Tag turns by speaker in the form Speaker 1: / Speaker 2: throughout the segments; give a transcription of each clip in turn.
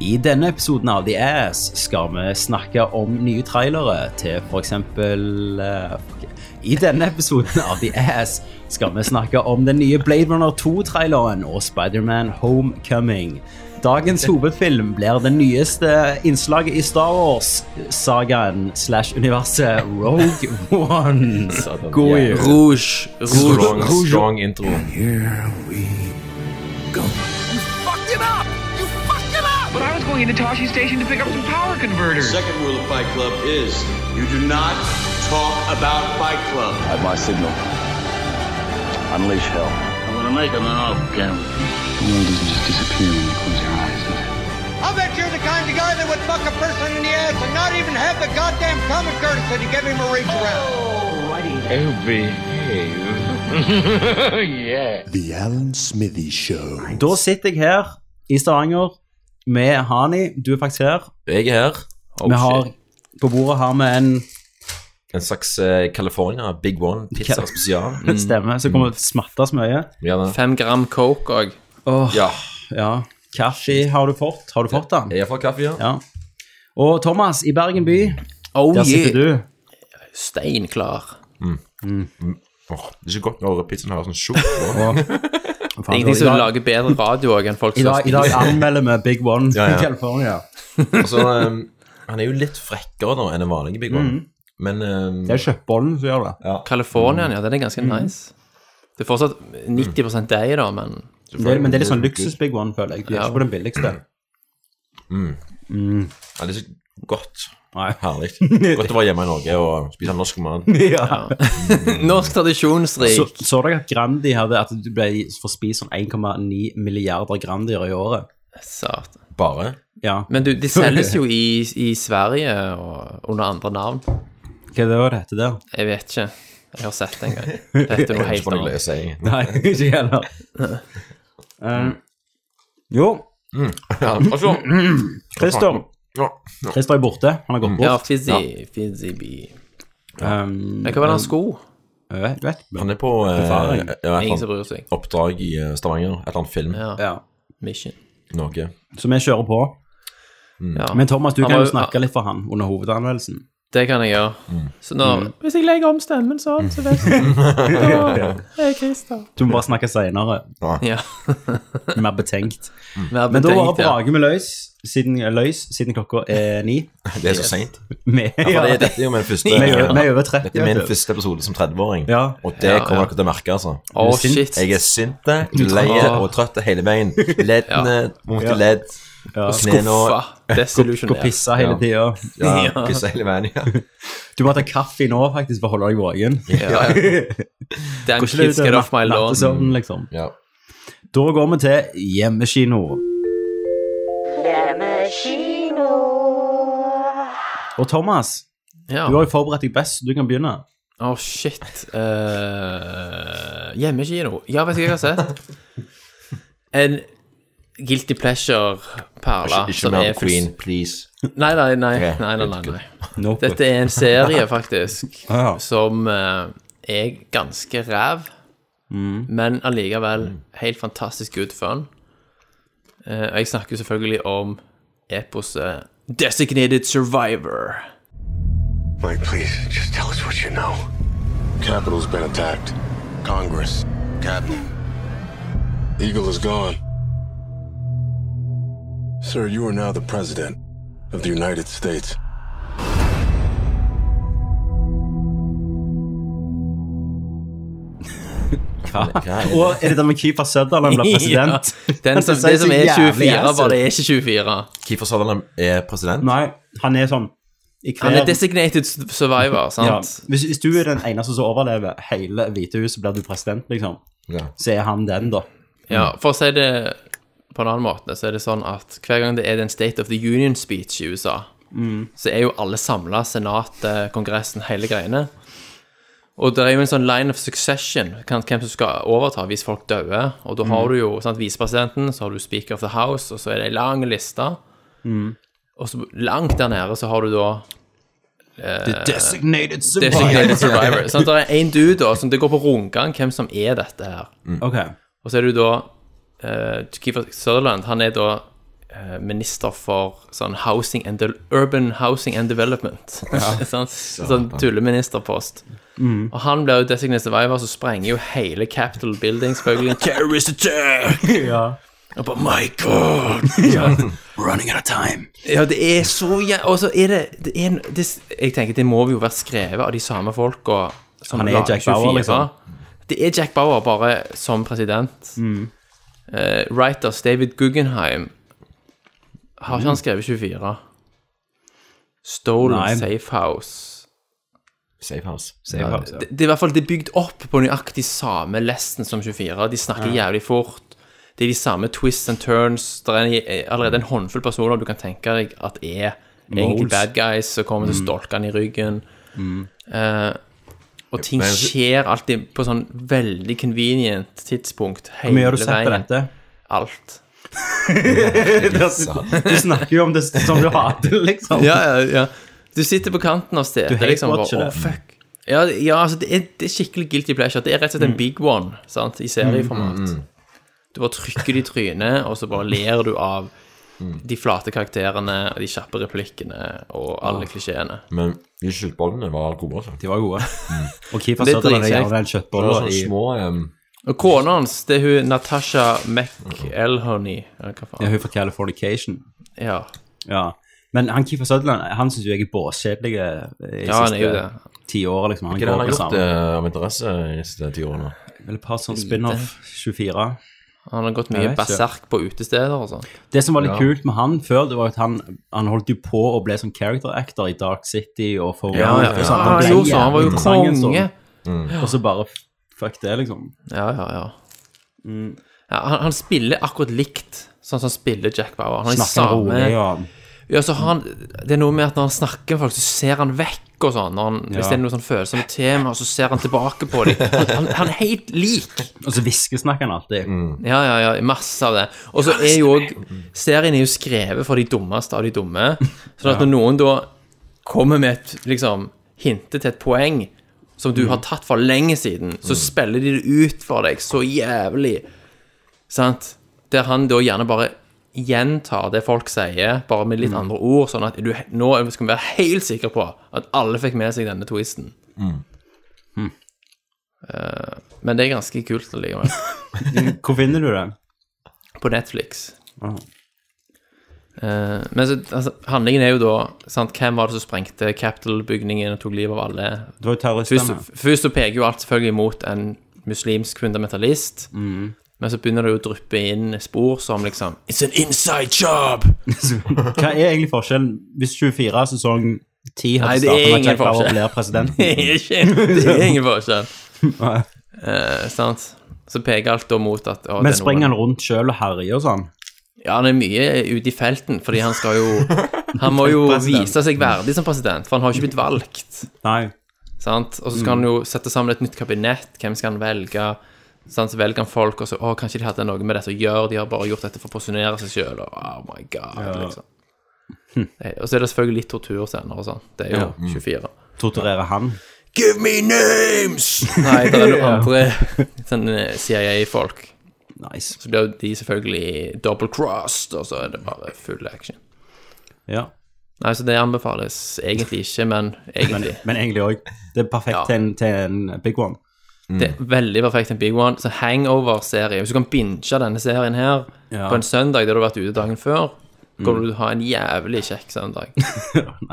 Speaker 1: I denne episoden av The Ass skal vi snakke om nye trailere til f.eks. I denne episoden av The Ass skal vi snakke om den nye Blade Runner 2-traileren og Spiderman Homecoming. Dagens hovedfilm blir det nyeste innslaget i Star Wars-sagaen slash universet Rogue One. God jul.
Speaker 2: Rouge. Rouge.
Speaker 3: Strong, strong intro.
Speaker 4: fucked it up! You fucked it up!
Speaker 5: But I was going into Toshi Station to pick up some power converters.
Speaker 6: Second rule of Fight Club is you do not talk about Fight Club.
Speaker 7: At my signal, unleash hell.
Speaker 8: I'm gonna make him an offer, Cameron.
Speaker 7: The world doesn't just disappear when you close your eyes. does it?
Speaker 9: I bet you're the kind of guy that would fuck a person in the ass and not even have the goddamn common courtesy to give him a reach around.
Speaker 10: The Alan Smithy Show.
Speaker 1: Da sitter jeg her i Stavanger med Hani. Du er faktisk her.
Speaker 3: Jeg er her. Oh,
Speaker 1: Vi har,
Speaker 3: shit.
Speaker 1: på bordet har vi en
Speaker 3: En slags eh, California Big One pizza
Speaker 1: Cal-
Speaker 3: spesial.
Speaker 1: stemme som kommer til å smattes mye.
Speaker 3: Ja, da.
Speaker 2: Fem gram coke òg.
Speaker 1: Åh,
Speaker 3: ja.
Speaker 1: ja. Kaffe har du fått. Har du fått den?
Speaker 3: Jeg har fått kaffe, ja.
Speaker 1: Ja. Og Thomas, i Bergen by,
Speaker 2: Oh
Speaker 1: der sitter
Speaker 2: yeah.
Speaker 1: du.
Speaker 2: Steinklar.
Speaker 3: Åh, det er ikke godt når pizzaen har sånn sjokk på.
Speaker 2: Det er
Speaker 1: I
Speaker 2: ingenting som
Speaker 1: dag-
Speaker 2: lager sånn bedre radio også enn folk
Speaker 1: I
Speaker 2: som
Speaker 1: dag, I dag anmelder vi Big One
Speaker 3: Ja, ja.
Speaker 1: i California.
Speaker 3: Og så, eh, han er jo litt frekkere nå enn en vanlig Big One. Men eh,
Speaker 1: Det er kjøttbollen som gjør det.
Speaker 2: California, ja, den er
Speaker 1: Mm.
Speaker 2: ganske nice. Det er fortsatt 90 deig, da, men
Speaker 1: det men det er litt sånn luksus-Big One, føler jeg. De er
Speaker 2: Ja.
Speaker 1: ikke på den billigste.
Speaker 3: ja, det er så godt.
Speaker 1: Nei.
Speaker 3: Herlig. Godt å være hjemme i Norge og spise norsk mat.
Speaker 1: Ja.
Speaker 2: Norsk tradisjonsrik.
Speaker 1: Så, så dere at Grandi hadde at du ble får spise sånn 1,9 milliarder Grandier i året?
Speaker 2: Satan.
Speaker 3: Bare.
Speaker 1: Ja.
Speaker 2: Men du, de selges jo i, i Sverige og under andre navn.
Speaker 1: Hva er det det heter der?
Speaker 2: Jeg vet ikke. Jeg har sett det en gang. Dette er
Speaker 3: Helt
Speaker 2: noe helt
Speaker 3: sånn jeg
Speaker 2: annet.
Speaker 3: leser, jeg.
Speaker 1: Nei, ikke heller. Eh, jo,
Speaker 3: Mm. Ja, og så-
Speaker 1: Christer.
Speaker 3: Ja.
Speaker 1: Christer er borte. Han har gått
Speaker 2: Ja,
Speaker 1: bort.
Speaker 2: Fizzy, Fizzy Bee.
Speaker 1: Um,
Speaker 2: Men hva var det han sko?
Speaker 1: jeg vet, vet.
Speaker 3: Han er på eh,
Speaker 1: Befaring.
Speaker 3: ja, et eller
Speaker 2: Ingen som
Speaker 3: annet
Speaker 2: bryr seg.
Speaker 3: oppdrag i eh, Stavanger. Et eller annet film.
Speaker 2: Ja.
Speaker 1: Ja.
Speaker 2: Mission.
Speaker 3: Norge.
Speaker 1: Så vi kjører på.
Speaker 2: Ja.
Speaker 1: Mm. Men Thomas, du
Speaker 2: Han
Speaker 1: kan
Speaker 2: var
Speaker 1: jo
Speaker 2: jo-
Speaker 1: snakke litt for han under hovedanmeldelsen.
Speaker 2: Det kan jeg gjøre.
Speaker 1: Mm.
Speaker 2: Så når, Hvis jeg legger om stemmen sånn, så vet jeg Da er jeg Christer.
Speaker 1: Du må bare snakke senere.
Speaker 2: Ja.
Speaker 1: Mer betenkt.
Speaker 2: Vær
Speaker 1: Men da bare
Speaker 2: betenkt, ja.
Speaker 1: brager vi løs siden, eh, løs siden klokka er ni.
Speaker 3: Det er så seint.
Speaker 1: Vi
Speaker 3: Ja, for det,
Speaker 1: ja,
Speaker 3: dette er jo min første
Speaker 1: vi er vi er over
Speaker 3: Dette er
Speaker 1: 30.
Speaker 3: min
Speaker 1: vet du.
Speaker 3: første episode som 30-åring,
Speaker 1: Ja.
Speaker 3: og det
Speaker 2: Ja,
Speaker 3: kommer
Speaker 2: ja.
Speaker 3: dere til å merke. altså
Speaker 2: Å,
Speaker 1: Er du sint?
Speaker 2: shit.
Speaker 3: Jeg er sint, lei og trøtt hele veien. Leddene, vondt i ledd,
Speaker 1: Ja.
Speaker 3: og knærne
Speaker 2: Skuffa.
Speaker 3: og
Speaker 1: Gå og
Speaker 2: Desillusjonert.
Speaker 1: pisse hele tida.
Speaker 3: ja, Pisse hele veien. Ja.
Speaker 1: Du må ta kaffe nå faktisk for å holde deg våken.
Speaker 2: Ja. Damn kids get off my lawn.
Speaker 1: Nattesøvn, liksom.
Speaker 3: Ja.
Speaker 1: Da går vi til hjemmekino. Og Thomas,
Speaker 2: Ja.
Speaker 1: du har jo forberedt deg best, så du kan begynne.
Speaker 2: Å, shit. Eh, hjemmekino. Ja, vet du hva jeg har sett? En guilty pleasure-perle
Speaker 3: Ikke, ikke
Speaker 2: som
Speaker 3: mer
Speaker 2: er fulls-
Speaker 3: Queen, please.
Speaker 2: Nei, nei, nei.
Speaker 3: Ok,
Speaker 2: nei, nei, nei,
Speaker 3: good,
Speaker 2: nei.
Speaker 1: No.
Speaker 2: Dette er en serie, faktisk,
Speaker 1: Ja.
Speaker 2: som eh, er ganske ræv,
Speaker 1: Mm.
Speaker 2: men allikevel helt fantastisk good fun. Eh, og jeg snakker jo selvfølgelig om eposet Designated Survivor.
Speaker 10: Mike, please, just tell us what you know.
Speaker 8: Capitol's been attacked. Congress. Captain. Eagle is gone. Sir, you are now the President of the United States.
Speaker 3: Hva er det?
Speaker 1: Og er det den med Keeper Sutherland blir president? altså.
Speaker 2: Ja, den som, det som er 24, bare det er ikke 24.
Speaker 3: Keefer Sutherland er president?
Speaker 1: Nei, han er sånn i hver-
Speaker 2: Han er designated
Speaker 1: ja.
Speaker 2: survivor, sant?
Speaker 1: hvis, hvis du er den eneste som overlever hele Hvite huset, blir du president, liksom,
Speaker 3: Ja.
Speaker 1: så er han den, da.
Speaker 2: Ja, for å si det på en annen måte, så er det sånn at hver gang det er den State of the Union speech i USA, så er jo alle samla, Senatet, Kongressen, hele greiene. Og det er jo en sånn line of succession, kan- hvem som skal overta hvis folk dør. Og da har du jo sant, visepresidenten, så har du Speaker of the House, og så er det ei lang liste. Og så langt der nede så har du da
Speaker 1: The designated survivor.
Speaker 2: Designated Survivor. sant? Det er én dude da, som det går på rundgang hvem som er dette her.
Speaker 1: Ok,
Speaker 2: Og så er det jo da uh, Keefer Sutherland, Eh, han er da eh, minister for sånn housing and de urban housing and development. sånn sånn tulleministerpost.
Speaker 1: Mm.
Speaker 2: Og han blir jo designated survivor, så sprenger jo hele Capitol Building, selvfølgelig. Terrorist attack!
Speaker 1: Oh,
Speaker 2: Og bare My God!
Speaker 1: Running out of time.
Speaker 2: Ja, det er så jæ... Og så er det, det er, en- det, Jeg tenker, det må jo være skrevet av de samme folka som
Speaker 1: Han er
Speaker 2: lager
Speaker 1: Jack Bauer, liksom.
Speaker 2: Det er Jack Bauer, bare som president. Eh, writers David Guggenheim Har ikke han skrevet 24? Stolen
Speaker 1: Mm. Nei.
Speaker 2: Safe House.
Speaker 3: Safe house.
Speaker 1: Save house,
Speaker 2: Det, det er i hvert fall det er bygd opp på nøyaktig samme lesten som 24. De snakker jævlig fort. Det er de samme twists and turns. Det er en- eh, allerede en håndfull personer du kan tenke deg at er egentlig
Speaker 1: Moles. Mm.
Speaker 2: bad guys som kommer til å stolke han i ryggen. Eh, og ting
Speaker 3: Men-
Speaker 2: skjer alltid på sånn veldig convenient tidspunkt hele
Speaker 1: Hvor mye har du sett på
Speaker 2: veien.
Speaker 1: dette?
Speaker 2: Alt.
Speaker 1: Du snakker jo om det som du hater, liksom.
Speaker 2: Ja, ja, ja. Du sitter på kanten av stedet.
Speaker 1: hate
Speaker 2: liksom, bare,
Speaker 1: watcher det.
Speaker 2: «Åh, fuck. Ja, ja altså, det er, det er skikkelig guilty pleasure. Det er rett og slett en big one sant, i serieformat. Du bare trykker det i trynet, og så bare ler du av de flate karakterene og de kjappe replikkene og alle klisjeene.
Speaker 3: Men de kjøttbollene var gode, altså.
Speaker 1: De var gode. Og Keeper
Speaker 2: Det er
Speaker 1: Sutherland er
Speaker 2: dritkjekt.
Speaker 1: gjerne den
Speaker 3: De var
Speaker 1: kjøttbolla
Speaker 3: sånne
Speaker 1: i
Speaker 3: små ehm,
Speaker 2: Og kona hans, det er hun Natasha McElhoney, eller
Speaker 1: Ja,
Speaker 2: hva faen.
Speaker 1: hun fra Californication.
Speaker 2: Ja,
Speaker 1: Ja. Men han Keeper Sutherland han syns jeg er båskjedelig i
Speaker 2: Ja, han er jo
Speaker 1: siste ti år. Liksom. Han
Speaker 3: Hva er det
Speaker 1: går
Speaker 3: han
Speaker 1: på
Speaker 3: har gjort
Speaker 1: samme
Speaker 3: eh, av interesse i disse ti årene?
Speaker 1: Eller et par sånn spin-off 24.
Speaker 2: han har gått
Speaker 1: Jeg
Speaker 2: mye
Speaker 1: vet ikke.
Speaker 2: berserk på utesteder og sånn.
Speaker 1: Det som var litt kult med han før, det var at han, han holdt jo på å bli sånn character actor i Dark City og for
Speaker 2: Ja, ja,
Speaker 1: og
Speaker 2: ja.
Speaker 1: sånn.
Speaker 2: Han,
Speaker 1: ble
Speaker 2: gjorde så, han var jo
Speaker 1: jævlig interessant en stund,
Speaker 2: konge.
Speaker 1: Og så bare fuck det, liksom.
Speaker 2: Ja, ja, ja. ja han, han spiller akkurat likt sånn som han spiller Jack Bauer. Han er i
Speaker 1: Snakker
Speaker 2: samme
Speaker 1: rolig og
Speaker 2: ja, så han, Det er noe med at når han snakker med folk, så ser han vekk og sånn. Når han, Hvis det er noe sånn følsomt tema, så ser han tilbake på dem. Han, han, han er helt lik.
Speaker 1: Og så hviskesnakker han alltid.
Speaker 2: Ja, ja, ja. Masse av det. Og så er jo òg Serien er jo skrevet for de dummeste av de dumme. Sånn at når noen da kommer med et liksom hintet til et poeng som du har tatt for lenge siden, så spiller de det ut for deg så jævlig. Sant? Der han da gjerne bare gjentar det folk sier, bare med litt andre ord, sånn at du, nå skal vi være helt sikre på at alle fikk med seg denne twisten. Eh, men det er ganske kult allikevel
Speaker 1: Hvor finner du den?
Speaker 2: på Netflix.
Speaker 1: Ah.
Speaker 2: Eh, men så, altså, handlingen er jo da sant, Hvem var det som sprengte Capital-bygningen og tok livet av alle?
Speaker 1: Det var jo
Speaker 2: Først,
Speaker 1: terroristene.
Speaker 2: først så peker jo alt selvfølgelig mot en muslimsk fundamentalist. Men så begynner det jo å dryppe inn spor som liksom It's an inside job!
Speaker 1: Hva er egentlig forskjellen hvis 24 er sesong 10
Speaker 2: Nei,
Speaker 1: hadde
Speaker 2: det er
Speaker 1: startet med at
Speaker 2: ingen
Speaker 1: Jack Bauer
Speaker 2: forskjell.
Speaker 1: blir president?
Speaker 2: det er ikke- det er ingen forskjell. Eh, sant? Så peker alt da mot at å, det
Speaker 1: Men
Speaker 2: er
Speaker 1: springer
Speaker 2: noen-
Speaker 1: han rundt sjøl og herjer og sånn?
Speaker 2: Ja, han er mye ute i felten, fordi han skal jo Han må jo
Speaker 1: President.
Speaker 2: vise seg verdig som president, for han har jo ikke blitt valgt.
Speaker 1: Nei.
Speaker 2: Sant? Og så skal han jo sette sammen et nytt kabinett. Hvem skal han velge? Sant? Så velger han folk, og så Å, kanskje de hadde noe med dette å gjøre. De har bare gjort dette for å posisjonere seg sjøl. Og oh my god, liksom. Eh, Og så er det selvfølgelig litt torturscener og sånn. Det er jo 24.
Speaker 1: Torturerer han?
Speaker 3: Mm. Give me names!
Speaker 2: Nei, det er noen andre sånn eh, CIA-folk.
Speaker 1: Nice.
Speaker 2: Så blir jo de selvfølgelig double crossed, og så er det bare full action.
Speaker 1: Ja.
Speaker 2: Nei, så det anbefales egentlig ikke, men
Speaker 1: Men,
Speaker 2: egentlig.
Speaker 1: men egentlig òg. Det er perfekt
Speaker 2: Ja.
Speaker 1: til, en, til en big one.
Speaker 2: Det er veldig perfekt en big one. Så hangover-serie. Hvis du kan binge denne serien her
Speaker 1: Ja.
Speaker 2: på en søndag der du har vært ute dagen før, kommer du til å ha en jævlig kjekk søndag.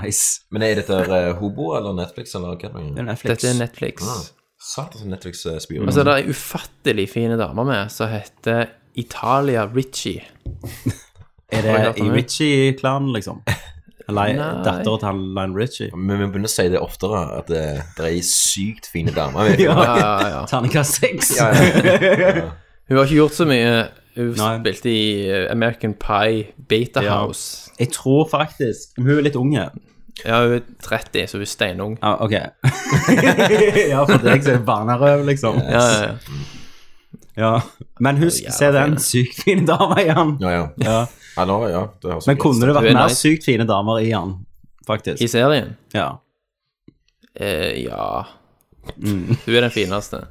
Speaker 1: nice.
Speaker 3: Men er dette eh, Hobo eller Netflix eller hva
Speaker 1: Det
Speaker 3: er det? Ah,
Speaker 1: er Netflix.
Speaker 2: Dette er Netflix. Altså,
Speaker 3: Satan, som Netflix eh, spyr.
Speaker 2: Og så er det ei ufattelig fine dame med som heter Italia Ritchie.
Speaker 1: Er
Speaker 2: Har jeg hørt
Speaker 1: det
Speaker 2: om
Speaker 1: i
Speaker 2: det?
Speaker 1: Ritchie-klanen, liksom? Eller
Speaker 2: Nei.
Speaker 1: datteren til han Lionel Ritchie?
Speaker 3: Men vi begynner å si det oftere, at det, det er sykt fine damer. med.
Speaker 2: Ja, ja, ja.
Speaker 1: Terningkast seks.
Speaker 2: Hun har ikke gjort så mye. Hun
Speaker 1: Nei.
Speaker 2: spilte i eh, American Pie, Beta
Speaker 1: Ja.
Speaker 2: House.
Speaker 1: Jeg tror faktisk Hun er litt unge.
Speaker 2: Ja, hun er 30, så hun er steinung.
Speaker 1: Ja, ok. ja, for deg som er barnerøv, liksom.
Speaker 2: Ja, ja, ja.
Speaker 1: Ja. Men husk, se den sykt fine dama igjen.
Speaker 3: Ja, ja.
Speaker 1: Ja.
Speaker 3: ja, nå, ja det høres
Speaker 1: Men
Speaker 3: ut.
Speaker 1: kunne det
Speaker 2: Du er
Speaker 1: vært mer
Speaker 2: nice.
Speaker 1: sykt fine damer i han, faktisk?
Speaker 2: I serien.
Speaker 1: Ja.
Speaker 2: Eh, Mm. ja. Hun er den fineste.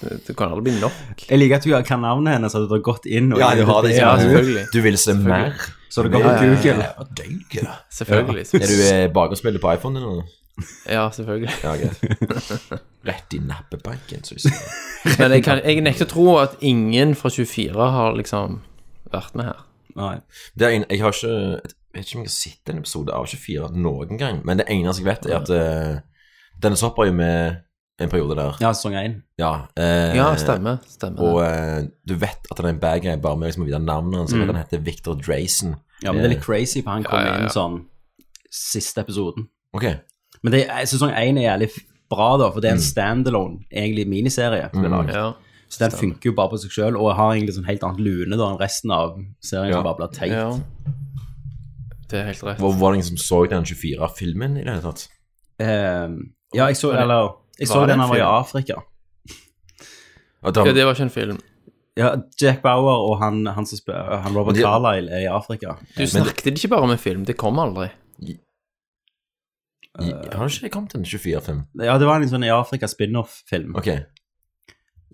Speaker 2: Det, det kan aldri bli nok.
Speaker 1: Jeg liker at du kan navnet hennes, så du har gått inn og
Speaker 3: Ja, du har det.
Speaker 2: Ja,
Speaker 3: du-
Speaker 2: selvfølgelig.
Speaker 3: Du vil se mer.
Speaker 1: Så det går på
Speaker 2: Ja, ja, ja,
Speaker 1: Google.
Speaker 3: Ja, døgge.
Speaker 2: Selvfølgelig.
Speaker 3: Er du eh, bakgrunnsbildet på iPhone din nå?
Speaker 2: Ja, selvfølgelig.
Speaker 3: Ja, greit. Rett i nappebanken, så du sier.
Speaker 2: Men jeg, kan, jeg nekter å tro at ingen fra 24 har liksom vært med her.
Speaker 1: Nei.
Speaker 3: Det er en, jeg har ikke Jeg vet ikke om jeg har sett en episode av 24 noen gang, men det eneste jeg vet, er at uh, Dennis Hopper er jo med en periode der.
Speaker 1: Ja, sesong én.
Speaker 3: Ja, eh,
Speaker 2: Ja, stemmer. stemmer.
Speaker 3: Og eh, du vet at han er en bad guy bare med liksom, å vite navnet hans. Jeg vet Han heter Victor Eh, Drayson.
Speaker 1: Mm. Ja, men det er litt crazy, for han kom
Speaker 2: Ja, ja, ja.
Speaker 1: inn sånn siste episoden.
Speaker 3: Ok,
Speaker 1: Men det, er- sesong én er jævlig bra, da, for det er
Speaker 2: Mm.
Speaker 1: en standalone, egentlig miniserie. som er laget.
Speaker 2: ja.
Speaker 1: Så den funker jo bare på seg sjøl, og har egentlig sånn helt annet lune da enn resten av serien
Speaker 3: Ja.
Speaker 1: som bare blir teit.
Speaker 2: ja. Det er helt rett.
Speaker 3: Hvor var det ingen som så den 24-filmen i det hele tatt?
Speaker 1: Eh, ja, jeg så, eller, jeg så
Speaker 2: Var det
Speaker 1: den
Speaker 2: en
Speaker 1: han var i
Speaker 2: film?
Speaker 1: Afrika.
Speaker 3: At han,
Speaker 2: Ja, det var ikke en film.
Speaker 1: Ja, Jack Bauer og han, han som spør, han Robert
Speaker 3: Men de-
Speaker 1: Carlyle er i Afrika.
Speaker 3: Eh,
Speaker 2: Du snakket ikke bare om en film. Det kom aldri.
Speaker 3: i- Har det ikke kommet en 24-film?
Speaker 1: Ja, det var en sånn i Afrika spin-off-film
Speaker 3: Ok,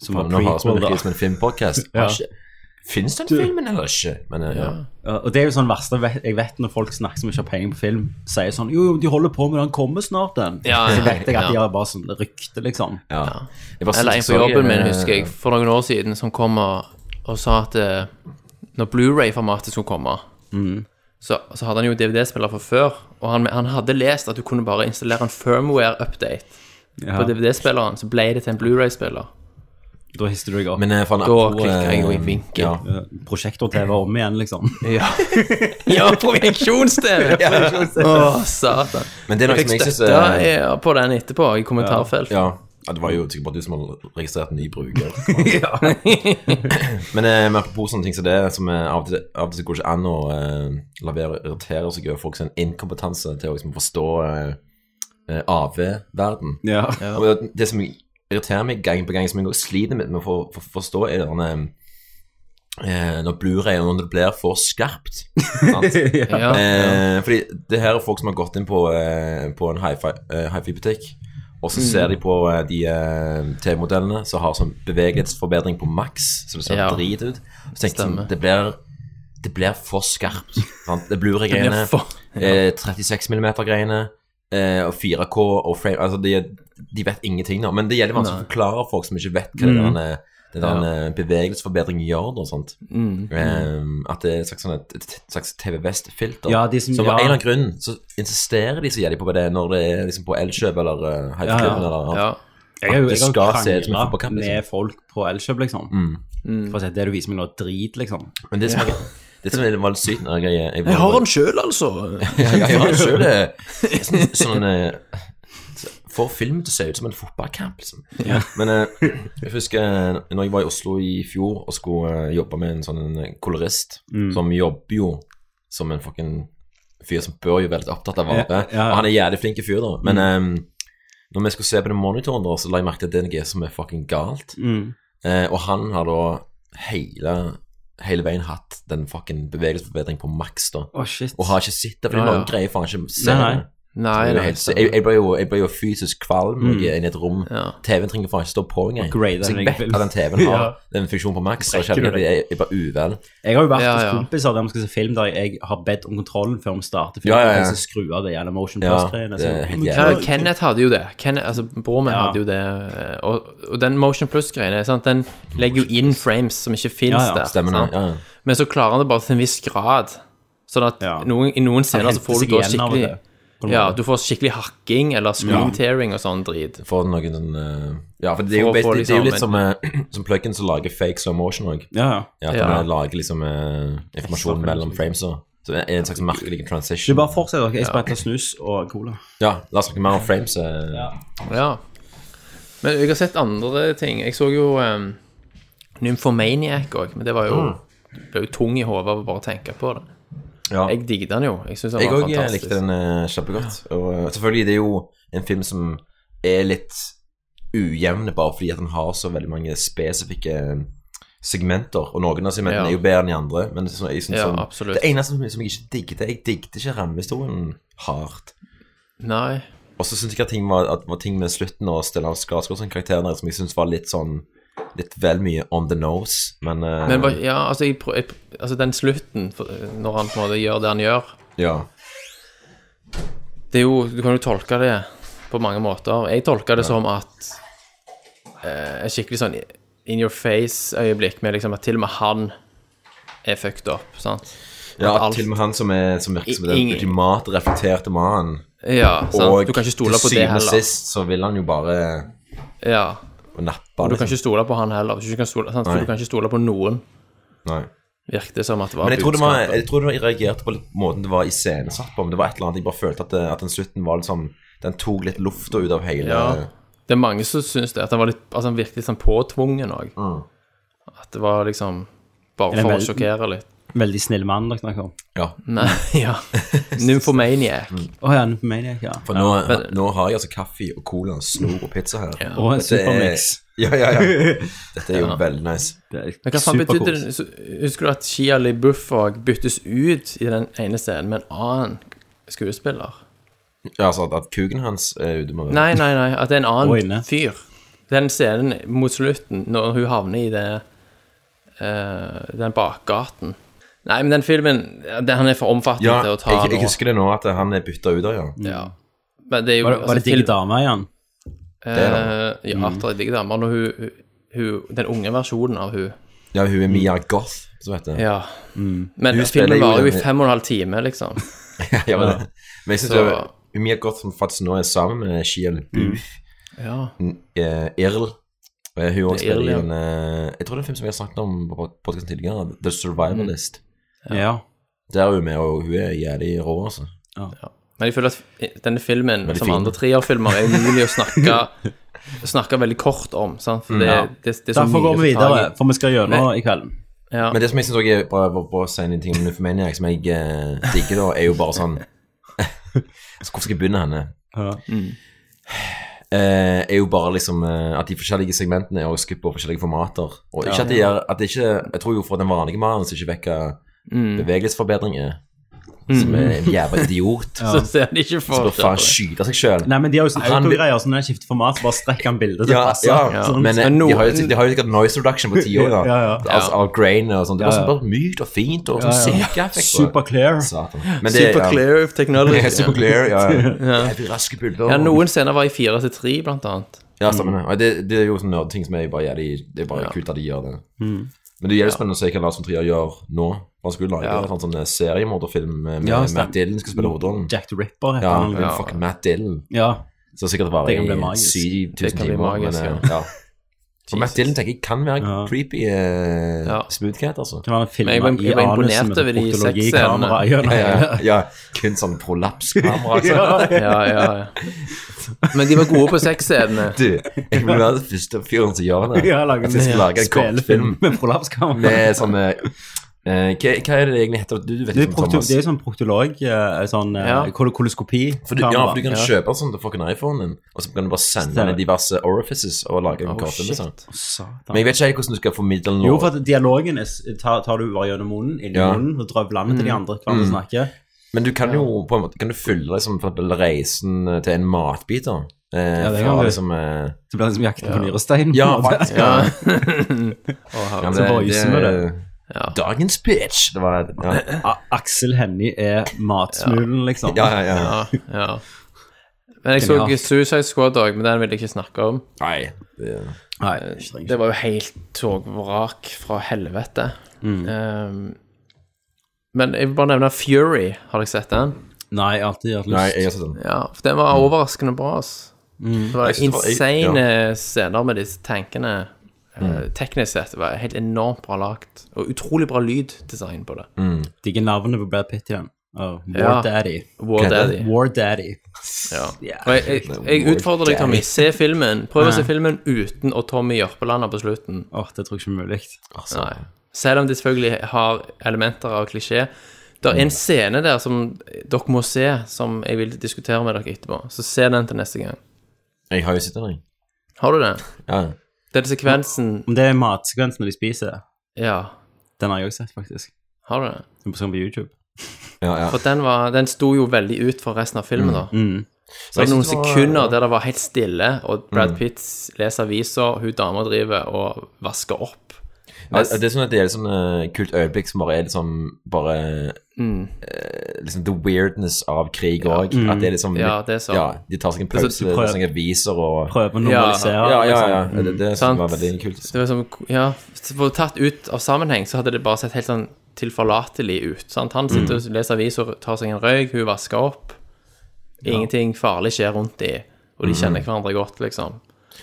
Speaker 1: som var
Speaker 3: faen, nå har vi
Speaker 1: prequel, da.
Speaker 3: virkelig som en filmpodcast.
Speaker 1: Ja.
Speaker 3: Har ikke- Finnes den filmen eller ikke? Men, eh, ja.
Speaker 2: Ja.
Speaker 1: Ja, Og det er jo sånn verste vet- jeg vet når folk snakker som ikke har peiling på film, sier sånn Jo, jo, de holder på med den, kommer snart, den.
Speaker 2: Ja,
Speaker 1: så vet jeg at
Speaker 2: ja.
Speaker 1: de har bare sånn rykte, liksom.
Speaker 3: Ja. Jeg bare
Speaker 2: Eller en
Speaker 3: synes-
Speaker 2: på jobben
Speaker 3: eh,
Speaker 2: min, husker jeg, for noen år siden, som kom og, og sa at eh, når Blu-ray-formatet skulle komme,
Speaker 3: Mm.
Speaker 2: så, så hadde han jo DVD-spiller fra før, og han, han hadde lest at du kunne bare installere en firmware-update
Speaker 1: Ja.
Speaker 2: på DVD-spilleren, så ble det til en Blu-ray-spiller.
Speaker 1: Da hister du deg opp.
Speaker 3: Men eh, faen,
Speaker 2: Da
Speaker 3: apropos,
Speaker 2: klikker jeg jo i
Speaker 3: eh,
Speaker 2: vinkel.
Speaker 3: Ja.
Speaker 1: Eh, Prosjektor-TV om igjen, liksom.
Speaker 2: Ja, ja projeksjons-TV! Å, satan.
Speaker 3: Men det er noe
Speaker 2: Jeg
Speaker 3: som jeg
Speaker 2: fikk
Speaker 3: synes
Speaker 2: støtte
Speaker 3: eh,
Speaker 2: eh, på den etterpå, i kommentarfeltet.
Speaker 3: Ja. ja, det var jo sikkert bare du som hadde registrert en ny bruker. Men eh, men apropos sånne ting som det, som eh, av og til, av og til så går det ikke an å eh, la være å irritere seg over folk sin inkompetanse til å liksom, forstå eh, eh, AV-verden.
Speaker 1: Ja.
Speaker 3: Og Det det som irriterer meg gang på gang, som jeg også sliter med, med å få, få, forstå, er denne eh, når Blu-ray og når det blir for skarpt. Sant?
Speaker 2: Ja.
Speaker 3: Eh, fordi det her er folk som har gått inn på, eh, på en hifi-butikk, og så
Speaker 2: Mm.
Speaker 3: ser de på eh, de eh, TV-modellene som har sånn bevegelighetsforbedring på maks, så det ser
Speaker 2: Ja.
Speaker 3: drit ut. Så tenker jeg sånn,
Speaker 2: Stemmer.
Speaker 3: det blir det blir for skarpt. Sant? Det blir
Speaker 2: Det
Speaker 3: greiene.
Speaker 2: blir for-
Speaker 3: eh, 36 mm-greiene. Eh, og 4K og frame Altså, de, de vet ingenting nå. Men det gjelder vanskelig å forklare folk som ikke vet hva det der, eh, det der eh, bevegelsesforbedring gjør. Da, og sånt. Eh, at det er et slags, sånn et, et slags TV West-filter.
Speaker 1: Ja, de som-
Speaker 3: så av
Speaker 1: ja.
Speaker 3: en eller annen grunn så insisterer de så jævlig på det når det er liksom på Elkjøp eller uh, Hive-klubben eller
Speaker 2: Ja.
Speaker 1: Jeg har jo
Speaker 3: At det
Speaker 1: jeg har
Speaker 3: skal se ut som en
Speaker 1: kranglet
Speaker 3: fotballkamp, liksom. Mm.
Speaker 1: med folk på Elkjøp, liksom.
Speaker 2: Mm.
Speaker 1: For å si at det du viser meg nå, er drit, liksom.
Speaker 3: Men det som, er- det som er- var litt sykt når jeg, jeg, jeg,
Speaker 2: Jeg har den sjøl, altså!
Speaker 3: Ja, jeg har jo selv det. Sånn, sånn eh, Får filmen til å se ut som en fotballkamp, liksom. Men eh, jeg husker eh, når jeg var i Oslo i fjor og skulle eh, jobbe med en sånn en kolorist, som jobber jo som en fucking fyr som bør jo være litt opptatt av vare.
Speaker 1: Ja, ja.
Speaker 3: Og han er jævlig flink fyr, da. Men eh, når vi skulle se på den monitoren, da, så la jeg merke til at det er noe som er fucking galt. Eh, og han har da hele, hele veien hatt den fucking bevegelsesforbedring på maks, da
Speaker 1: Å, shit.
Speaker 3: og har ikke sett det, for
Speaker 2: Ja,
Speaker 3: det er
Speaker 2: ja.
Speaker 3: noen greier faen ikke
Speaker 1: Nei,
Speaker 3: ser
Speaker 1: nei.
Speaker 3: det.
Speaker 2: Nei,
Speaker 3: Jeg ble
Speaker 2: nei, Mm.
Speaker 3: helt- Jeg, jeg, ble jo, jeg ble jo fysisk kvalm når jeg er inne i et rom.
Speaker 2: Ja.
Speaker 3: TV-en trenger faen ikke stå på engang.
Speaker 1: Upgrade
Speaker 3: Så
Speaker 1: den
Speaker 3: jeg vet
Speaker 1: egentlig.
Speaker 3: at den TV-en har
Speaker 1: Ja.
Speaker 3: den funksjonen på maks. Og kjenner at jeg, jeg er bare uvel.
Speaker 1: Jeg har jo vært
Speaker 2: Ja,
Speaker 1: hos
Speaker 2: ja.
Speaker 1: kompiser der vi skal se film der jeg har bedt om kontrollen før vi starter filmen.
Speaker 3: Ja, ja, ja.
Speaker 1: Jeg skal skru av det jævla motion
Speaker 3: Ja,
Speaker 1: plus-greiene.
Speaker 3: det er
Speaker 1: så-
Speaker 3: helt
Speaker 1: Men-
Speaker 2: Ja,
Speaker 3: jævlig.
Speaker 2: men Kenneth hadde jo det. Kenneth, altså, Broren min
Speaker 1: Ja.
Speaker 2: hadde jo det. eh, Og, og den Motion Plus-greiene sant? Den legger jo inn frames som ikke fins
Speaker 1: Ja, ja,
Speaker 2: der.
Speaker 3: Stemmer det?
Speaker 2: sant?
Speaker 3: Ja. ja.
Speaker 2: Men så klarer han det bare til en viss grad. Sånn at
Speaker 1: Ja.
Speaker 2: noen, i noen scener
Speaker 1: henter
Speaker 2: så får
Speaker 1: seg
Speaker 2: du da
Speaker 1: igjen av
Speaker 2: altså, skikkelig
Speaker 1: det, på en måte.
Speaker 2: Ja, du får skikkelig hakking eller screen tearing og sånn drit.
Speaker 3: For noen sånn eh, Ja, for det er
Speaker 2: For
Speaker 3: jo,
Speaker 2: å få
Speaker 3: basically- det er jo
Speaker 2: liksom
Speaker 3: litt som, eh, som pluggen som lager fake slow motion òg.
Speaker 1: Ja, ja.
Speaker 3: Ja, at
Speaker 2: Ja.
Speaker 3: man lager liksom eh, informasjon mellom frames og så det er en slags merkelig
Speaker 1: Du
Speaker 3: transition.
Speaker 1: bare fortsett, dere. Jeg spretter snus og cola.
Speaker 3: Ja, la oss snakke mer om frames. eh.
Speaker 2: Ja. Men jeg har sett andre ting. Jeg så jo um, Nymphomaniac òg, men det var jo
Speaker 3: Mm.
Speaker 2: Ble jo tung i hodet av å bare tenke på det.
Speaker 3: Ja.
Speaker 2: Jeg digget den jo. Jeg synes den
Speaker 3: Jeg
Speaker 2: var
Speaker 3: òg
Speaker 2: fantastisk.
Speaker 3: likte den eh, kjempegodt. Og eh, selvfølgelig, det er jo en film som er litt ujevn, bare fordi at den har så veldig mange spesifikke eh, segmenter. Og noen av segmentene
Speaker 2: Ja.
Speaker 3: er jo bedre enn de andre. Men så, jeg synes
Speaker 2: Ja,
Speaker 3: sånn-
Speaker 2: absolutt.
Speaker 3: det eneste som, som jeg ikke digget, jeg digget ikke rammehistorien hardt.
Speaker 2: Nei.
Speaker 3: Og så syns jeg at ting, var, at var ting med slutten og Stellan Skarsgård som karakter der som jeg syns var litt sånn Litt vel mye on the nose, men, eh,
Speaker 2: Men bare- ja, altså, jeg, prø- jeg, prø- altså den slutten, for- eh, når han på en måte gjør det han gjør
Speaker 3: ja.
Speaker 2: det er jo, Du kan jo tolke det på mange måter. Jeg tolker det som at eh, Et skikkelig sånn in your face-øyeblikk med liksom at til og med han er fucked up. sant?
Speaker 3: ja
Speaker 2: At alt-
Speaker 3: til og med han som, er, som virker som den
Speaker 2: Ingen-
Speaker 3: ultimate reflekterte mannen.
Speaker 2: Ja, sant? du kan ikke stole
Speaker 3: Og
Speaker 2: på det
Speaker 3: til syvende og
Speaker 2: heller.
Speaker 3: sist så vil han jo bare
Speaker 2: Ja,
Speaker 3: nappe.
Speaker 2: og du kan
Speaker 3: liksom.
Speaker 2: ikke stole på han heller. Du kan stole, sant?
Speaker 3: Nei.
Speaker 2: Så du kan ikke stole på noen,
Speaker 3: Nei.
Speaker 2: virket det som at det var
Speaker 3: Men jeg tror, det var,
Speaker 2: budskapet.
Speaker 3: jeg tror det var, jeg reagerte på litt måten det var iscenesatt på. Men det var et eller annet jeg bare følte at, det, at den slutten var liksom Den tok litt lufta ut av hele
Speaker 2: Ja. Det er mange som syns det. At han, var litt, altså han virket litt sånn påtvungen òg.
Speaker 3: Mm.
Speaker 2: At det var liksom bare
Speaker 1: Eller
Speaker 2: for å
Speaker 1: vel-
Speaker 2: sjokkere litt.
Speaker 1: Veldig snill mann dere snakker om.
Speaker 3: Ja.
Speaker 2: Nei, ja. Nymphomaniac.
Speaker 3: Mm.
Speaker 1: Å ja, nå på meg, ja.
Speaker 3: For nå, nå har jeg altså kaffe og cola og snor og pizza her.
Speaker 1: Og en
Speaker 3: Dette er-
Speaker 1: supermix.
Speaker 3: Ja, ja, ja. Dette er jo veldig nice.
Speaker 1: Det er
Speaker 2: Men hva faen betydde
Speaker 1: superkos.
Speaker 2: det? så- Husker du at Shia LaBeouf òg byttes ut i den ene scenen med en annen skuespiller?
Speaker 3: Ja, altså at, at kuken hans er ute med
Speaker 2: Nei, nei, nei. At det er en
Speaker 1: Og
Speaker 2: annen
Speaker 1: inne.
Speaker 2: fyr. Den scenen mot slutten, når hun havner i det eh, Den bakgaten. Nei, men den filmen den, Han er for omfattende
Speaker 3: Ja,
Speaker 2: til å ta
Speaker 3: jeg, jeg
Speaker 2: nå.
Speaker 3: husker det nå, at han er bytta ut av, ja.
Speaker 2: Ja. Men det er jo
Speaker 1: Var det, var det
Speaker 2: altså,
Speaker 1: digg
Speaker 2: til-
Speaker 1: dame igjen?
Speaker 3: er Mm.
Speaker 2: Eh, ja, at det er digg damer. Når hun, hun, hun Den unge versjonen av hun.
Speaker 3: Ja, hun er Mia Goth, som heter det.
Speaker 2: Ja. Men
Speaker 3: Mm. Hun spiller
Speaker 2: filmen
Speaker 3: jo
Speaker 2: varer jo i
Speaker 3: den-
Speaker 2: fem og en halv time, liksom.
Speaker 3: Ja, men, men jeg syns
Speaker 2: Så- Mm.
Speaker 3: jo Mia Goth, som faktisk nå er sammen med Shia LaBeouf
Speaker 2: Ja.
Speaker 3: eh, Irl. Eh, Hun også
Speaker 2: Det er Irl,
Speaker 3: spiller i
Speaker 2: ja.
Speaker 3: en eh, Jeg tror det er en film som vi har snakket om på podkasten tidligere, The
Speaker 2: Mm.
Speaker 3: Survivalist.
Speaker 1: Ja.
Speaker 3: Der er hun med, og hun er jævlig rå, altså.
Speaker 2: Men jeg føler at denne filmen,
Speaker 3: Veldig
Speaker 2: som
Speaker 3: fin.
Speaker 2: andre trierfilmer, er umulig å snakke Snakke veldig kort om. Sant?
Speaker 3: Mm.
Speaker 2: For det, det, det er så
Speaker 1: Derfor
Speaker 2: mye
Speaker 1: går vi
Speaker 2: å ta
Speaker 1: videre, for vi skal gjennom
Speaker 2: Nei.
Speaker 1: i kvelden.
Speaker 2: Ja.
Speaker 3: Men det som jeg syns er bra bra- bra å si en ting om Nymphomaniac, som jeg eh, digger, da, er jo bare sånn altså, Hvor skal jeg begynne henne?
Speaker 1: Ja.
Speaker 3: Eh, er jo bare liksom eh, at de forskjellige segmentene er skutt på forskjellige formater. Og ikke at de er, at det ikke, Jeg tror jo for den vanlige mannen så ikke vet hva Mm. bevegelsesforbedring er. Som er en jævla idiot.
Speaker 2: Så ser de ikke
Speaker 3: Som
Speaker 2: for
Speaker 3: bør faen skyte seg sjøl.
Speaker 1: Nei, men de har jo sånn
Speaker 3: Han-
Speaker 1: autogreier, så når de skifter format, så bare strekker han bildet til
Speaker 3: Ja,
Speaker 1: passe.
Speaker 3: ja,
Speaker 1: Sånn.
Speaker 3: men eh,
Speaker 2: Men
Speaker 3: de
Speaker 2: noen-
Speaker 3: har jo de har jo sikkert noise reduction på ti år, da.
Speaker 1: Ja, ja.
Speaker 3: Altså, av grain og sånt. Det er bare, sånn, bare mykt og fint og sånn silkeeffekt.
Speaker 1: Super clear.
Speaker 3: Satan. Men det,
Speaker 2: Super clear of technology.
Speaker 3: Ja. Super clear, ja. ja. Jævlig Raske bilder.
Speaker 2: Ja, noen scener var i fire til tre, blant annet.
Speaker 1: Mm.
Speaker 3: Ja, stemmer det. Og Det, det er jo sånn nerdting som er bare jævlig Det er bare kult at de gjør det.
Speaker 1: Mm.
Speaker 3: Men det er jævlig spennende å se hva Lars von Trier gjør nå. Han skulle lage en sånn, sånn seriemorderfilm med
Speaker 1: Ja, stemmer.
Speaker 3: Matt Dillon skal spille hovedrollen.
Speaker 1: Jack the Ripper heter
Speaker 3: Ja,
Speaker 1: han. liksom.
Speaker 3: ja. fuck Matt Dillon.
Speaker 1: Ja.
Speaker 3: Så sikkert var
Speaker 1: Det
Speaker 3: det
Speaker 1: kan bli
Speaker 3: i
Speaker 1: magisk.
Speaker 3: 7000
Speaker 2: Det kan bli
Speaker 3: timer.
Speaker 2: magisk,
Speaker 3: men,
Speaker 2: ja.
Speaker 3: eh, ja. For Matt Dillon tenker jeg kan være
Speaker 1: Ja.
Speaker 3: creepy eh,
Speaker 2: Ja.
Speaker 3: smoothcat, altså.
Speaker 1: Det var en film
Speaker 2: Men jeg var- jeg var imponert over de
Speaker 1: Kamera,
Speaker 2: sexscenene.
Speaker 1: gjennom.
Speaker 3: Ja, ja, ja. Kun sånn prolapskamera, altså.
Speaker 2: Ja, ja, ja. Men de var gode på sexscenene.
Speaker 3: Du, jeg vil være den første fyren som gjør det.
Speaker 1: Ja, lage
Speaker 3: At jeg skal lage en kortfilm
Speaker 1: spillefilm med prolapskamera.
Speaker 3: med sånn eh, eh, hva, hva er det det egentlig heter? Du, du vet
Speaker 1: Det er
Speaker 3: ikke,
Speaker 1: prokto-
Speaker 3: Thomas.
Speaker 1: det er sånn proktolog, eh, sånn
Speaker 2: Ja.
Speaker 1: eh, kol koloskopi.
Speaker 3: For du, ja, for du kan kjøpe sånn til fucking iPhonen din, og så kan du bare sende
Speaker 1: Stemmer.
Speaker 3: den i diverse orifices og lage en kortfilm.
Speaker 2: shit.
Speaker 3: Sånn. Men jeg vet ikke helt hvordan du skal formidle den
Speaker 1: Oh,
Speaker 3: nå.
Speaker 1: Jo, for at dialogen er, s- tar, tar du bare gjennom munnen, inn i
Speaker 3: Ja. Mm.
Speaker 1: munnen, og drar blandet til de andre hver gang snakker.
Speaker 3: Men du kan jo på en måte Kan du følge liksom, for eksempel reisen eh, til en matbit, da? Eh,
Speaker 1: Ja, det
Speaker 3: fra,
Speaker 1: kan du.
Speaker 3: liksom, eh,
Speaker 1: Så blir det liksom jakten på nyrestein.
Speaker 3: ja,
Speaker 1: på en måte.
Speaker 3: faktisk. Ja.
Speaker 2: Å,
Speaker 3: Ja, men
Speaker 1: Så bare gyser med det.
Speaker 2: Ja.
Speaker 3: Dagens bitch! Det var Ja,
Speaker 1: A- Aksel Hennie er matsmulen, liksom.
Speaker 3: ja, ja. ja.
Speaker 2: Ja, ja. Men jeg så
Speaker 1: Genialt.
Speaker 2: Suicide Squad òg, men den vil jeg ikke snakke om.
Speaker 3: Nei. Det,
Speaker 1: Nei, ikke trenger
Speaker 2: Det var jo helt togvrak fra helvete.
Speaker 3: Mm.
Speaker 2: Ehm, men jeg vil bare nevne Fury. Har dere sett den?
Speaker 1: ikke. Nei, jeg har alltid hatt lyst.
Speaker 3: nei, jeg har sett den.
Speaker 2: Ja, for den var overraskende bra. ass. Det var
Speaker 3: Jeg Mm. synes det var-
Speaker 2: insane eh, scener med disse tankene. Eh, Teknisk sett det var helt enormt bra lagt, og utrolig bra lyddesign på det.
Speaker 3: Mm.
Speaker 1: Digger navnet på Brad Pitt igjen. Oh, War
Speaker 2: Ja.
Speaker 1: Daddy.
Speaker 2: War
Speaker 3: Hva heter
Speaker 2: Daddy.
Speaker 1: War Daddy.
Speaker 2: Ja.
Speaker 1: Ja.
Speaker 2: Og jeg, jeg, jeg utfordrer deg, Tommy. Se filmen. Prøv å se filmen uten å Tommy Jørpeland på slutten.
Speaker 1: Åh, det tror jeg ikke er mulig.
Speaker 3: Altså.
Speaker 2: Nei. Selv om de selvfølgelig har elementer av klisjé. Det
Speaker 3: Mm.
Speaker 2: er en scene der som dere må se, som jeg vil diskutere med dere etterpå. Så se den til neste gang.
Speaker 3: Jeg har jo sett den, jeg.
Speaker 2: Har du den?
Speaker 3: Ja.
Speaker 2: Den sekvensen
Speaker 1: Om det er matsekvensen når de spiser,
Speaker 3: Mm.
Speaker 2: Ja,
Speaker 1: den har jeg også sett, faktisk.
Speaker 2: har du den?
Speaker 1: Den er på sånn på YouTube.
Speaker 3: Ja, ja. Mm,
Speaker 2: For den, var, den sto jo veldig ut fra resten av filmen, da. Så var
Speaker 3: jeg
Speaker 2: det noen
Speaker 3: synes det var-
Speaker 2: sekunder der det var helt stille, og Brad
Speaker 3: Mm.
Speaker 2: Pitt leser aviser, hun dama driver og vasker opp.
Speaker 3: Ja, det er sånn at det er et sånn eh, kult øyeblikk som bare er liksom bare
Speaker 2: Mm.
Speaker 3: eh, liksom the weirdness av krig òg. At det er liksom
Speaker 2: Ja, det er sant.
Speaker 3: ja, De tar seg en
Speaker 2: er sånn så-
Speaker 3: pause, sånn
Speaker 2: du
Speaker 1: prøver-
Speaker 3: leser seg aviser og
Speaker 1: Prøve å
Speaker 2: Ja.
Speaker 1: normalisere.
Speaker 3: Ja, ja, ja.
Speaker 1: liksom.
Speaker 3: Det, det som
Speaker 2: Sant.
Speaker 3: var veldig kult.
Speaker 2: Det var som, ja, for Tatt ut av sammenheng så hadde det bare sett helt sånn tilforlatelig ut. Sant? Han sitter
Speaker 3: Mm.
Speaker 2: og leser aviser, tar seg en røyk, hun vasker opp. Ingenting farlig skjer rundt de, og de
Speaker 3: Mm.
Speaker 2: kjenner hverandre godt, liksom.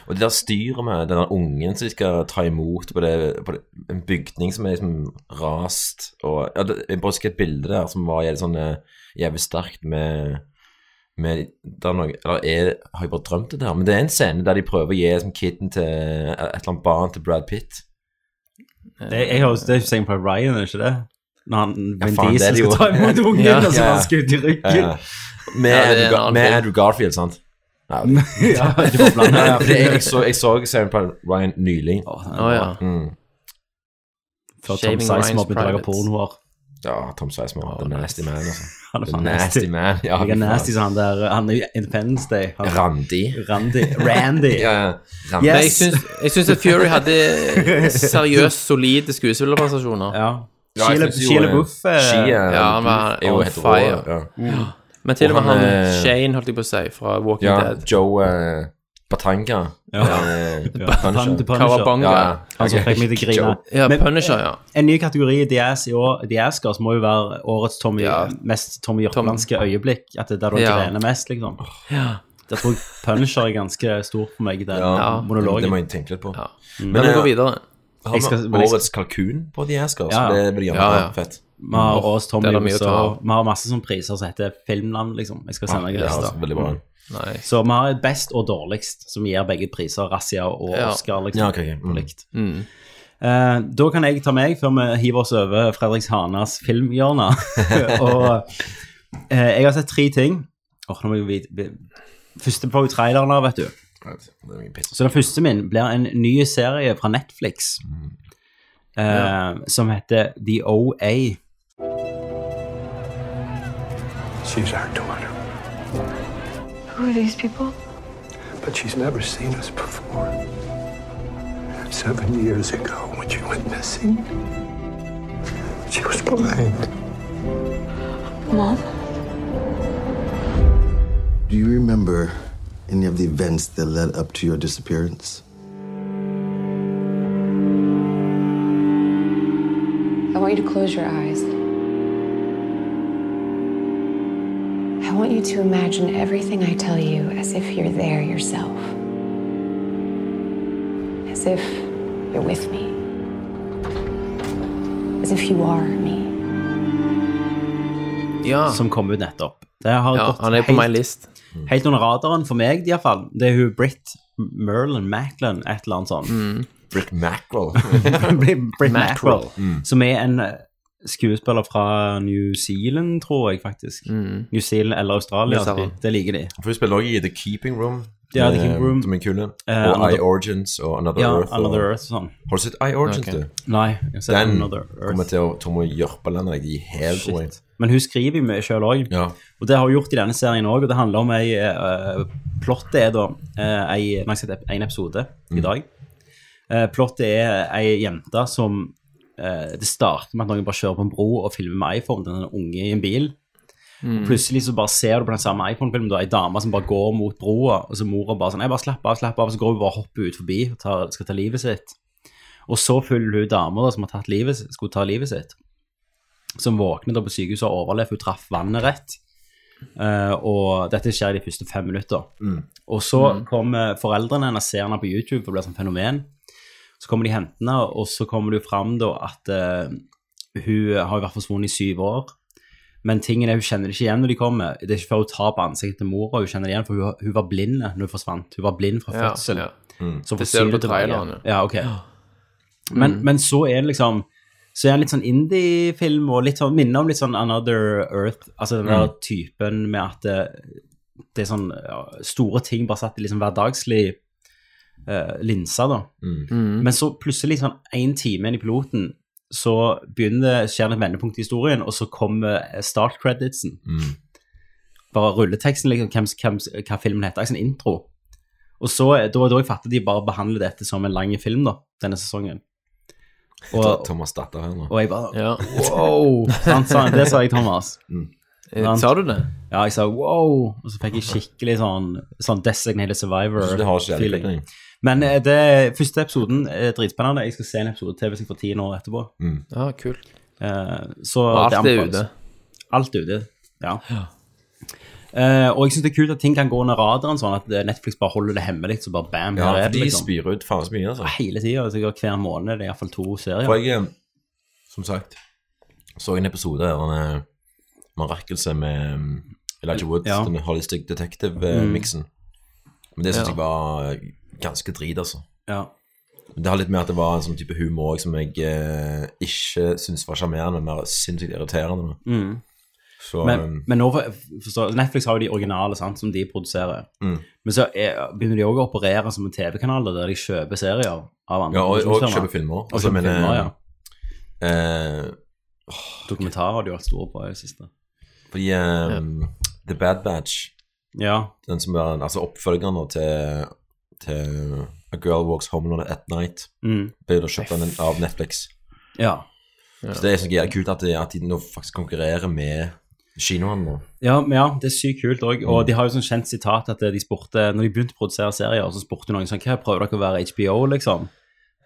Speaker 3: Og det der styret med den der ungen som de skal ta imot på, det, på det, en bygning som er liksom rast og ja, det, Jeg bare husker et bilde der som var jævlig, sånn, eh, jævlig sterkt med, med der noe, Eller er, har jeg bare drømt det der? Men det er en scene der de prøver å gi liksom, kiden til et eller annet barn til Brad Pitt.
Speaker 1: Det, jeg har, det er ikke sikkert på Ryan, er det ikke det? Når han Vin
Speaker 3: faen, det er
Speaker 1: Diesel
Speaker 3: det jo.
Speaker 1: skal ta imot ungen,
Speaker 2: Ja.
Speaker 1: og så
Speaker 3: Ja.
Speaker 1: blir han skutt i ryggen.
Speaker 3: Eh, med,
Speaker 2: Ja, det er en
Speaker 3: Andrew, Gar-
Speaker 2: annen
Speaker 3: med
Speaker 2: film.
Speaker 3: Andrew Garfield, sant? Ja,
Speaker 1: Ja, det var blant
Speaker 3: Nei,
Speaker 1: annet.
Speaker 3: for det, jeg, jeg så, jeg så Sarah Paul Ryan nylig.
Speaker 2: Å ja.
Speaker 3: Mm.
Speaker 1: Før Tom
Speaker 2: Shaving Ryan's
Speaker 1: Sizemore begynte å lage
Speaker 2: Privates.
Speaker 1: pornoer.
Speaker 3: Ja, Tom Sizemore. The nasty man, altså.
Speaker 1: Han er
Speaker 3: The
Speaker 1: faen
Speaker 3: nasty
Speaker 1: nasty.
Speaker 3: man. Ja,
Speaker 1: Like
Speaker 3: fy
Speaker 1: a
Speaker 3: faen.
Speaker 1: nasty som han der Han er jo Independence Day. Han,
Speaker 3: Randi.
Speaker 1: Randy. Randy.
Speaker 3: Ja, ja. Randi.
Speaker 1: Yes.
Speaker 2: Men jeg syns- jeg syns at Fury hadde seriøst solide skuespillerprestasjoner.
Speaker 1: Ja.
Speaker 3: Ja, jeg synes jo,
Speaker 1: Sheila
Speaker 3: eh,
Speaker 1: Buff eh,
Speaker 3: She, eh,
Speaker 2: Ja, han var
Speaker 3: Buff er jo
Speaker 2: on
Speaker 3: helt rå,
Speaker 2: fire.
Speaker 3: Ja,
Speaker 2: Men til og med
Speaker 3: Og han,
Speaker 2: han
Speaker 3: eh,
Speaker 2: Shane, holdt jeg på å si, fra Walking
Speaker 3: ja
Speaker 2: Dead.
Speaker 3: Joe eh, Batanga.
Speaker 1: Ja.
Speaker 3: Eh,
Speaker 1: ja,
Speaker 3: Punisher.
Speaker 1: Pun- The Punisher.
Speaker 2: Kawabanga.
Speaker 3: Ja,
Speaker 1: Han som
Speaker 3: ok.
Speaker 1: fikk meg til å grine.
Speaker 3: Joe.
Speaker 2: Ja,
Speaker 1: Men-
Speaker 2: Punisher, ja.
Speaker 1: En ny kategori i The Ass i år, The Askers, må jo være årets Tommy,
Speaker 2: Ja.
Speaker 1: mest Tommy Jørpelandske øyeblikk. At det er der du
Speaker 2: Ja.
Speaker 1: grener mest, liksom. Der tror jeg Punisher er ganske stor for meg, den
Speaker 3: Ja, Det må
Speaker 1: monologen.
Speaker 3: jeg tenke litt på.
Speaker 2: Ja.
Speaker 3: Men,
Speaker 2: Men vi
Speaker 3: eh,
Speaker 2: går videre.
Speaker 3: har vi
Speaker 1: Jeg skal- men jeg-
Speaker 3: årets kalkun på de Askers?
Speaker 1: Ja, ja.
Speaker 3: Det blir gjerne
Speaker 2: Ja, ja.
Speaker 3: fett.
Speaker 1: Vi har årets Tommy,
Speaker 2: Det er da mye å
Speaker 1: så
Speaker 2: ta av.
Speaker 1: vi har masse sånne priser som heter Filmland, liksom. Jeg skal sende deg
Speaker 3: Ja,
Speaker 1: lista.
Speaker 3: altså, veldig bra.
Speaker 2: Nei.
Speaker 1: Så vi har et best og dårligst, som gir begge priser, Razzia og
Speaker 2: Ja.
Speaker 1: Oscar. Liksom,
Speaker 3: Ja, ok, ok.
Speaker 1: på
Speaker 3: Mm.
Speaker 1: likt. Eh, da kan jeg ta meg, før vi hiver oss over Fredriks Hanas filmhjørne. og eh, jeg har sett tre ting. Åh, nå må jeg vite- vi- Første på traileren her, vet du.
Speaker 3: Right. Det er mye piss.
Speaker 1: Så den første min blir en ny serie fra Netflix
Speaker 2: Mm.
Speaker 1: eh, som heter The OA.
Speaker 10: She's our daughter,
Speaker 4: Who are these people?
Speaker 10: but she's never seen us before. Seven years ago, when she went missing, she was blind.
Speaker 4: Mom?
Speaker 7: Do you remember any of the events that led up to your disappearance?
Speaker 4: I want you to close your eyes. I want you to imagine everything I tell you as if you're there yourself. As if you're with me. As if you are me.
Speaker 2: Ja,
Speaker 1: Som kom ut nettopp. Det har
Speaker 2: ja
Speaker 1: gått
Speaker 2: han er på my
Speaker 1: helt
Speaker 2: list.
Speaker 1: Helt under radaren for meg, iallfall. Det er hun Britt Merlin Macklin, et eller annet sånt.
Speaker 3: Mm. Britt Mackerel.
Speaker 1: Britt Britt Mackerel.
Speaker 2: Mackerel.
Speaker 3: Mm.
Speaker 1: Som er en eh, skuespiller fra New Zealand, tror jeg faktisk.
Speaker 3: Mm.
Speaker 1: New Zealand eller Australia.
Speaker 2: New Zealand.
Speaker 1: Det liker de.
Speaker 3: For hun spiller også i The Keeping Room.
Speaker 1: Ja, The Keeping
Speaker 3: eh,
Speaker 1: Room.
Speaker 3: Som er kule.
Speaker 1: Eh,
Speaker 3: og
Speaker 1: Another-
Speaker 3: I Origins og Another
Speaker 1: Ja,
Speaker 3: Earth. og-
Speaker 1: Another Earth og sånn.
Speaker 3: Har du sett I Origins,
Speaker 2: Ok.
Speaker 3: du?
Speaker 1: Nei, jeg har sett
Speaker 3: Den
Speaker 1: Another
Speaker 3: kommer
Speaker 1: Earth.
Speaker 3: til å Tom og Jørpeland deg i hel way.
Speaker 1: Shit. Men hun skriver jo mye sjøl òg.
Speaker 3: Ja.
Speaker 1: Og det har hun gjort i denne serien òg, og det handler om ei eh, Plottet er da eh, ei, nei, jeg skal si en episode i dag. Eh, plottet er ei jente som eh, Det starter med at noen bare kjører på en bro og filmer med iPhone. Den er en unge i en bil. Og plutselig så bare ser du på den samme iPhone-filmen da ei dame som bare går mot broa, og så mora bare sånn Nei, bare slapp av, slapp av. Så går hun bare og hopper ut forbi og tar, skal ta livet sitt. Og så følger hun dama da, som har tatt livet, skulle ta livet sitt, som våkner da på sykehuset og har overlevd. Hun traff vannet rett. Eh, og dette skjer i de første fem minutter. Og så
Speaker 2: Mm.
Speaker 1: kommer foreldrene hennes ser henne på YouTube og blir sånn fenomen. Så kommer de hentende, og så kommer det jo fram da at eh, hun har vært forsvunnet i syv år. Men tingen er, hun kjenner det ikke igjen når de kommer. Det er ikke før hun tar på ansiktet til mora hun kjenner det igjen, for hun, hun var blind når hun forsvant. Hun var blind fra
Speaker 2: Ja,
Speaker 1: fødsel.
Speaker 2: ja.
Speaker 1: Så
Speaker 2: Det ser du
Speaker 1: forsvinner
Speaker 2: på
Speaker 1: tilbake.
Speaker 2: trailerne.
Speaker 1: Ja, ok. Men, men så er det liksom så er det litt sånn indie-film og litt sånn, minner om litt sånn Another Earth. Altså den der typen med at det, det er sånn ja, store ting bare satt i liksom hverdagslig eh, linse, da.
Speaker 3: Mm.
Speaker 1: Men så plutselig, sånn én time inn i piloten, så
Speaker 3: Mm.
Speaker 1: begynner det skjer det et vendepunkt i historien, og så kommer start-creditsen. eh, bare rulleteksten, liksom, hvem, hvem, hva filmen heter, sånn intro. Og så, eh, da er da jeg fatter at de bare behandler dette som en lang film da, denne sesongen. Og,
Speaker 3: Thomas datter her nå.
Speaker 1: og jeg bare,
Speaker 2: Ja. Wow!
Speaker 1: sant, sant, det sa jeg, Thomas.
Speaker 3: Mm.
Speaker 2: Eh, Sa du det?
Speaker 1: Ja, jeg sa wow, og så fikk jeg skikkelig sånn, sånn designated
Speaker 3: Så det har ikke jeg
Speaker 1: survivor-feeling.
Speaker 3: dekning.
Speaker 1: Men eh, det første episoden er dritspennende. Jeg skal se en episode til hvis jeg får ti år etterpå.
Speaker 3: Mm.
Speaker 2: Ja, kult.
Speaker 1: Eh, så
Speaker 2: Og
Speaker 1: det
Speaker 2: alt er
Speaker 1: anbefales.
Speaker 2: ute.
Speaker 1: Alt er ute, ja. Eh, og jeg syns det er kult at ting kan gå under radaren, sånn at eh, Netflix bare holder det hemmelig. Så bare bam,
Speaker 3: Ja,
Speaker 1: her er
Speaker 3: for
Speaker 1: det,
Speaker 3: de
Speaker 1: liksom.
Speaker 3: spyr ut faen så mye, altså.
Speaker 1: Hele tida. Altså, hver måned det er iallfall to serier.
Speaker 3: For jeg, eh, som sagt, så en episode der han eh, Marakkelse med um, Elijah Wood,
Speaker 1: Ja. Mm.
Speaker 3: den Holistic Detective-miksen. Men det syns jeg var eh, ganske drit, altså.
Speaker 1: Ja.
Speaker 3: Det har litt med at det var en sånn type humor også, som jeg eh, ikke syns var sjarmerende, men mer sinnssykt irriterende. Så
Speaker 1: Mm. Men,
Speaker 3: eh,
Speaker 1: men nå for, forstår- Netflix har jo de originale sant, som de produserer.
Speaker 3: Mm.
Speaker 1: Men så er, begynner de òg å operere som en TV-kanal der de kjøper serier av andre
Speaker 3: Ja, og, og
Speaker 1: produksjoner.
Speaker 3: kjøpe filmer. Altså,
Speaker 1: Og kjøper filmer, ja.
Speaker 3: eh,
Speaker 1: Dokumentarer har de jo vært store på i det siste.
Speaker 3: fordi eh, The Bad Batch
Speaker 1: Ja.
Speaker 3: den som er altså oppfølgeren nå til, til A Girl Walks Home Alone at Night,
Speaker 1: Mm.
Speaker 3: ble jo da kjøpt av den- av Netflix.
Speaker 1: ja.
Speaker 3: Så det er så jævlig kult at de, at de nå faktisk konkurrerer med kinoene nå.
Speaker 1: Ja, men ja, det er sykt kult òg.
Speaker 2: Mm.
Speaker 1: Og de har jo sånn kjent sitat at de spurte Når de begynte å produsere serier, så spurte noen sånn Hva prøver dere å være HBO, liksom?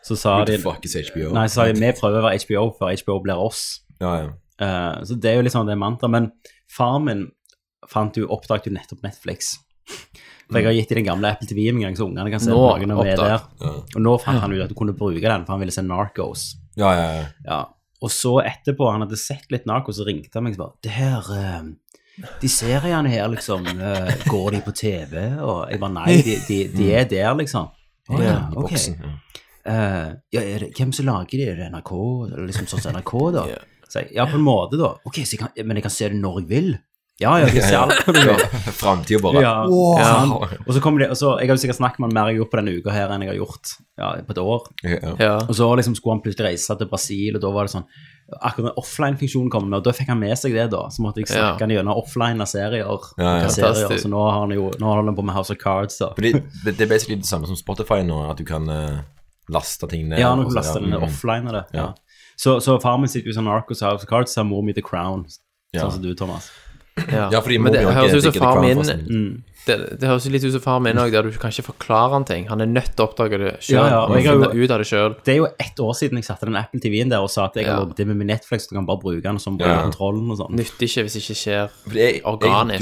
Speaker 1: Så sa de Nei,
Speaker 3: is HBO?
Speaker 1: så sa de vi prøver å være HBO før HBO blir oss.
Speaker 3: Ja, ja.
Speaker 1: Eh, så det er jo liksom det mantraet. Men far min fant jo, oppdaget jo nettopp Netflix. For jeg har gitt dem den gamle Apple TV en gang, så ungene kan se
Speaker 2: Mm. Nå
Speaker 1: noen av det der.
Speaker 2: oppdaget.
Speaker 1: Og nå fant han ut at du kunne bruke den, for han ville se Narcos.
Speaker 3: ja, ja, ja.
Speaker 1: Ja. Og så etterpå, han hadde sett litt Narco, så ringte han meg og bare Det her eh, De seriene her, liksom, eh, går de på TV? Og jeg bare Nei, de, de, de er der, liksom. Å ja,
Speaker 3: I
Speaker 1: ok.
Speaker 3: boksen. Ja.
Speaker 1: Eh, ja, er det, hvem som lager det? Er det NRK? Eller liksom sånn som NRK, da? Så jeg, ja, på en måte, da. Ok, så jeg kan, Men jeg kan se det når jeg vil? Ja, ja, jeg kan se alt når du vil.
Speaker 3: Framtida bare
Speaker 1: Ja.
Speaker 3: Wow.
Speaker 1: sant? Og så kommer det, og så, Jeg har jo sikkert snakket med han mer jeg har gjort på denne uka her enn jeg har gjort ja, på et år.
Speaker 3: Ja.
Speaker 2: Ja.
Speaker 1: Og så liksom skulle han plutselig reise til Brasil, og da var det sånn Akkurat den offline-funksjonen kom med, og da fikk han med seg det, da. Så måtte jeg snakke
Speaker 2: Ja.
Speaker 1: han gjennom offline av serier. og
Speaker 3: Ja, ja.
Speaker 1: hva serier,
Speaker 2: Fantastisk.
Speaker 1: Så nå har han jo nå holder han på med House of Cards, da.
Speaker 3: Fordi det, det er basically det samme som Spotify nå, at du kan eh, laste ting ned.
Speaker 1: Ja, nå
Speaker 3: og så-
Speaker 1: laster den
Speaker 3: Mm.
Speaker 1: offline av det. Ja.
Speaker 3: Ja.
Speaker 1: Så, så faren min sitter jo sånn Narcos og House of Cards, så har mor mi The Crown.
Speaker 3: Ja.
Speaker 1: Sånn som du, Thomas.
Speaker 3: Ja, fordi
Speaker 2: Men det
Speaker 3: Moby har
Speaker 2: høres
Speaker 3: ikke
Speaker 2: ut som
Speaker 3: digget
Speaker 2: far
Speaker 3: Crown
Speaker 2: min
Speaker 3: forresten.
Speaker 1: Mm.
Speaker 2: det, det høres jo litt ut som far min òg, der du kan ikke forklare han ting. Han er nødt til å oppdage det sjøl.
Speaker 1: Ja, ja, og
Speaker 2: og
Speaker 1: jeg har jo-
Speaker 2: finne ut av det sjøl.
Speaker 1: Det er jo ett år siden jeg satte den Apple TV-en der og sa at jeg har
Speaker 2: Ja.
Speaker 1: logget inn med min Netflix, du kan bare bruke den som bare
Speaker 3: Ja.
Speaker 1: kontrollen og sånn.
Speaker 2: Nytter ikke hvis det ikke skjer
Speaker 3: Fordi jeg,
Speaker 2: Organisk.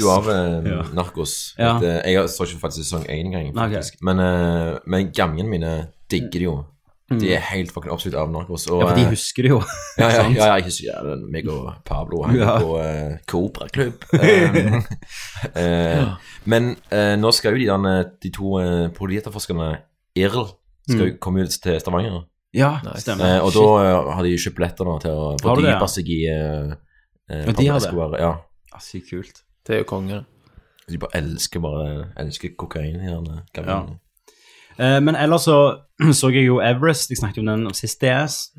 Speaker 3: Jeg jo av eh, Narkos.
Speaker 1: Ja.
Speaker 3: At, eh, jeg har- så ikke faktisk sesong én engang,
Speaker 1: Nei, ok.
Speaker 3: faktisk. Men, eh, men gamlingene mine digger det jo. De er helt fucking oppslukt av Narkos. Og,
Speaker 1: Mm. Ja, for de
Speaker 3: eh,
Speaker 1: husker det jo.
Speaker 3: ja, ja, ja, ja, jeg husker ja, det er meg og Pablo hang
Speaker 1: Ja.
Speaker 3: på uh, Cobra-klubb. Um, eh, Men eh, nå skal jo de, derne, de to uh, politietterforskerne, IRL, skal
Speaker 1: Mm.
Speaker 3: jo komme ut til Stavanger.
Speaker 1: Ja, stemmer.
Speaker 3: Eh, og da eh, har de jo kjøpt billetter da, til å
Speaker 1: Har du det, ja?
Speaker 3: fordype seg i uh, uh,
Speaker 1: Og de har det?
Speaker 3: Ja.
Speaker 1: Ja, Sykt kult.
Speaker 2: Det er jo kongen.
Speaker 3: De bare elsker bare elsker kokain i denne
Speaker 1: Ja. Eh, men ellers så så jeg jo Everest, jeg snakket om den sist DS,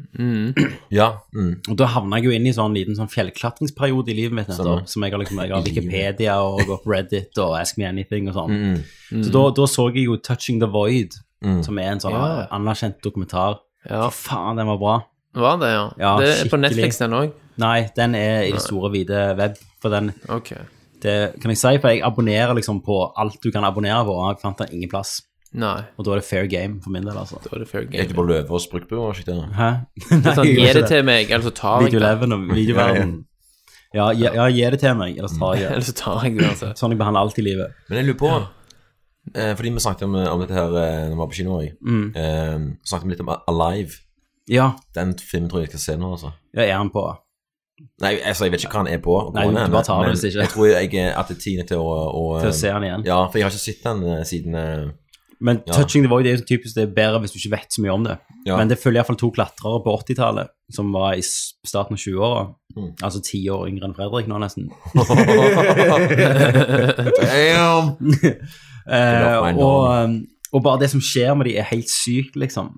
Speaker 3: ja. Mm.
Speaker 1: og da havna jeg jo inn i sånn liten sånn fjellklatringsperiode i livet mitt nettopp,
Speaker 3: Stemmer.
Speaker 1: som jeg har liksom, jeg har
Speaker 3: I livet.
Speaker 1: Wikipedia og gått på Reddit og Ask Me Anything og sånn.
Speaker 2: Mm,
Speaker 1: Så da, da så jeg jo Touching the Void, som er en sånn
Speaker 2: Ja.
Speaker 1: anerkjent dokumentar.
Speaker 2: Ja.
Speaker 1: Fy faen, den var bra.
Speaker 2: Var det, ja?
Speaker 1: Ja,
Speaker 2: det er på
Speaker 1: skikkelig.
Speaker 2: Netflix, den òg?
Speaker 1: Nei, den er i det store, hvite web, for den
Speaker 2: Ok.
Speaker 1: det kan jeg si, for jeg abonnerer liksom på alt du kan abonnere på, og jeg fant den ingen plass.
Speaker 2: Nei,
Speaker 1: Og da er det fair game for min del, altså.
Speaker 2: da er det fair
Speaker 3: Gikk du
Speaker 2: game.
Speaker 3: på Løvås brukbu og slikt der?
Speaker 1: Hæ?
Speaker 2: Det
Speaker 1: Nei,
Speaker 2: er sånn,
Speaker 1: jeg
Speaker 2: Gi
Speaker 1: gjør
Speaker 2: det
Speaker 1: ikke
Speaker 2: til meg, eller så tar jeg det.
Speaker 1: Videoleven og videoverden. Ja, ja, ja, gi det til meg, ellers tar jeg det.
Speaker 2: Eller så tar jeg det, altså.
Speaker 1: Sånn jeg behandler alt i livet.
Speaker 3: Men jeg lurer på eh, Fordi vi snakket om, om dette her eh, Når vi var på kino også,
Speaker 1: Mm.
Speaker 3: eh, Snakket vi litt om Alive
Speaker 1: Ja,
Speaker 3: Den filmen tror jeg jeg skal se nå altså
Speaker 1: jeg er han på.
Speaker 3: Nei, altså jeg vet ikke hva han er på og
Speaker 1: Nei,
Speaker 3: hvor
Speaker 1: du
Speaker 3: han er,
Speaker 1: bare tar det
Speaker 3: men-
Speaker 1: hvis ikke.
Speaker 3: men Jeg tror jeg er at det er tidlig til å, å-
Speaker 1: Til å se han igjen.
Speaker 3: Ja, for jeg har ikke sett den eh, siden eh,
Speaker 1: Men Touching the Void er jo sånn typisk det er bedre hvis du ikke vet så mye om det.
Speaker 3: Ja.
Speaker 1: Men det følger iallfall to klatrere på 80-tallet, som var i s- starten av 20-åra.
Speaker 3: Mm.
Speaker 1: Altså ti år yngre enn Fredrik nå, nesten.
Speaker 3: Damn
Speaker 1: Eh,
Speaker 3: meg nå.
Speaker 1: og, og bare det som skjer med de er helt sykt, liksom.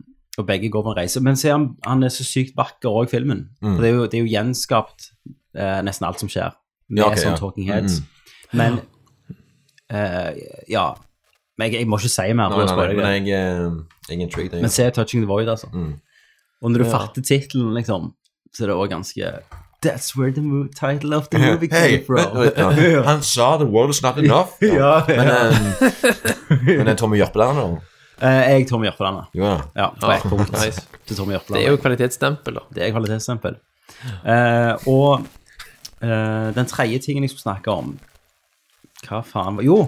Speaker 1: Og begge går på en reise. Men se, han, han er så sykt vakker òg, filmen.
Speaker 3: Mm.
Speaker 1: For det er jo, det er jo gjenskapt eh, nesten alt som skjer, med
Speaker 3: Ja, ok,
Speaker 1: sånn
Speaker 3: ja.
Speaker 1: Talking Heads.
Speaker 3: Mm,
Speaker 1: Men eh, Ja. Men jeg, jeg må ikke si mer.
Speaker 3: Nei,
Speaker 1: på
Speaker 3: nei, nei,
Speaker 1: spoiler,
Speaker 3: men jeg, eh, jeg er intrigued.
Speaker 1: men
Speaker 3: Jeg.
Speaker 1: se Touching the Void, altså.
Speaker 3: Mm.
Speaker 1: Og når du fatter tittelen, liksom, så er det også ganske That's where the mo title of the movie came
Speaker 3: Hey,
Speaker 1: from.
Speaker 3: vent- vent nå. han sa 'the world is not enough'.
Speaker 1: Ja, ja.
Speaker 3: Men, eh, men er Tommy Jørpeland nå?
Speaker 1: Eh, jeg Tommy Jørpeland.
Speaker 3: Jo ja.
Speaker 1: Ja, på ett punkt
Speaker 2: Ah, nice.
Speaker 1: til Tommy Jørpeland.
Speaker 2: Det er jo kvalitetsstempel, da.
Speaker 1: Det er kvalitetsstempel. Eh, og eh, den tredje tingen jeg skulle snakke om Hva faen var Jo,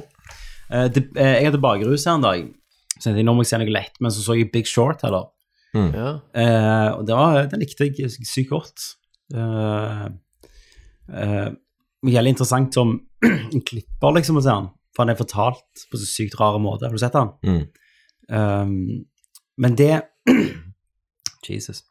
Speaker 1: eh, det, eh, jeg hadde bakrus her en dag. Så tenkte jeg, nå må jeg se noe lett, men så så jeg Big Short heller.
Speaker 2: Ja.
Speaker 1: Eh, og det var, den likte jeg sykt godt. Eh, eh, men jævlig interessant som en klipper, liksom, å se han. For han er fortalt på så sykt rar måte. Har du sett han?
Speaker 3: Mm.
Speaker 1: Um, men det Jesus.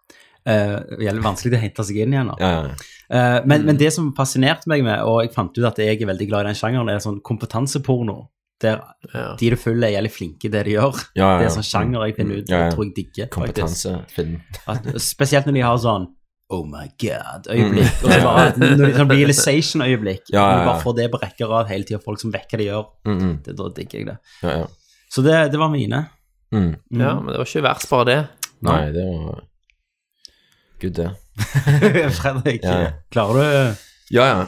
Speaker 1: Eh, det gjelder vanskelig å hente seg inn igjen. nå.
Speaker 3: Ja, ja.
Speaker 1: Eh, men,
Speaker 3: Mm.
Speaker 1: men det som fascinerte meg med, og jeg fant ut at jeg er veldig glad i den sjangeren, er sånn kompetanseporno. Der
Speaker 2: Ja.
Speaker 1: de du følger, er jævlig flinke i det de gjør.
Speaker 3: Ja, ja, ja.
Speaker 1: Det er sånn sjanger jeg finner ut
Speaker 3: Ja, ja.
Speaker 1: og tror jeg digger. faktisk.
Speaker 3: Kompetansefilm.
Speaker 1: At, spesielt når de har sånn Oh my god-øyeblikk. og så bare når de- Sånn realization-øyeblikk.
Speaker 3: Mm. Ja, ja, ja.
Speaker 1: Når du Bare får det på rekke og rad hele tida. Folk som vekker det gjør.
Speaker 3: Mm, mm.
Speaker 1: Det, da digger jeg det.
Speaker 3: Ja, ja.
Speaker 1: Så det, det var mine.
Speaker 3: Mm.
Speaker 2: ja, men det var ikke verst, bare det.
Speaker 3: Nei, det var Gud, det.
Speaker 1: Fredrik,
Speaker 3: Ja.
Speaker 1: klarer du
Speaker 3: Ja, ja.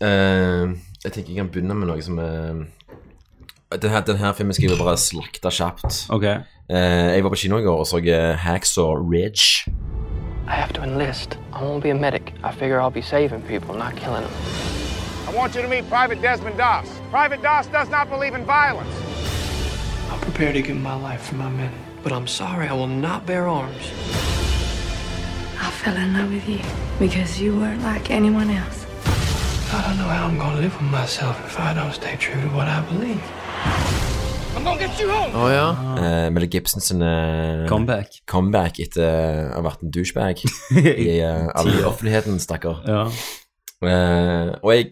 Speaker 3: Eh, jeg tenker jeg kan begynne med noe som er den her, den her filmen skal jeg jo bare slakte kjapt.
Speaker 1: Ok.
Speaker 3: Eh, jeg var på kino i går og så eh, Hacksaw Ridge.
Speaker 9: I have to enlist. I won't be a medic. I figure I'll be saving people, not killing them.
Speaker 5: I want you to meet Private Desmond Doss. Private Doss does not believe in violence.
Speaker 9: I'm prepared to give my life for my men, but I'm sorry I will not bear arms.
Speaker 4: I fell in love with you because you weren't like anyone else.
Speaker 9: I don't know how I'm gonna live with myself if I don't stay true to what I believe. I'm gonna get you home.
Speaker 2: Å ja.
Speaker 3: Eh, Mel Gibson sin eh,
Speaker 1: Comeback.
Speaker 3: comeback etter å ha vært en douchebag i eh, all offentligheten, stakkar.
Speaker 1: Ja.
Speaker 3: Eh, og jeg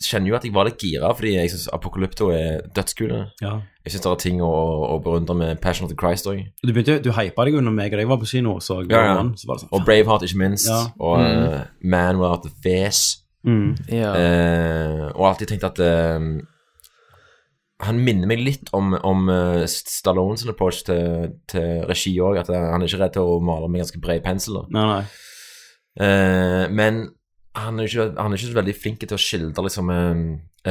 Speaker 3: kjenner jo at jeg var litt gira, fordi jeg syns Apokalypto er dødskule.
Speaker 1: ja.
Speaker 3: Jeg syns det er ting å, å berundre med Passion of the Christ òg.
Speaker 1: Du begynte, du hypa deg jo når meg og deg var på kino og så
Speaker 3: Ja, ja.
Speaker 1: One, så var det sånn
Speaker 3: Og Braveheart, ikke minst.
Speaker 1: Ja.
Speaker 3: Og eh, Man Without the Face.
Speaker 1: mm.
Speaker 2: ja.
Speaker 3: Eh, og alltid tenkt at eh, Han minner meg litt om, om eh, Stallone sin approach til, til regi òg. At eh, han er ikke redd til å male med ganske bred pensel. Da.
Speaker 1: Nei, nei.
Speaker 3: Eh, men han er, ikke, han er ikke så veldig flink til å skildre liksom, eh,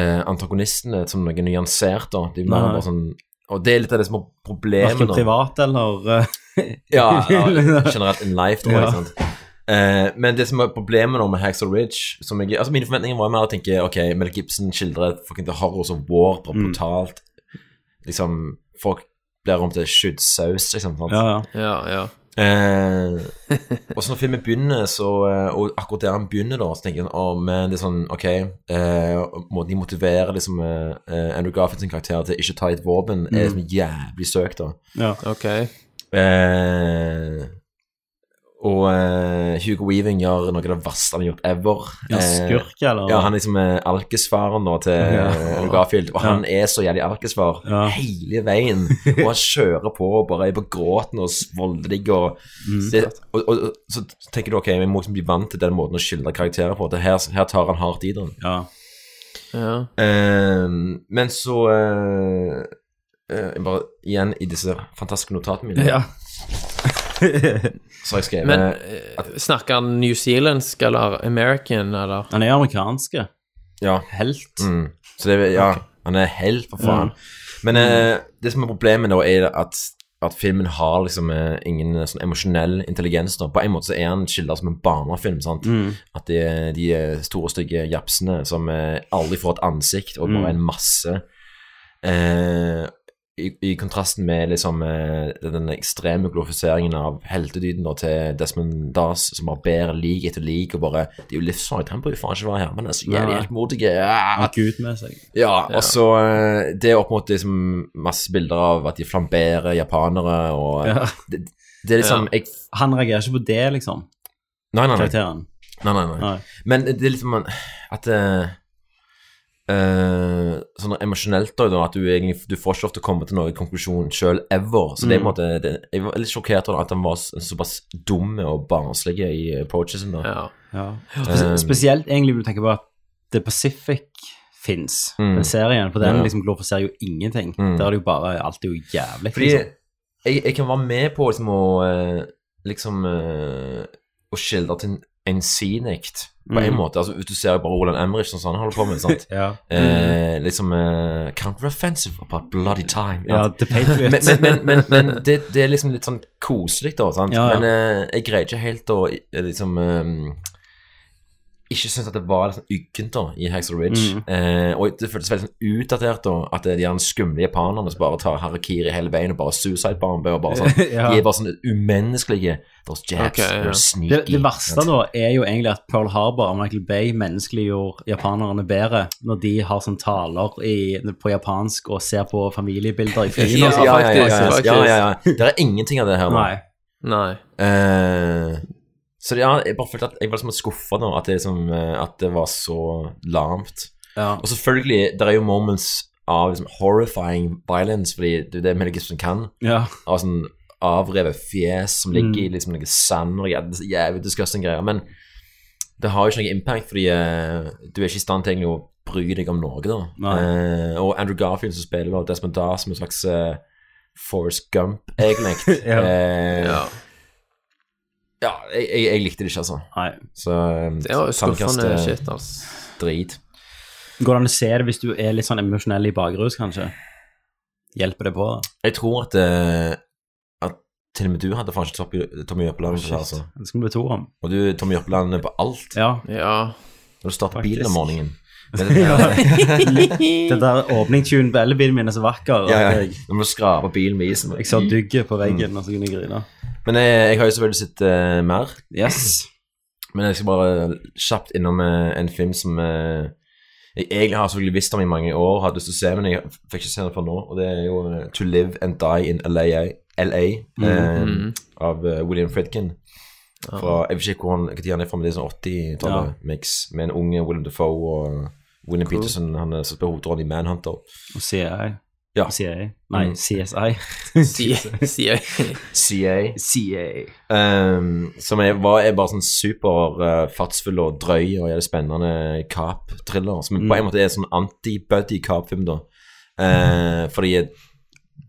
Speaker 3: eh, antagonistene som noe nyansert. Da. De er mer
Speaker 1: Nei.
Speaker 3: bare sånn, og det er litt av det som er problemet.
Speaker 1: Verken
Speaker 3: da.
Speaker 1: privat eller uh,
Speaker 3: Ja, ja, generelt in life, da,
Speaker 1: Ja.
Speaker 3: ikke sant. Eh, men det som er problemet nå med Hacksaw Ridge som jeg, altså Mine forventninger var mer å tenke ok, Mel Gibson skildrer et fucking horror som war, bare
Speaker 1: Mm.
Speaker 3: brutalt. Liksom, folk blir om til skyddsaus, liksom. Sant?
Speaker 1: Ja, ja.
Speaker 2: ja, ja.
Speaker 3: Eh, og så når filmen begynner, så, eh, og akkurat der han begynner, da, så tenker jeg oh, men det er sånn, ok eh, Måten de motiverer liksom, eh, eh, Andrew Garfield sin karakter til ikke å ta et våpen, er
Speaker 1: Mm.
Speaker 3: liksom jævlig søkt. da
Speaker 1: ja.
Speaker 2: Ok.
Speaker 3: Eh, og eh, Hugo Weaving gjør noe av det verste han har gjort ever.
Speaker 1: ja
Speaker 3: Eh,
Speaker 1: skurk, eller?
Speaker 3: ja, han er liksom eh, alkesfaren nå til
Speaker 1: Ja.
Speaker 3: eh, Garfield, og han er så jævlig alkesfar
Speaker 1: Ja.
Speaker 3: hele veien. Og han kjører på og bare er på gråten og s- voldelig og,
Speaker 1: Mm.
Speaker 3: det, og, og, og Så tenker du ok, vi må liksom bli vant til den måten å skildre karakterer på. Det her, her tar han hardt i den.
Speaker 1: ja.
Speaker 2: Ja.
Speaker 3: Eh, men så eh, eh, jeg Bare igjen i disse fantastiske notatene mine,
Speaker 1: ja.
Speaker 3: så har jeg skrevet
Speaker 2: Men eh, snakker han newzealandsk eller American, eller?
Speaker 1: Han er amerikanske.
Speaker 3: ja.
Speaker 1: Helt.
Speaker 3: Mm. Så det, er- ja, han er helt for faen. Men eh, det som er problemet da, er at, at filmen har liksom eh, ingen eh, sånn emosjonell intelligens. da. På en måte så er han skildret som en barnefilm. sant? At det er de eh, store, stygge japsene som eh, aldri får et ansikt, og bare en masse eh, i, I kontrasten med liksom eh, den ekstreme glorifiseringen av heltedyden da, til Desmond Das, som bare ber lik etter lik, og bare Det er jo livsfarlig, han bør jo faen ikke være her, men han er så
Speaker 1: Nei.
Speaker 3: jævlig Ah, heltmodig. Ja.
Speaker 1: Han har Gud med seg.
Speaker 3: Ja, og så eh, det opp mot liksom masse bilder av at de flamberer japanere og eh,
Speaker 1: Ja.
Speaker 3: det, det er liksom jeg,
Speaker 1: Han reagerer ikke på det, liksom,
Speaker 3: nei, nei, nei,
Speaker 1: karakteren.
Speaker 3: nei, nei, nei.
Speaker 1: Nei.
Speaker 3: Men det er liksom at eh, eh, Sånn emosjonelt, da, da, at du egentlig du får ikke ofte komme til noen konklusjon sjøl ever. Så det er på en måte det, Jeg var litt sjokkert over at han var så- såpass dum og barnslig i approachen sin. da.
Speaker 2: Ja.
Speaker 3: Eh.
Speaker 1: Ja. Spes- Spesielt egentlig når du tenker på at The Pacific fins.
Speaker 3: Mm.
Speaker 1: Den serien, for den liksom glorifiserer jo ingenting. Der er det jo bare alt er jo jævlig.
Speaker 3: Fordi
Speaker 1: liksom.
Speaker 3: jeg, jeg kan være med på liksom å eh, liksom eh, å skildre til en ensidigt på
Speaker 1: Mm.
Speaker 3: en måte. Altså, du ser jo bare Roland Emmerich som sånn holder på med, sant?
Speaker 1: Ja.
Speaker 3: Eh, liksom eh, Counteroffensive about bloody time.
Speaker 1: Ja,
Speaker 3: sant?
Speaker 1: The Patriot.
Speaker 3: men, men, men, men, men det, det er liksom litt sånn koselig, da. Sant?
Speaker 1: Ja, ja.
Speaker 3: Men eh, jeg greide ikke helt å eh, liksom eh, Ikke synes at det var litt sånn uggent da i Haxel Ridge.
Speaker 1: Mm.
Speaker 3: Eh, og det føltes veldig sånn utdatert da, at det er de her skumle japanerne som bare tar harakiri hele veien og bare suicide bomber og bare sånn.
Speaker 1: Ja.
Speaker 3: De er bare sånn umenneskelige. There's jabs,
Speaker 2: Ok, ja.
Speaker 3: there's sneaky.
Speaker 1: Det, det verste
Speaker 3: sant?
Speaker 1: da er jo egentlig at Pearl Harbor og Michael Bay menneskeliggjorde japanerne bedre når de har sånn taler i, på japansk og ser på familiebilder i flyene. og
Speaker 2: Ja,
Speaker 1: sånn.
Speaker 3: Ja, ja, ja, ja,
Speaker 2: faktisk,
Speaker 3: ja, ja, ja. Det er ingenting av det her nå.
Speaker 1: Nei.
Speaker 2: Nei.
Speaker 3: Eh, så det, ja, jeg bare følte at jeg var liksom skuffa nå, at det, liksom, eh, at det var så lamt.
Speaker 1: Ja.
Speaker 3: Og selvfølgelig, det er jo moments av liksom, horrifying violence, fordi det er jo det Mel Gibson kan.
Speaker 1: Ja.
Speaker 3: Av sånn avrevet fjes som ligger
Speaker 1: Mm.
Speaker 3: i liksom noe sand og jævlig, jævlig disgusting greier. Men det har jo ikke noe impact, fordi eh, du er ikke i stand til egentlig å bry deg om Norge, da.
Speaker 1: Nei.
Speaker 3: Eh, og Andrew Garfield som spiller da Desmond Da som en slags eh, Forrest Gump, egentlig.
Speaker 1: Ja.
Speaker 3: Eh,
Speaker 2: Ja.
Speaker 3: ja, jeg, jeg, jeg likte det ikke, altså.
Speaker 1: Nei.
Speaker 3: Så
Speaker 2: Det var jo skuffende
Speaker 3: terningkast, eh,
Speaker 2: shit, altså.
Speaker 3: Drit.
Speaker 1: Går det an å se det hvis du er litt sånn emosjonell i bakrus, kanskje? Hjelper det på? da?
Speaker 3: Jeg tror at, eh, at til og med du hadde faen ikke Tommy- Tommy Jørpeland på det, altså.
Speaker 1: Det skal vi bli to om.
Speaker 3: Og du Tommy Jørpeland er på alt
Speaker 1: Ja.
Speaker 2: Ja.
Speaker 3: når du starter
Speaker 1: Faktisk.
Speaker 3: bilen om morgenen.
Speaker 1: Den der åpningstunen på elbilen min er så vakker.
Speaker 3: Ja, Mm. ja.
Speaker 1: at Jeg,
Speaker 3: Når du skraper bilen med isen.
Speaker 1: jeg så dugget på veggen, og så kunne jeg grine.
Speaker 3: Men jeg, jeg har jo selvfølgelig sett eh, mer.
Speaker 1: Yes.
Speaker 3: Men jeg skal bare kjapt innom eh, en film som eh, jeg egentlig har selvfølgelig visst om i mange år, hadde lyst til å se, men jeg fikk ikke se den før nå. Og det er jo eh, To Live and Die in LA, LA
Speaker 2: Mm,
Speaker 3: eh, av eh, William Fredkin. Fra, jeg vet ikke hvor han, når han er fra, men det er sånn 80-tallet mix med en ung William Defoe og William Peterson. Han er som spiller hovedrollen i Manhunter.
Speaker 1: Og CI.
Speaker 3: Ja.
Speaker 1: CI. Nei,
Speaker 3: Mm.
Speaker 1: CSI.
Speaker 2: Sier sier jeg.
Speaker 3: CA.
Speaker 1: CA.
Speaker 3: Um, som er, var, er bare sånn super eh, fartsfull og drøy og jævlig spennende cop-thriller. Som på en måte er sånn anti-buddy cop-film, da. Eh, fordi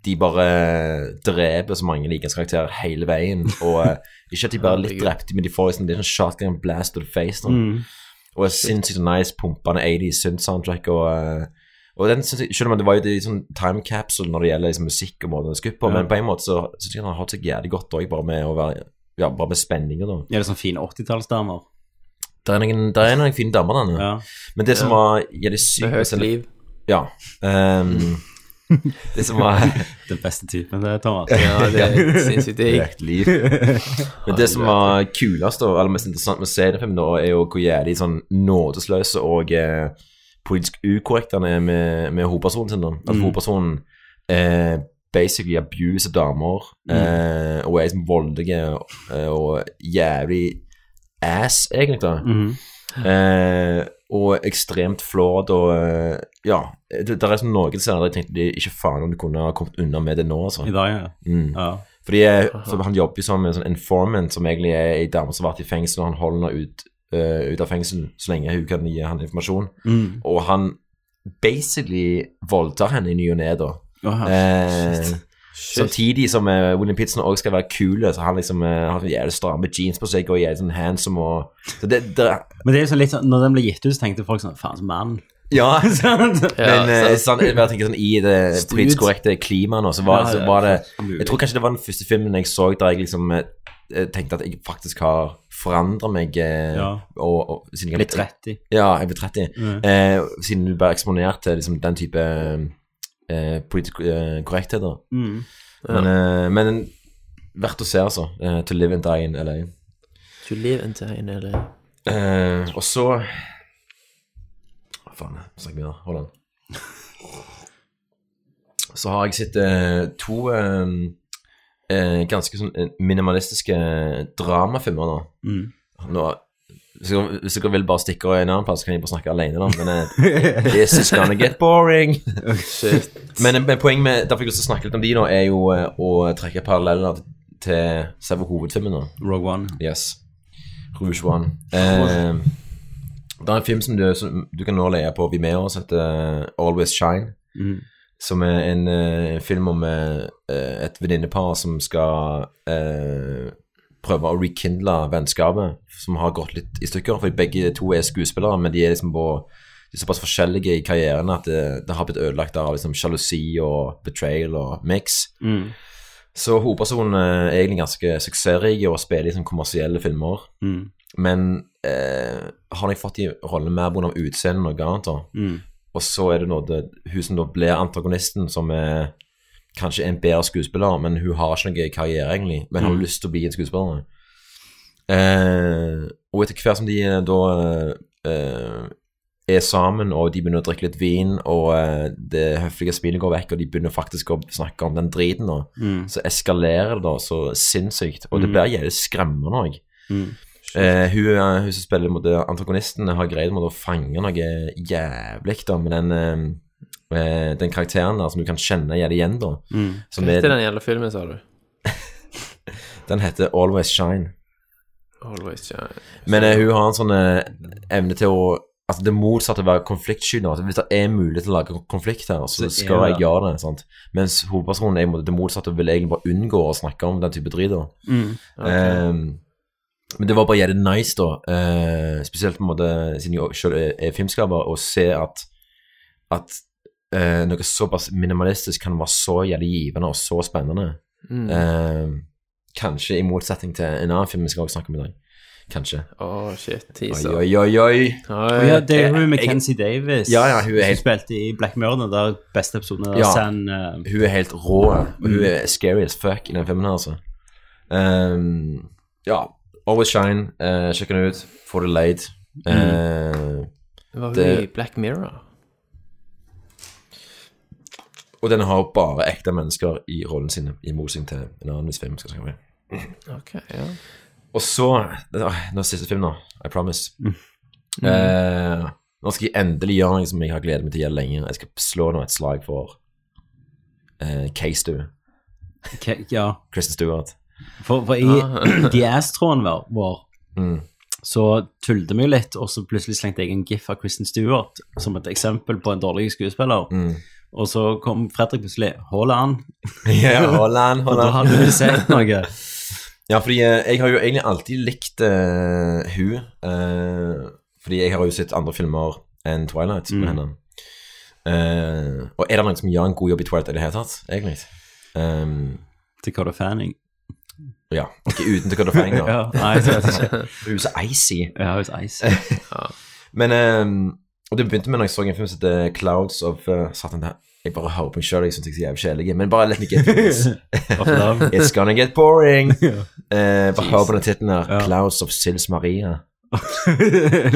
Speaker 3: de bare dreper så mange likeskarakterer hele veien. Og eh, ikke at de bare er litt drepte, men de får liksom, det er sånn shotgun blast to the face. Da. Og er sinnssykt nice pumpende 80s synth-soundtrack. og... eh, og den synes jeg, Selv om det var jo det i sånn time capsule når det gjelder liksom musikk og måten det er skutt på, men på en måte så syns jeg han har hatt seg jævlig godt òg, bare med å være ja, bare med spenninger, da.
Speaker 1: Er det sånn fine 80-tallsdamer?
Speaker 3: Det er noen, der er noen fine damer der nå.
Speaker 1: Ja.
Speaker 3: Men det som var jævlig
Speaker 2: Med
Speaker 3: sykt
Speaker 2: høyt
Speaker 3: med-
Speaker 2: liv.
Speaker 3: Ja. ehm, det som var
Speaker 1: Den beste typen, det, Thomas.
Speaker 2: Ja, det er sinnssykt digg.
Speaker 3: Høyt liv. Men det som var kulest og eller mest interessant med CD5, da, er jo hvor jævlig sånn nådesløse og eh, politisk ukorrekt han er med, med hovedpersonen sin. da. At hovedpersonen eh, basically abuser damer eh, og er liksom voldelige eh, og jævlig ass, egentlig. da.
Speaker 1: Mhm.
Speaker 3: Eh, og ekstremt flawed og eh, Ja, det, der er sånn noen scener der jeg tenkte de ikke faen om de kunne ha kommet unna med det nå, altså.
Speaker 1: I dag, ja.
Speaker 3: Mm.
Speaker 1: ja.
Speaker 3: Fordi jeg, for han jobber jo som en sånn informant som egentlig er ei dame som har vært i fengsel, og han holder henne ut, eh, ut av fengsel så lenge hun kan gi han informasjon.
Speaker 1: Mm.
Speaker 3: Og han basically voldtar henne i ny og ne, da.
Speaker 1: Åh,
Speaker 3: Eh, samtidig som eh, William Pitson også skal være kul, så han liksom eh, har sånn jævlig stramme jeans på seg og jævlig sånn handsome og Så det, det
Speaker 1: Men det er jo sånn litt sånn, når den ble gitt ut, så tenkte folk sånn Faen, så mann.
Speaker 3: Ja.
Speaker 2: Ja,
Speaker 3: Men eh, sånn, jeg bare tenker sånn, i det politisk korrekte klimaet nå, så var,
Speaker 1: Ja, ja,
Speaker 3: så var det
Speaker 1: mulig.
Speaker 3: Jeg tror kanskje det var den første filmen jeg så der jeg liksom eh, eh, tenkte at jeg faktisk har forandra meg. eh,
Speaker 1: Ja. Mm.
Speaker 3: Og, og, siden jeg
Speaker 1: Litt 30.
Speaker 3: Ja, jeg ble 30. Eh, siden du ble eksponert til liksom, den type eh, politisk eh, korrektheter.
Speaker 1: Mm.
Speaker 3: Men, eh, men verdt å se, altså. Eh, to live and die in LA.
Speaker 2: To live and die in LA.
Speaker 3: Eh, og så Hva faen er det? Snakk med deg. Hold an. Så har jeg sett eh, to eh, eh, ganske sånn eh, minimalistiske eh, dramafilmer nå. nå hvis, dere, hvis dere vil bare stikke og en annen plass, kan jeg bare snakke alene, da. Men eh, this is gonna get boring. men, eh, men poenget med derfor jeg har lyst til å snakke litt om de nå, er jo eh, å trekke paralleller til selve hovedfilmen nå.
Speaker 1: Rogue One.
Speaker 3: Yes. Rouge One. Eh, Det er en film som du, som du kan nå leie på Vimeo, som heter eh, Always Shine. Som er en eh, film om eh, eh, et venninnepar som skal eh, prøve å rekindle vennskapet, som har gått litt i stykker. For begge to er skuespillere, men de er liksom på de er såpass forskjellige i karrieren at det, det har blitt ødelagt av liksom sjalusi og betrayal og mix. Så hovedpersonen eh, er egentlig ganske suksessrik og spiller i sånn kommersielle filmer. Men eh, har nok fått de rollene mer pga. utseendet enn noe annet. da. Og så er det nå det, hun som da blir antagonisten, som er kanskje en bedre skuespiller, men hun har ikke noe karriere, egentlig, men har lyst til å bli en skuespiller. Eh, og etter hvert som de eh, da eh, er sammen, og de begynner å drikke litt vin, og eh, det høflige smilet går vekk, og de begynner faktisk å snakke om den driten, da, så eskalerer det da så sinnssykt. Og det blir jævlig skremmende òg. Eh, hun, eh, hun som spiller mot antagonisten, har greid med å fange noe jævlig da, med den, eh, eh, den karakteren der som du kan kjenne jævlig igjen. da. Som
Speaker 2: Etter
Speaker 3: er,
Speaker 2: den gjelder filmen, sa du.
Speaker 3: den heter Always Shine.
Speaker 2: Always shine.
Speaker 3: Men eh, hun har en sånn eh, evne til å Altså Det motsatte av å være konfliktsky. nå. Altså, Hvis det er mulig til å lage konflikt her, så,
Speaker 1: Så
Speaker 3: skal
Speaker 1: er det.
Speaker 3: jeg gjøre det. sant? Mens hovedpersonen er imot det motsatte og vil egentlig bare unngå å snakke om den type drit. da. Ehm, men det var bare jævlig nice, da. eh, spesielt på en måte siden jeg selv er, er filmskaper, å se at, at eh, noe såpass minimalistisk kan være så jævlig givende og så spennende.
Speaker 1: Mm.
Speaker 3: Ehm, kanskje i motsetning til en annen film vi skal også snakke om i dag. Kanskje.
Speaker 2: Åh, shit.
Speaker 3: Oi,
Speaker 2: Teaser.
Speaker 3: oi, oi, oi.
Speaker 1: Og
Speaker 2: Oi.
Speaker 1: ja, det er hun Mackenzie Davis
Speaker 3: Ja, ja, hun er
Speaker 1: som
Speaker 3: helt-
Speaker 1: spilte i Black Mirror, den der beste episoden der
Speaker 3: Ja.
Speaker 1: San, eh,
Speaker 3: Hun er helt rå. og Hun er scary as fuck i den filmen her, altså. Ehm, ja. Always Shine. eh, Sjekk den ut. Få det laid.
Speaker 1: Mhm.
Speaker 3: Eh,
Speaker 2: Det var hun
Speaker 3: det-
Speaker 2: i Black Mirror.
Speaker 3: og den har bare ekte mennesker i rollen sin, i motsetning til en annen viss film. Skal jeg si.
Speaker 2: Ok, ja.
Speaker 3: Og så åh, Nå er siste film, nå. I promise.
Speaker 1: Mm.
Speaker 3: Eh, nå skal jeg endelig gjøre noe som jeg har gledet meg til å gjøre lenge. Jeg skal slå nå et slag for uh, K-Stu.
Speaker 1: Ke- ja.
Speaker 3: Kristen Stewart.
Speaker 1: For, for i The Ass-tråden vår, vår
Speaker 3: Mm.
Speaker 1: så tullte vi jo litt, og så plutselig slengte jeg en gif av Kristen Stewart som et eksempel på en dårlig skuespiller.
Speaker 3: Mm.
Speaker 1: Og så kom Fredrik plutselig Haaland,
Speaker 3: Ja, Holland,
Speaker 1: og da hadde vi sett noe.
Speaker 3: Ja, fordi eh, jeg har jo egentlig alltid likt eh, hun. eh, fordi jeg har jo sett andre filmer enn Twilight
Speaker 1: Mm.
Speaker 3: med henne. Eh, og er det noen som gjør en god jobb i Twilight i det hele tatt, egentlig? Um,
Speaker 1: Dakota Fanning.
Speaker 3: ja, ikke uten til hva det fenger.
Speaker 1: Ja, nei, jeg vet ikke.
Speaker 3: Hun er så icy.
Speaker 1: Ja, hun er icy.
Speaker 3: Men eh, Og det begynte med når jeg så en film som heter Clouds of uh, Satan. det her- Jeg bare hører på meg sjøl, jeg syns jeg er så jævlig kjedelig. Men bare let me get through this.
Speaker 1: Off the-
Speaker 3: It's gonna get boring. Eh, bare hør på den tittelen her.
Speaker 1: Ja.
Speaker 3: Clouds of Sils Maria.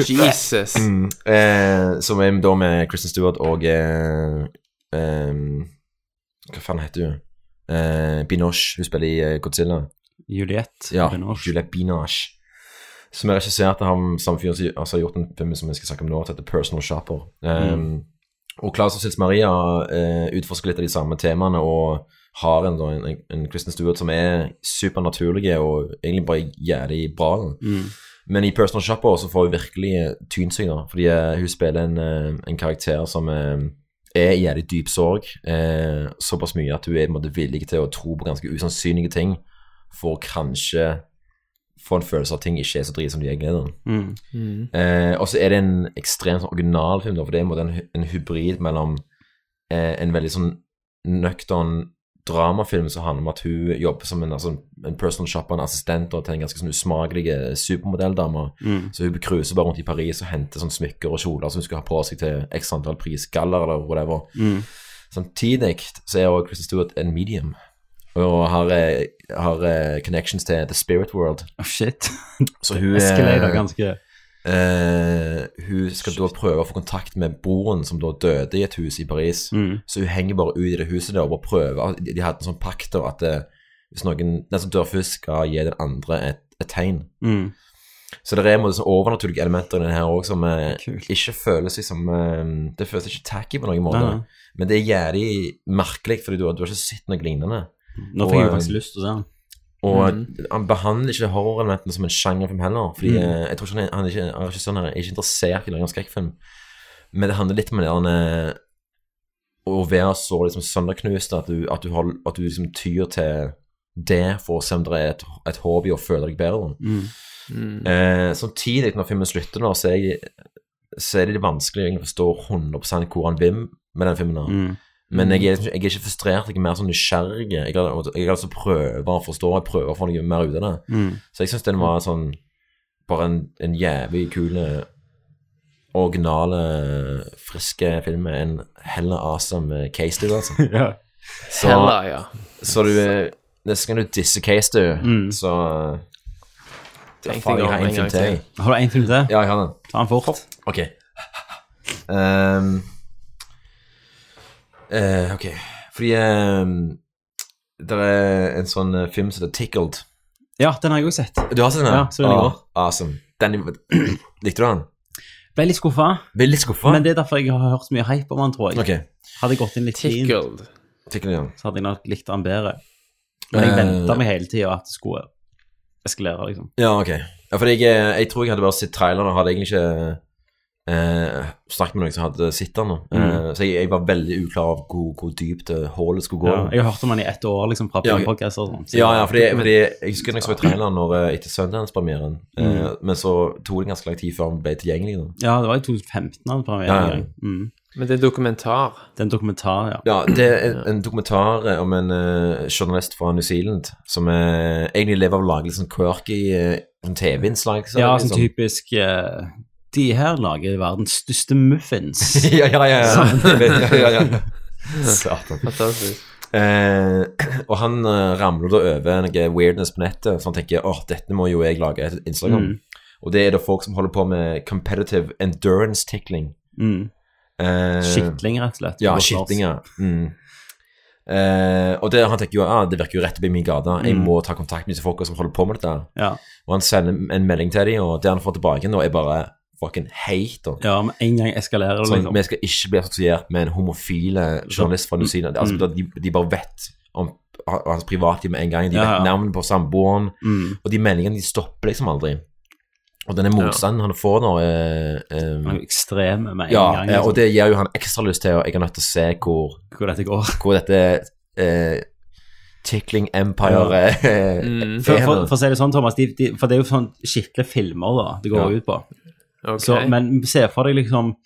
Speaker 2: Jesus.
Speaker 3: Mm, eh, som er da med Kristen Stewart og eh, ehm, Hva faen heter hun? Eh, Binoche. Hun spiller i eh, Godzilla.
Speaker 1: Juliette
Speaker 3: Ja,
Speaker 1: Binoche.
Speaker 3: Juliette Binoche. Som er regissert av ham samme fyr som altså, har gjort en film som vi skal snakke om nå, som heter Personal Shopper. Ehm, Og Claus og Sils Maria eh, utforsker litt av de samme temaene og har en, da en, en- en Kristen Stewart som er supernaturlig og egentlig bare jævlig bra. da. Men i Personal Shopper så får hun virkelig eh, tynt seg, da. Fordi eh, hun spiller en, eh, en karakter som eh, er i jævlig dyp sorg. Eh, såpass mye at hun er på en måte villig til å tro på ganske usannsynlige ting for å kanskje få en følelse av at ting ikke er så drit som de egentlig er. da. Eh, og så er det en ekstremt sånn original film, da, for det er en, måte en, hy- en hybrid mellom eh, en veldig sånn nøktern dramafilm som handler om at hun jobber som en, altså, en personal shopper, en assistent da, til en ganske sånn usmakelig eh, supermodelldame. Så hun cruiser bare rundt i Paris og henter sånn smykker og kjoler som hun skal ha på seg til x antall prisgaller eller whatever. Samtidig så er også Kristen Stewart en medium. Og har, eh, har eh, connections til The Spirit World.
Speaker 1: Oh, shit.
Speaker 3: Så hun
Speaker 1: Escalator ganske.
Speaker 3: Eh, hun skal da prøve å få kontakt med broren som da døde i et hus i Paris.
Speaker 1: Mm.
Speaker 3: Så hun henger bare ut i det huset der og bare prøver. De, de hadde en sånn pakt der at eh, hvis noen, den som dør først, skal gi den andre et, et tegn.
Speaker 1: Mm.
Speaker 3: Så det er en måte sånn overnaturlige elementer i den her òg som eh,
Speaker 1: Kult.
Speaker 3: ikke føles liksom eh, Det føles ikke tacky på noen måte.
Speaker 1: Nei, nei.
Speaker 3: Men det er jævlig merkelig, fordi du, har- du har ikke sett noe lignende. eh,
Speaker 1: Nå fikk jeg jo faktisk lyst til å se den.
Speaker 3: Og han behandler ikke horrorelementene som en sjangerfilm heller. Fordi eh, jeg tror ikke han er, han er ikke, han er ikke sånn her, er ikke interessert i å lage en skrekkfilm. Men det handler litt om det der eh, å være så liksom sønderknust at du, at du, har, at du liksom tyr til det for å se om det er et, et håp i å føle deg bedre. Eh, samtidig, når filmen slutter nå, så er, jeg, så er det litt vanskelig å egentlig forstå 100 hvor han vil med den filmen. her Men jeg er, jeg er ikke frustrert, jeg er mer sånn nysgjerrig. Jeg, er- jeg er altså prøver å forstå, jeg prøver å få noe mer ut av det. Så jeg syns den var sånn bare en, en jævlig kul, eh, originale, eh, friske film med en heller awesome case dude, altså.
Speaker 1: Ja.
Speaker 3: Så,
Speaker 2: Heller, ja.
Speaker 3: så du Neste gang du disser case dude,
Speaker 1: Mm.
Speaker 3: så uh,
Speaker 2: Tenk
Speaker 3: Faen, jeg
Speaker 2: deg om
Speaker 3: har en film til. jeg.
Speaker 1: Har du en film til?
Speaker 3: Ja, jeg har den.
Speaker 1: Ta den fort.
Speaker 3: Ok. Ehm, eh, ok. Fordi ehm, det er en sånn eh, film som heter Tickled.
Speaker 1: Ja, den har jeg òg sett.
Speaker 3: Du har sett den?
Speaker 1: Ja, så den i går.
Speaker 3: Åh, Awesome. Den, likte du den?
Speaker 1: Ble litt skuffa,
Speaker 3: Ble litt skuffa.
Speaker 1: men det er derfor jeg har hørt så mye hype om han, tror jeg.
Speaker 3: Ok,
Speaker 1: Hadde jeg gått inn litt fint,
Speaker 2: Tickled.
Speaker 3: Tickled, ja.
Speaker 1: så hadde jeg nok likt han bedre. Men jeg
Speaker 3: Eh,
Speaker 1: venta meg hele tida at det skulle eskalere, liksom.
Speaker 3: Ja, ok. Ja, fordi jeg, eh, jeg tror jeg hadde bare sett traileren og hadde egentlig ikke eh, snakket med noen som hadde sett den. nå. Eh, så jeg, jeg var veldig uklar av hvor, hvor dypt eh, hullet skulle gå.
Speaker 1: Ja, jeg har hørt om han i ett år, liksom, fra
Speaker 3: Ja,
Speaker 1: ja,
Speaker 3: ok.
Speaker 1: podcaster og sånn. så-
Speaker 3: Ja, ja, fordi, fordi jeg husker når jeg så traileren når, eh, etter Sundance-premieren, eh, men så tok det ganske lang tid før han ble tilgjengelig. Da.
Speaker 1: ja, det var i 2015 han premierte
Speaker 3: Ja, ja.
Speaker 1: en gang. Mm.
Speaker 2: Men det er dokumentar.
Speaker 1: Det er en dokumentar, ja.
Speaker 3: Ja, det er en, en dokumentar eh, om en eh, journalist fra New Zealand som eh, egentlig lever av å lage litt sånn quirky eh, sånn TV-innslag. så-
Speaker 1: Ja, sånn
Speaker 3: liksom.
Speaker 1: typisk eh, De her lager verdens største muffins.
Speaker 3: ja, ja, ja.
Speaker 1: Sånn.
Speaker 3: ja. ja, ja, ja. Satan.
Speaker 2: Fantastisk.
Speaker 3: Eh, og han eh, ramler da over noe weirdness på nettet, så han tenker åh, dette må jo jeg lage et innslag om. Og det er da folk som holder på med competitive endurance tickling.
Speaker 1: Mm.
Speaker 3: Eh,
Speaker 1: Skitling, rett og slett.
Speaker 3: Ja,
Speaker 1: på godt norsk.
Speaker 3: skitting, ja. Mm. Eh, og det, han tenker jo ah, det virker jo rett oppi min gate, jeg må ta kontakt med disse folka som holder på med dette.
Speaker 1: Ja.
Speaker 3: Og han sender en melding til dem, og det han får tilbake nå, er bare fucking hater.
Speaker 1: ja, men en gang eskalerer det,
Speaker 3: Sånn,
Speaker 1: liksom. Mm.
Speaker 3: vi skal ikke bli assosiert med en homofile journalist fra New Zealand. Altså, de, de bare vet om ha- hans privatliv med en gang. De
Speaker 1: Ja, ja.
Speaker 3: vet navnet på samboeren.
Speaker 1: Mm.
Speaker 3: Og de meldingene de stopper liksom aldri. Og denne motstanden han får nå eh, eh,
Speaker 1: Noe ekstreme med en
Speaker 3: Ja,
Speaker 1: gang.
Speaker 3: eh, og
Speaker 1: Liksom,
Speaker 3: det gir jo han ekstra lyst til, og jeg er nødt til å se hvor,
Speaker 1: Hvor dette går.
Speaker 3: hvor dette eh, Tickling Empire eh,
Speaker 2: Mm.
Speaker 1: For,
Speaker 3: er
Speaker 1: for,
Speaker 3: nå.
Speaker 1: for å si det sånn, Thomas, de, de, for det er jo sånn skitne filmer da, det går
Speaker 3: Ja.
Speaker 1: ut på.
Speaker 2: Ok.
Speaker 1: Så, men se for deg liksom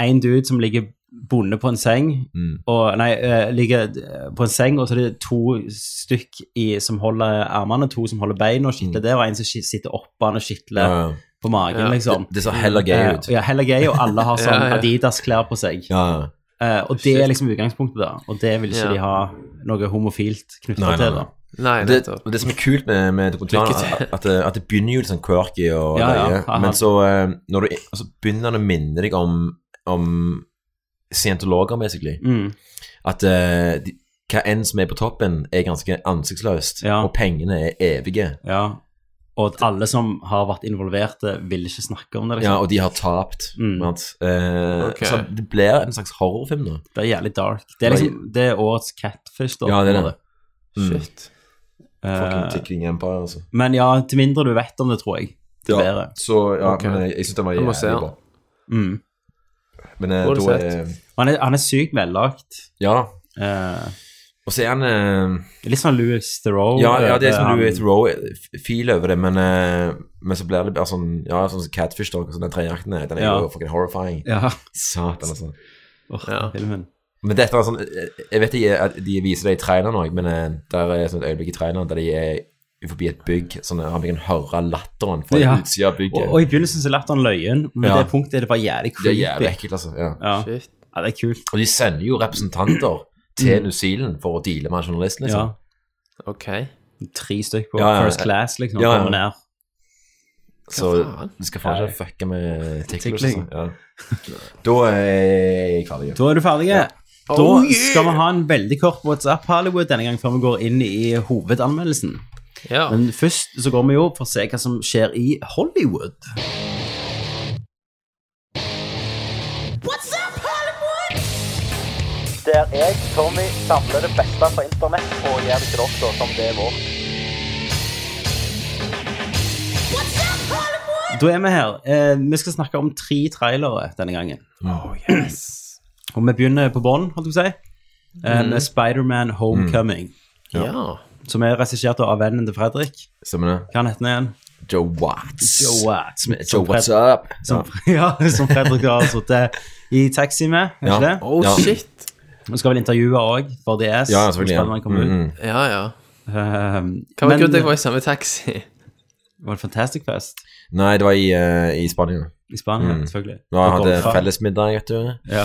Speaker 1: en dude som ligger bonde på en seng,
Speaker 3: Mm.
Speaker 1: og, nei, eh, ligger eh, på en seng, og så er det to stykk i, som holder armene, to som holder beina og skitler der, og en som ski- sitter oppå han og skitler
Speaker 3: Mm. Ja, ja.
Speaker 1: på magen,
Speaker 2: Ja.
Speaker 1: liksom.
Speaker 3: Det ser heller gøy
Speaker 1: Eh,
Speaker 3: ut.
Speaker 1: ja, heller gøy, og alle har sånn
Speaker 2: Ja, ja.
Speaker 1: Adidas-klær på seg.
Speaker 3: Ja, ja.
Speaker 1: Eh, og det er liksom utgangspunktet, da. Og det vil ikke
Speaker 2: Ja.
Speaker 1: de ha noe homofilt knyttet
Speaker 3: Nei, nei,
Speaker 1: til,
Speaker 3: nei.
Speaker 1: da.
Speaker 2: Nei,
Speaker 3: Og Det,
Speaker 2: nettopp.
Speaker 3: og det som er kult med, med dokumentaren,
Speaker 2: Lykke
Speaker 3: er
Speaker 2: til.
Speaker 3: at, det- at det begynner jo litt sånn quirky, og
Speaker 1: Ja, ja.
Speaker 3: løye,
Speaker 1: Aha.
Speaker 3: men så eh, når du, altså, begynner han å minne deg om, om scientologer, basically.
Speaker 1: Mm.
Speaker 3: At eh, de, hva enn som er på toppen, er ganske ansiktsløst,
Speaker 1: Ja.
Speaker 3: og pengene er evige.
Speaker 1: Ja. Og at alle som har vært involverte, vil ikke snakke om det.
Speaker 3: Ja,
Speaker 1: liksom.
Speaker 3: og de har tapt.
Speaker 1: Mm.
Speaker 3: sant? Eh,
Speaker 2: Ok.
Speaker 3: Så det blir en slags horrorfilm, da.
Speaker 1: Det er jævlig dark. Det er, liksom, det er årets catfish, da.
Speaker 3: Ja, det er det.
Speaker 2: Shit.
Speaker 1: Eh,
Speaker 3: Mm. Fucking Tickling Empire, altså.
Speaker 1: men ja, til mindre du vet om det, tror jeg. Til bedre.
Speaker 3: Så ja,
Speaker 2: Ok.
Speaker 3: men jeg, jeg syns den var
Speaker 2: Jeg må se
Speaker 3: jævlig
Speaker 2: den.
Speaker 3: bra.
Speaker 1: Mm.
Speaker 3: Men eh,
Speaker 2: Hvor har du
Speaker 3: da
Speaker 2: sett?
Speaker 3: er
Speaker 1: Han er, han er sykt vellagt.
Speaker 3: Ja.
Speaker 1: Eh,
Speaker 3: Og så er han eh,
Speaker 1: litt sånn Louis Theroux. eh,
Speaker 3: Ja, ja, det er sånn
Speaker 1: han-
Speaker 3: Louis Theroux-fil over det, men, eh, men så blir det bare sånn Ja, sånn som Catfish Dog og sånn den trejakten er. Den er
Speaker 1: Ja.
Speaker 3: jo fucking horrifying.
Speaker 1: Ja.
Speaker 3: Satan, altså.
Speaker 1: Åh,
Speaker 2: Ja.
Speaker 1: filmen.
Speaker 3: Men dette var sånn eh, Jeg vet ikke at de viser det i traileren òg, men eh, der er sånn et øyeblikk i traileren der de er forbi et bygg, sånn at man kan høre latteren fra
Speaker 1: Ja.
Speaker 3: utsida av bygget.
Speaker 1: Og, og i begynnelsen så lærte han løyen, men
Speaker 3: Ja.
Speaker 1: det punktet er det bare jævlig
Speaker 3: det er
Speaker 1: creepy.
Speaker 3: jævlig ekkelt, altså. Ja.
Speaker 1: ja.
Speaker 2: Shit.
Speaker 1: ja, det er kult.
Speaker 3: Og de sender jo representanter til New Zealand for å deale med journalisten,
Speaker 1: Mm. Ja.
Speaker 3: liksom.
Speaker 2: Ok.
Speaker 1: Tre stykker på
Speaker 3: Ja, ja, ja.
Speaker 1: first class, liksom.
Speaker 3: Ja, ja.
Speaker 1: Kommer ned.
Speaker 3: Så
Speaker 2: Hva faen?
Speaker 3: du skal faen ikke fucke med tickling.
Speaker 1: Tickling.
Speaker 3: Ja. Da er jeg ferdig.
Speaker 1: Da er du ferdig. Da
Speaker 2: Oh, yeah!
Speaker 1: skal vi ha en veldig kort WhatsApp Hollywood denne gang før vi går inn i hovedanmeldelsen.
Speaker 2: Ja.
Speaker 1: Men først så går vi jo for å se hva som skjer i Hollywood.
Speaker 11: Der jeg, Tommy, samler det beste fra internett og gjør det grått som det er vårt.
Speaker 1: Da er vi her. Eh, vi skal snakke om tre trailere denne gangen. Og vi begynner på bånn, holdt jeg på å si, eh, med Spiderman Homecoming.
Speaker 2: Ja.
Speaker 1: Som er regissert av vennen til Fredrik.
Speaker 3: Stemmer det?
Speaker 1: Hva han heter han igjen?
Speaker 3: Joe Watts.
Speaker 1: Joe Watts.
Speaker 3: Som-
Speaker 1: Som
Speaker 3: Joe What's
Speaker 1: Fred-
Speaker 3: Up?
Speaker 1: Som, ja. som Fredrik har sittet i taxi med. er
Speaker 3: Ja.
Speaker 1: ikke det?
Speaker 2: Oh,
Speaker 3: Ja.
Speaker 2: shit.
Speaker 1: Vi skal vel intervjue òg for DS.
Speaker 3: Ja, selvfølgelig.
Speaker 1: når
Speaker 3: Ja.
Speaker 1: Spiderman kommer ut.
Speaker 3: Mm, mm.
Speaker 2: Ja, ja.
Speaker 1: Ehm,
Speaker 2: Hva var
Speaker 1: men-
Speaker 2: grunnen til at jeg var i samme taxi?
Speaker 1: var det Fantastic Fest
Speaker 3: Nei, det var i, eh, i Spania.
Speaker 1: i Spania,
Speaker 3: Mm.
Speaker 1: selvfølgelig.
Speaker 3: Da
Speaker 1: Og
Speaker 3: hadde
Speaker 1: golfa.
Speaker 3: fellesmiddag, vet du.
Speaker 1: Ja.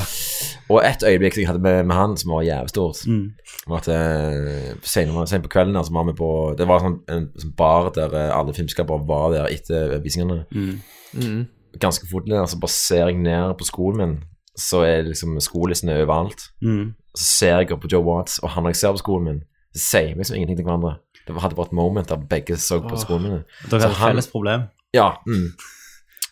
Speaker 3: Og et øyeblikk som jeg hadde med, med han, som var jævlig stort,
Speaker 1: Mm.
Speaker 3: var at eh, senere, sent på kvelden her, så var vi på Det var sånn, en sånn bar der eh, alle filmskapere var der etter visningene.
Speaker 1: Mm.
Speaker 2: Mm.
Speaker 3: Ganske fort ned, så bare ser jeg ned på skolen min, så er det liksom skolissene overalt.
Speaker 1: Mm.
Speaker 3: Så ser jeg opp på Joe Watts, og han når jeg ser på skolen min, så sier vi liksom ingenting til hverandre. Det var- hadde bare et moment der begge så på skolen min.
Speaker 1: Dere
Speaker 3: Så
Speaker 1: hadde
Speaker 3: han-
Speaker 1: felles problem.
Speaker 3: Ja. Mm.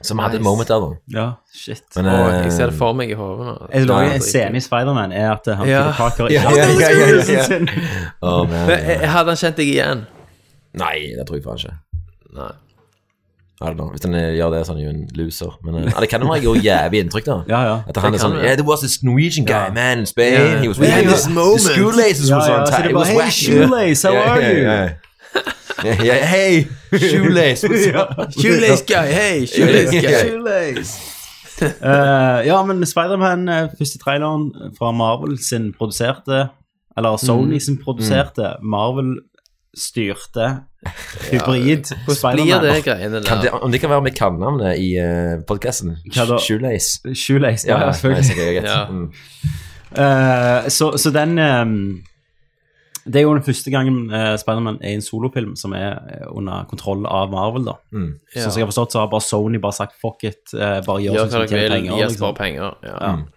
Speaker 3: Så vi hadde et
Speaker 2: Nice.
Speaker 3: moment der, da.
Speaker 1: Ja, shit.
Speaker 3: Men,
Speaker 2: Åh,
Speaker 3: eh,
Speaker 2: jeg ser det for meg i hodet nå.
Speaker 1: Jeg
Speaker 3: Nei,
Speaker 1: lager en
Speaker 2: altså,
Speaker 1: scene i Spiderman er at han
Speaker 2: Ja.
Speaker 1: Peter Parker
Speaker 3: Ja,
Speaker 1: ikke har
Speaker 3: ja, ja, ja, ja.
Speaker 1: Wilson sin.
Speaker 3: å, men,
Speaker 2: Men jeg- jeg Hadde han kjent deg igjen?
Speaker 3: Nei, det tror jeg faen ikke.
Speaker 2: Nei.
Speaker 3: I don't know. Hvis han eh, gjør det, så er han jo en loser. Men eh, det kan jo ha gjort jævlig inntrykk, da.
Speaker 1: Ja, ja.
Speaker 3: At han
Speaker 2: Det
Speaker 3: er
Speaker 2: kan
Speaker 3: sånn
Speaker 2: det.
Speaker 3: Yeah, there was this Norwegian guy, man, in Spain.
Speaker 2: Ja.
Speaker 3: He was
Speaker 2: We
Speaker 3: wearing
Speaker 2: had
Speaker 3: this
Speaker 2: this
Speaker 3: moment. The shoelaces
Speaker 1: Ja,
Speaker 3: was
Speaker 1: ja,
Speaker 3: on
Speaker 1: så
Speaker 3: tight.
Speaker 1: det er
Speaker 3: It
Speaker 1: bare,
Speaker 3: was
Speaker 1: hey,
Speaker 3: wacky.
Speaker 1: shoelace, how are you?
Speaker 3: yeah, yeah, hey, shoelace, what's up?
Speaker 2: Shoelace guy, hei! Shoelace
Speaker 3: Ja, ja, ja.
Speaker 2: guy.
Speaker 1: Eh, ja, men Spiderman, eh, første traileren fra Marvel sin produserte Eller
Speaker 2: Mm.
Speaker 1: Sony sin produserte. Marvel-styrte hybrid
Speaker 2: Hvordan blir det
Speaker 1: Spiderman.
Speaker 2: greiene
Speaker 3: Kan det,
Speaker 2: der?
Speaker 3: om det kan være med kallenavnet i uh, podkasten?
Speaker 1: Hva da?
Speaker 3: Shoelace.
Speaker 1: Shoelace, ja, selvfølgelig.
Speaker 3: nei, sikkert, jeg vet.
Speaker 2: Ja.
Speaker 3: Mm.
Speaker 1: Eh, så, så den ehm, Det er jo den første gangen eh, Spiderman er i en solofilm som er eh, under kontroll av Marvel. da
Speaker 3: Mm.
Speaker 1: Så
Speaker 2: Ja.
Speaker 1: Som jeg har forstått, så har bare Sony bare sagt fuck it, eh, bare gjør
Speaker 2: Gjør
Speaker 1: sånn
Speaker 2: hva
Speaker 1: som
Speaker 2: dere
Speaker 1: tjener
Speaker 2: vil,
Speaker 1: penger.
Speaker 2: gi oss
Speaker 1: liksom.
Speaker 2: bare penger. Ja.
Speaker 3: Mm.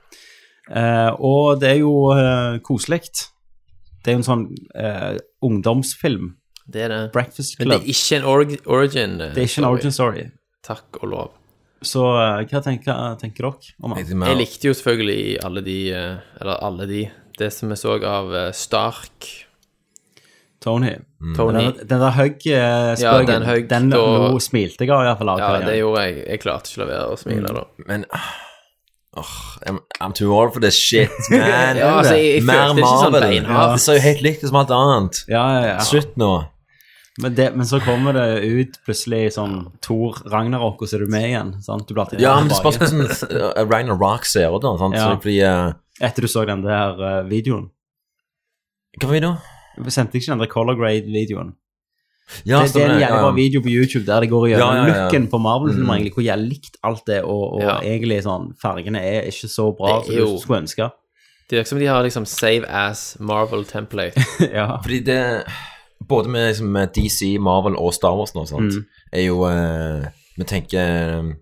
Speaker 1: Ja. Eh, og det er jo uh, koselig. Det er jo en sånn eh, ungdomsfilm.
Speaker 2: Det er det.
Speaker 1: Breakfast
Speaker 2: Men det
Speaker 1: Club.
Speaker 2: er ikke en org- origin. eh,
Speaker 1: Det er ikke en
Speaker 2: story.
Speaker 1: origin story.
Speaker 2: Takk og lov.
Speaker 1: Så eh, hva tenker, tenker dere om
Speaker 3: Jeg
Speaker 1: den?
Speaker 3: tror vi har-
Speaker 2: Jeg likte jo selvfølgelig alle de eh, Eller alle de Det som vi så av eh, Stark,
Speaker 1: Tony?
Speaker 2: Tony
Speaker 1: Den, den der
Speaker 2: Mm. Ja,
Speaker 1: hugg-spøken,
Speaker 2: den hugg,
Speaker 1: den,
Speaker 2: da-
Speaker 1: nå smilte jeg av, iallfall.
Speaker 2: Ja, det gjorde jeg. Jeg klarte ikke å la være å
Speaker 1: Mm.
Speaker 2: smile da.
Speaker 3: Men ah, åh, I'm, I'm too old for this shit, man.
Speaker 2: Ja, altså, jeg- jeg
Speaker 3: Mer
Speaker 2: følte ikke sånn
Speaker 3: Marvel.
Speaker 2: beinhardt.
Speaker 3: Det ser jo helt likt ut som alt annet.
Speaker 1: ja, ja, ja.
Speaker 3: Slutt nå.
Speaker 1: Men, det, men så kommer det ut plutselig sånn Thor Ragnarok, og så er du med igjen. Sant? Du blir alltid
Speaker 3: Ja, men det spørs
Speaker 1: tilbake
Speaker 3: hvordan eh, Ragnar Rock ser ut, da. Sant?
Speaker 1: Ja.
Speaker 3: Så, fordi eh,
Speaker 1: etter du så den der eh, videoen.
Speaker 3: Hva var det da?
Speaker 1: Jeg sendte ikke den der Color Grade-videoen.
Speaker 3: Ja,
Speaker 1: det, det er en jævlig bra video på YouTube der det går gjennom
Speaker 3: Ja, ja, ja.
Speaker 1: looken på Marvel-filmer,
Speaker 3: Mm.
Speaker 1: egentlig, hvor jeg likt alt det, og, og
Speaker 2: Ja.
Speaker 1: egentlig sånn Fargene er ikke så bra
Speaker 2: Det er
Speaker 1: som du
Speaker 2: jo-
Speaker 1: skulle ønske.
Speaker 2: Det virker som de har liksom save as Marvel template.
Speaker 1: ja.
Speaker 3: Fordi det Både med liksom, med DC, Marvel og Star Wars nå, sant,
Speaker 1: Mm.
Speaker 3: er jo eh, Vi tenker eh,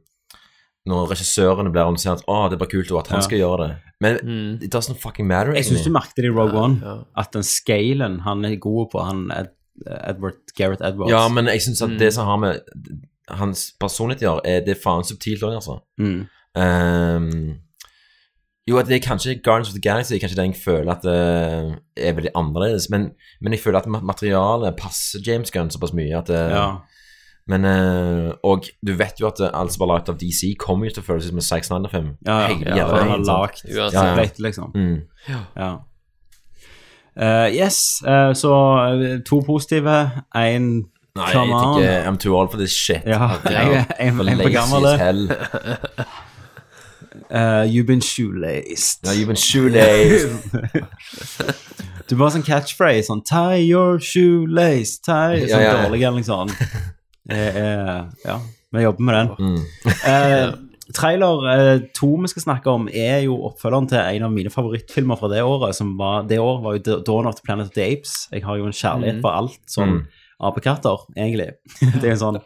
Speaker 3: Når regissørene blir annonsert Å, det blir kult, og at han
Speaker 1: Ja.
Speaker 3: skal gjøre det. Men
Speaker 2: Mm.
Speaker 3: it doesn't fucking matter.
Speaker 1: Jeg syns du merket det i Rogue One,
Speaker 2: ja.
Speaker 1: at den scalen han er god på, han Ed, eh, Edward, Gareth Edwards
Speaker 3: Ja, men jeg syns at
Speaker 1: Mm.
Speaker 3: det som har med hans personlighet å gjøre, er det er faen subtilt òg, altså.
Speaker 1: mm.
Speaker 3: Ehm, jo, at det er kanskje Guardians of the Galaxy er kanskje den jeg føler at det er veldig annerledes, men, men jeg føler at ma- materialet passer James Gunn såpass mye at eh,
Speaker 1: ja.
Speaker 3: Men eh, Og du vet jo at eh, alt som er laget av DC, kommer jo til å føles ut som en 605.
Speaker 1: Ja, ja,
Speaker 3: Hele
Speaker 1: ja,
Speaker 3: jævla
Speaker 1: for han har
Speaker 3: veien, sant?
Speaker 1: lagd
Speaker 2: Uansett.
Speaker 1: ja, ja. liksom.
Speaker 3: Mm.
Speaker 1: Ja. Eh, yes, eh, så eh, to positive, én
Speaker 3: Nei, jeg
Speaker 1: Come on.
Speaker 3: tenker I'm too old for this shit.
Speaker 1: Ja, en- en-
Speaker 3: For
Speaker 1: en for
Speaker 3: lazy
Speaker 1: gammel, eh. det.
Speaker 3: as hell.
Speaker 1: eh, You've been shoelaced.
Speaker 3: Ja, you've been shoelaced.
Speaker 1: Du bare sånn catchphrase sånn Tie your shoelace, tie
Speaker 3: Ja,
Speaker 1: Sånn
Speaker 3: ja, ja.
Speaker 1: dårlig eller noe sånt. Eh, eh, ja, vi jobber med den.
Speaker 3: Mm.
Speaker 1: Eh, trailer eh, to vi skal snakke om, er jo oppfølgeren til en av mine favorittfilmer fra det året. Som var, det året var jo Da- Dawn of the Planet of the Apes. Jeg har jo en kjærlighet for alt sånn
Speaker 3: Mm.
Speaker 1: apekatter, egentlig. det er jo en sånn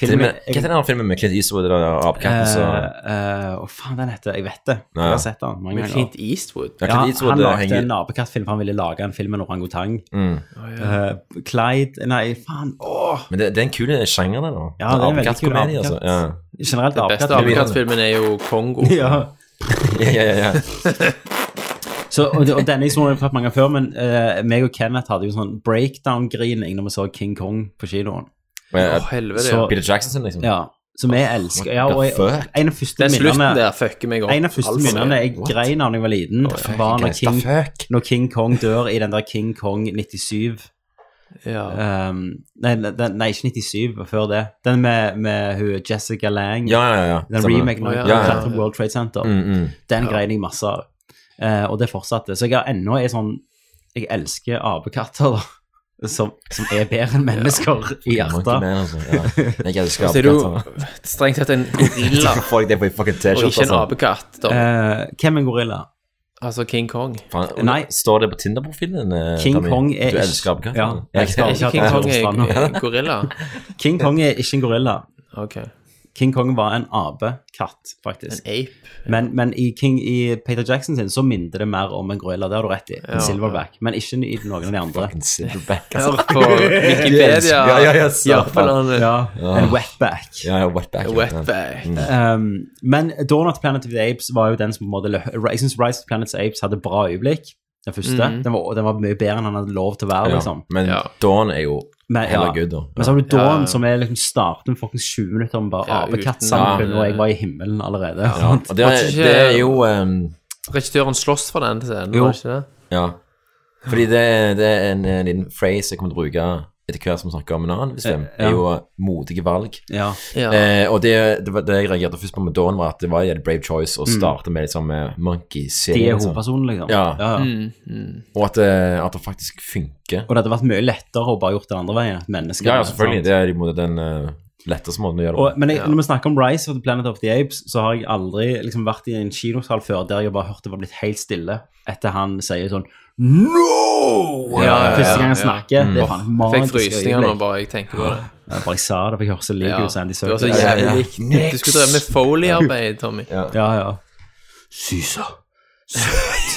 Speaker 3: Til og
Speaker 1: film
Speaker 3: med- Hva heter den andre filmen med Clint Eastwood og den der apekatten som
Speaker 1: Eh, eh, Hva faen den heter? Jeg vet det.
Speaker 3: Ja, ja.
Speaker 1: Jeg har sett den mange
Speaker 2: Men
Speaker 1: ganger.
Speaker 2: Clint Eastwood
Speaker 3: Ja,
Speaker 1: Ja,
Speaker 3: Clint Eastwood
Speaker 1: han
Speaker 3: eh,
Speaker 1: lagde
Speaker 3: henger
Speaker 1: en nabekattfilm, for han ville lage en film med en orangutang.
Speaker 3: mm.
Speaker 1: Eh, Clyde Nei, faen. Åh!
Speaker 3: Men det, det er en kul sjanger, det, da.
Speaker 1: Ja, det er en veldig kul
Speaker 3: Apekattkomedie, altså. Ja.
Speaker 1: Generelt
Speaker 2: Beste
Speaker 1: apekattfilm.
Speaker 2: avkattfilmen er jo Kongo.
Speaker 1: Ja.
Speaker 3: Ja, ja, ja, ja.
Speaker 1: Så, og, og denne historien har vi fått mange ganger før, men eh, meg og Kenneth hadde jo sånn breakdown-grining når vi så King Kong på kinoen.
Speaker 3: Men,
Speaker 2: Å,
Speaker 3: eh,
Speaker 2: helvete.
Speaker 1: Så-
Speaker 2: ja.
Speaker 3: Peter Jackson sin, liksom.
Speaker 1: Ja, Som jeg elsker. Ja,
Speaker 3: the
Speaker 1: og jeg,
Speaker 3: fuck?
Speaker 1: en av første
Speaker 2: Den slutten
Speaker 1: minnene
Speaker 2: der fucker meg opp.
Speaker 1: En av første
Speaker 2: altså.
Speaker 1: minnene jeg
Speaker 3: What?
Speaker 1: grein av da jeg var liten,
Speaker 3: fuck,
Speaker 1: var når
Speaker 3: guys,
Speaker 1: King,
Speaker 3: the fuck?
Speaker 1: når King Kong dør i den der King Kong 97
Speaker 2: Ja.
Speaker 1: um, nei, den, nei, ikke 97, hva før det. Den med, med hun Jessica Lang.
Speaker 3: Ja, ja, ja.
Speaker 1: Den
Speaker 3: Stemmer det.
Speaker 1: remaken av
Speaker 2: Å, ja,
Speaker 1: Klatrer
Speaker 3: ja,
Speaker 2: ja.
Speaker 1: World Trade Center.
Speaker 3: Mm, mm.
Speaker 1: Den grein jeg masse av. Eh, og det fortsatte. Så jeg har ennå en sånn Jeg elsker apekatter da, som, som er bedre enn mennesker i
Speaker 3: Monkey
Speaker 1: hjertet.
Speaker 3: Man, altså. Ja. Jeg elsker
Speaker 2: Så er du
Speaker 3: apekatter.
Speaker 2: strengt tatt en gorilla
Speaker 3: Hvorfor får jeg det på en fucking
Speaker 2: og
Speaker 3: T-skjorte?
Speaker 2: ikke en
Speaker 3: altså?
Speaker 2: apekatt. da.
Speaker 1: sånn. Eh, hvem er en gorilla?
Speaker 2: Altså King Kong.
Speaker 3: Faen,
Speaker 1: Nei.
Speaker 3: Står det på Tinder-profilen? eh,
Speaker 1: King
Speaker 3: Tommy?
Speaker 1: Kong er
Speaker 3: Du
Speaker 1: ikke-
Speaker 3: elsker apekatter?
Speaker 1: Ja.
Speaker 3: Jeg
Speaker 1: Ja,
Speaker 2: Er
Speaker 3: elsker
Speaker 1: ikke
Speaker 2: ikke
Speaker 1: hatt
Speaker 2: King
Speaker 1: det
Speaker 2: Kong
Speaker 1: hos
Speaker 2: en
Speaker 1: Stranda.
Speaker 2: en gorilla?
Speaker 1: King Kong er ikke en gorilla.
Speaker 2: OK. En
Speaker 1: King Kong var en apekatt, faktisk.
Speaker 2: ape.
Speaker 1: Men, men i, King, i Peter Jackson sin så minner det mer om en gorilla. Det har du rett i. En
Speaker 2: Ja.
Speaker 1: silverback. Men ikke i noen av de andre.
Speaker 3: En silverback, altså.
Speaker 2: Hør på Wikipedia.
Speaker 3: Ja, ja, ja, så faen.
Speaker 2: Japan,
Speaker 1: Ja, en wetback.
Speaker 3: Ja, ja, wetback. ja. Mm.
Speaker 2: Wetback.
Speaker 1: Um, men Dawn of the Planet of the Apes var jo den som på en måte lø- Jeg synes Rise of the Planet of the Apes hadde bra øyeblikk. Den første.
Speaker 2: Mhm.
Speaker 1: Den, var, den var mye bedre enn han hadde lov til å være.
Speaker 3: Ja.
Speaker 1: liksom.
Speaker 3: Men
Speaker 2: Ja.
Speaker 3: Dawn er jo
Speaker 1: Men,
Speaker 3: heller
Speaker 1: ja.
Speaker 3: good, da.
Speaker 1: Men så har du Dawn,
Speaker 2: ja.
Speaker 1: som er liksom starten med fuckings 20 minutter om bare
Speaker 2: Ja,
Speaker 1: apekattsamfunn,
Speaker 2: uten-
Speaker 1: og jeg var i himmelen allerede.
Speaker 3: Ja,
Speaker 1: sant?
Speaker 3: Og det, er-
Speaker 2: ikke-
Speaker 3: det er jo ehm,
Speaker 2: Regissøren slåss for den scenen,
Speaker 1: Jo.
Speaker 2: var det ikke det?
Speaker 3: Ja. Fordi det, det er en, en liten phrase jeg kommer til å bruke etter hvert som vi snakker om en annen film,
Speaker 1: Eh, ja.
Speaker 3: er jo eh, modige valg.
Speaker 1: Ja.
Speaker 2: Ja.
Speaker 3: Eh, og det, det, var- det jeg reagerte først på med Dawn, var at det var en brave choice
Speaker 2: Mm.
Speaker 3: å starte med liksom eh, monkey
Speaker 1: De
Speaker 3: scene.
Speaker 1: er
Speaker 3: Liksom.
Speaker 1: hovedpersonen, liksom.
Speaker 3: Ja.
Speaker 1: Ja, ja.
Speaker 2: Mm.
Speaker 3: Og at, eh, at det faktisk funker.
Speaker 1: Og det hadde vært mye lettere å bare gjort det andre veien. at mennesker-
Speaker 3: Ja, ja, selvfølgelig.
Speaker 1: sant?
Speaker 3: Det er imot den eh, letteste måten å gjøre det
Speaker 1: Og, men jeg, når vi snakker om Rise of the Planet of the Apes, så har jeg aldri liksom, vært i en kinosal før der jeg bare hørte det var blitt helt stille etter han sier sånn No!
Speaker 2: Ja, ja, ja,
Speaker 1: Første gang han
Speaker 2: ja.
Speaker 1: snakker. Det er faen et
Speaker 2: Jeg fikk
Speaker 1: magisk
Speaker 2: frysninger nå
Speaker 1: øyeblikk.
Speaker 2: bare jeg tenker på det.
Speaker 1: Ja, Bare jeg sa Ah, det, for jeg hører så lik
Speaker 2: Ja.
Speaker 1: ut som Andy
Speaker 2: Det var så
Speaker 1: Serkis. Ja,
Speaker 2: jævlig likt. Du skulle drevet med foliearbeid, Tommy.
Speaker 1: ja. ja. Sysa. Søt.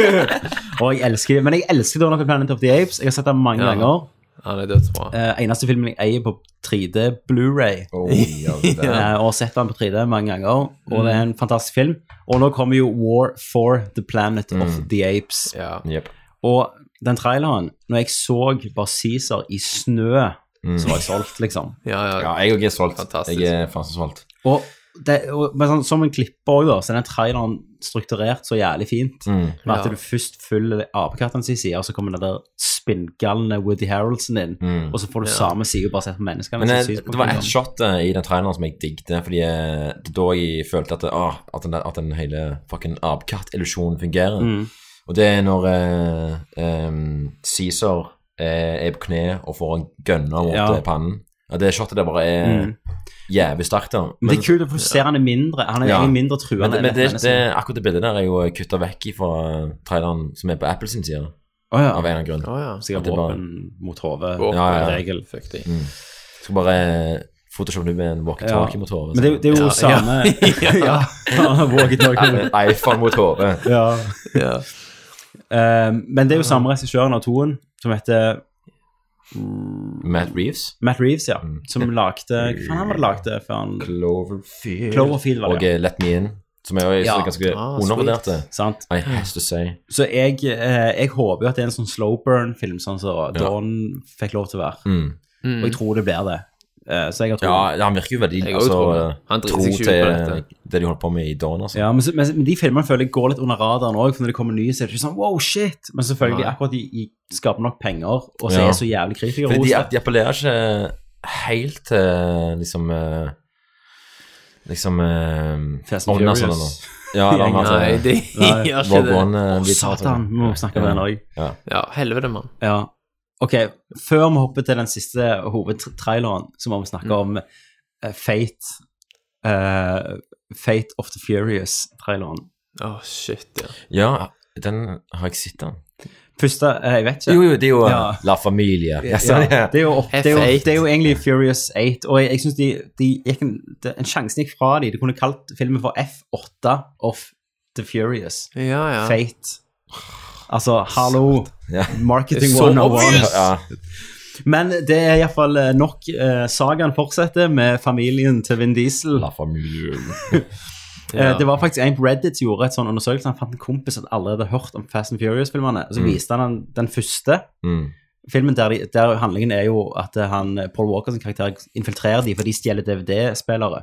Speaker 1: og jeg elsker det. Men jeg elsker Donald the Planet of the Apes. Jeg har sett den mange
Speaker 2: Ja.
Speaker 1: ganger.
Speaker 2: Han er dødsbra.
Speaker 1: Eh, eneste filmen jeg eier på 3D Blu-ray.
Speaker 3: Oh, ja, det der.
Speaker 1: Eh, og sett den på 3D mange ganger, og det er en fantastisk film. Og nå kommer jo War for the Planet of
Speaker 3: Mm.
Speaker 1: the Apes.
Speaker 2: Ja.
Speaker 3: Jep.
Speaker 1: Og den traileren, når jeg så bare Caesar i snø,
Speaker 3: Mm.
Speaker 1: så var jeg solgt, liksom.
Speaker 2: Ja,
Speaker 3: ja,
Speaker 2: ja.
Speaker 3: jeg òg er solgt.
Speaker 2: Fantastisk.
Speaker 3: Jeg er faen så solgt.
Speaker 1: Og, det, og men sånn, som en klipper også, da, så er den traileren strukturert så jævlig fint.
Speaker 3: Mm.
Speaker 1: Med at
Speaker 2: Ja.
Speaker 1: du først følger apekatten sin side, og så kommer den der spinngalne Woody Harrelson inn, og så får du samme side bare sett på menneskene.
Speaker 3: Mm. Men
Speaker 1: som
Speaker 3: eh,
Speaker 1: syns Altså, på
Speaker 3: det var
Speaker 1: hverandre.
Speaker 3: ett shot eh, i den traileren som jeg digget, fordi eh, det da jeg følte at, ah, at, den, der- at den hele fucking apekatt-illusjonen fungerer.
Speaker 1: Mm.
Speaker 3: Og det er når eh, em, Caesar eh, er på kne og får en gønne mot
Speaker 1: Ja. Mm.
Speaker 3: eh, pannen. Ja, det shotet der bare er jævlig sterkt. da.
Speaker 1: Men det er kult, for du ser han er mindre. Han er
Speaker 3: Ja.
Speaker 1: egentlig mindre truende.
Speaker 3: men, eh, men
Speaker 1: enn
Speaker 3: det,
Speaker 1: et menneske.
Speaker 3: det, akkurat det bildet der er jo kutta vekk fra traileren som er på Apple sin side,
Speaker 1: Å, ja.
Speaker 3: av en eller annen grunn.
Speaker 2: Å ja.
Speaker 1: Sikkert
Speaker 3: Det er bare-
Speaker 1: våpen mot hodet.
Speaker 2: Våpen,
Speaker 1: ja,
Speaker 3: ja, Mm. ja.
Speaker 1: regel.
Speaker 2: Fuck de.
Speaker 3: Skal bare eh, photoshoppe med en walkietalkie mot hodet.
Speaker 1: Men det, er jo- det er jo
Speaker 2: Ja,
Speaker 1: samme Ja. Våget nok.
Speaker 3: En iPhone mot hodet.
Speaker 1: Ja.
Speaker 2: Ja.
Speaker 1: Eh, men det er jo samme regissøren av toen, som heter
Speaker 3: Matt Reeves.
Speaker 1: Matt Reeves, ja.
Speaker 3: Mm.
Speaker 1: Som lagde Hva faen han var det lagde før han
Speaker 3: Cloverfield.
Speaker 1: Cloverfield var
Speaker 3: Og
Speaker 1: det.
Speaker 3: eh, Let Me In, som er jo
Speaker 1: Ja.
Speaker 3: ja. ganske
Speaker 2: Ah,
Speaker 3: undervurderte.
Speaker 2: sweet.
Speaker 1: Sant?
Speaker 3: I has to say.
Speaker 1: Så jeg, eh, jeg håper jo at det er en sånn slow burn-film, sånn som Dawn fikk lov til å være. Og jeg tror det blir det. Eh, så jeg har tro.
Speaker 3: Mm. Ja, han virker jo veldig
Speaker 2: Jeg
Speaker 3: altså,
Speaker 2: tror det. Han driter
Speaker 3: tro
Speaker 2: seg ikke
Speaker 3: til
Speaker 2: ut på dette.
Speaker 3: det de holder på med i Dawn, altså.
Speaker 1: Ja, men, så- men, men de filmene føler jeg går litt under radaren òg, for når det kommer nye, så er det ikke sånn wow, shit. Men selvfølgelig, akkurat de, de skaper nok penger, og så
Speaker 3: Ja.
Speaker 1: er så jævlig kritikere
Speaker 3: Fordi
Speaker 1: hos
Speaker 3: de,
Speaker 1: det.
Speaker 3: de appellerer ikke eh, helt til liksom eh, Liksom eh,
Speaker 1: Fast and
Speaker 3: Ånden, altså,
Speaker 1: Furious.
Speaker 3: nå. Ja, eller han
Speaker 2: Nei,
Speaker 3: altså,
Speaker 2: de gjør ikke
Speaker 3: Rogue
Speaker 2: det.
Speaker 3: One eh, blir tatt,
Speaker 1: Satan, vi må snakke om den òg.
Speaker 2: Ja, helvete, mann.
Speaker 1: Ja. Ok, før vi hopper til den siste hovedtraileren, så må vi snakke
Speaker 3: Mm.
Speaker 1: om eh, Fate. eh, Fate of the Furious-traileren.
Speaker 2: Å, shit, ja.
Speaker 3: Ja, den har jeg sett, den.
Speaker 1: Første eh, Jeg vet ikke.
Speaker 3: Jo, jo, det er jo eh,
Speaker 1: Ja.
Speaker 3: La Familia.
Speaker 1: Ja,
Speaker 3: Yes, ja.
Speaker 1: det, er jo opp, det, er jo,
Speaker 2: F8.
Speaker 1: det er jo egentlig Furious 8, og jeg, jeg syns de, de gikk en, det, en sjansen gikk fra de. De kunne kalt filmen for F8 of The Furious.
Speaker 2: Ja, ja.
Speaker 1: Fate. Altså, hallo,
Speaker 3: Ja.
Speaker 1: marketing
Speaker 2: Så
Speaker 1: 101.
Speaker 2: obvious!
Speaker 3: Ja.
Speaker 1: Men det er iallfall nok. Eh, sagaen fortsetter med familien til Vin Diesel.
Speaker 3: La Familia.
Speaker 1: Eh, det var faktisk en på Reddit som gjorde et sånn
Speaker 2: Mm.
Speaker 3: Mm.
Speaker 1: undersøkelse. Han fant en kompis som allerede hadde hørt om Fast and Furious-filmene. og Så viste han den, den første. filmen der, de, der handlingen er jo at eh, han, Paul Walker sin karakter infiltrerer de, for de stjeler DVD-spillere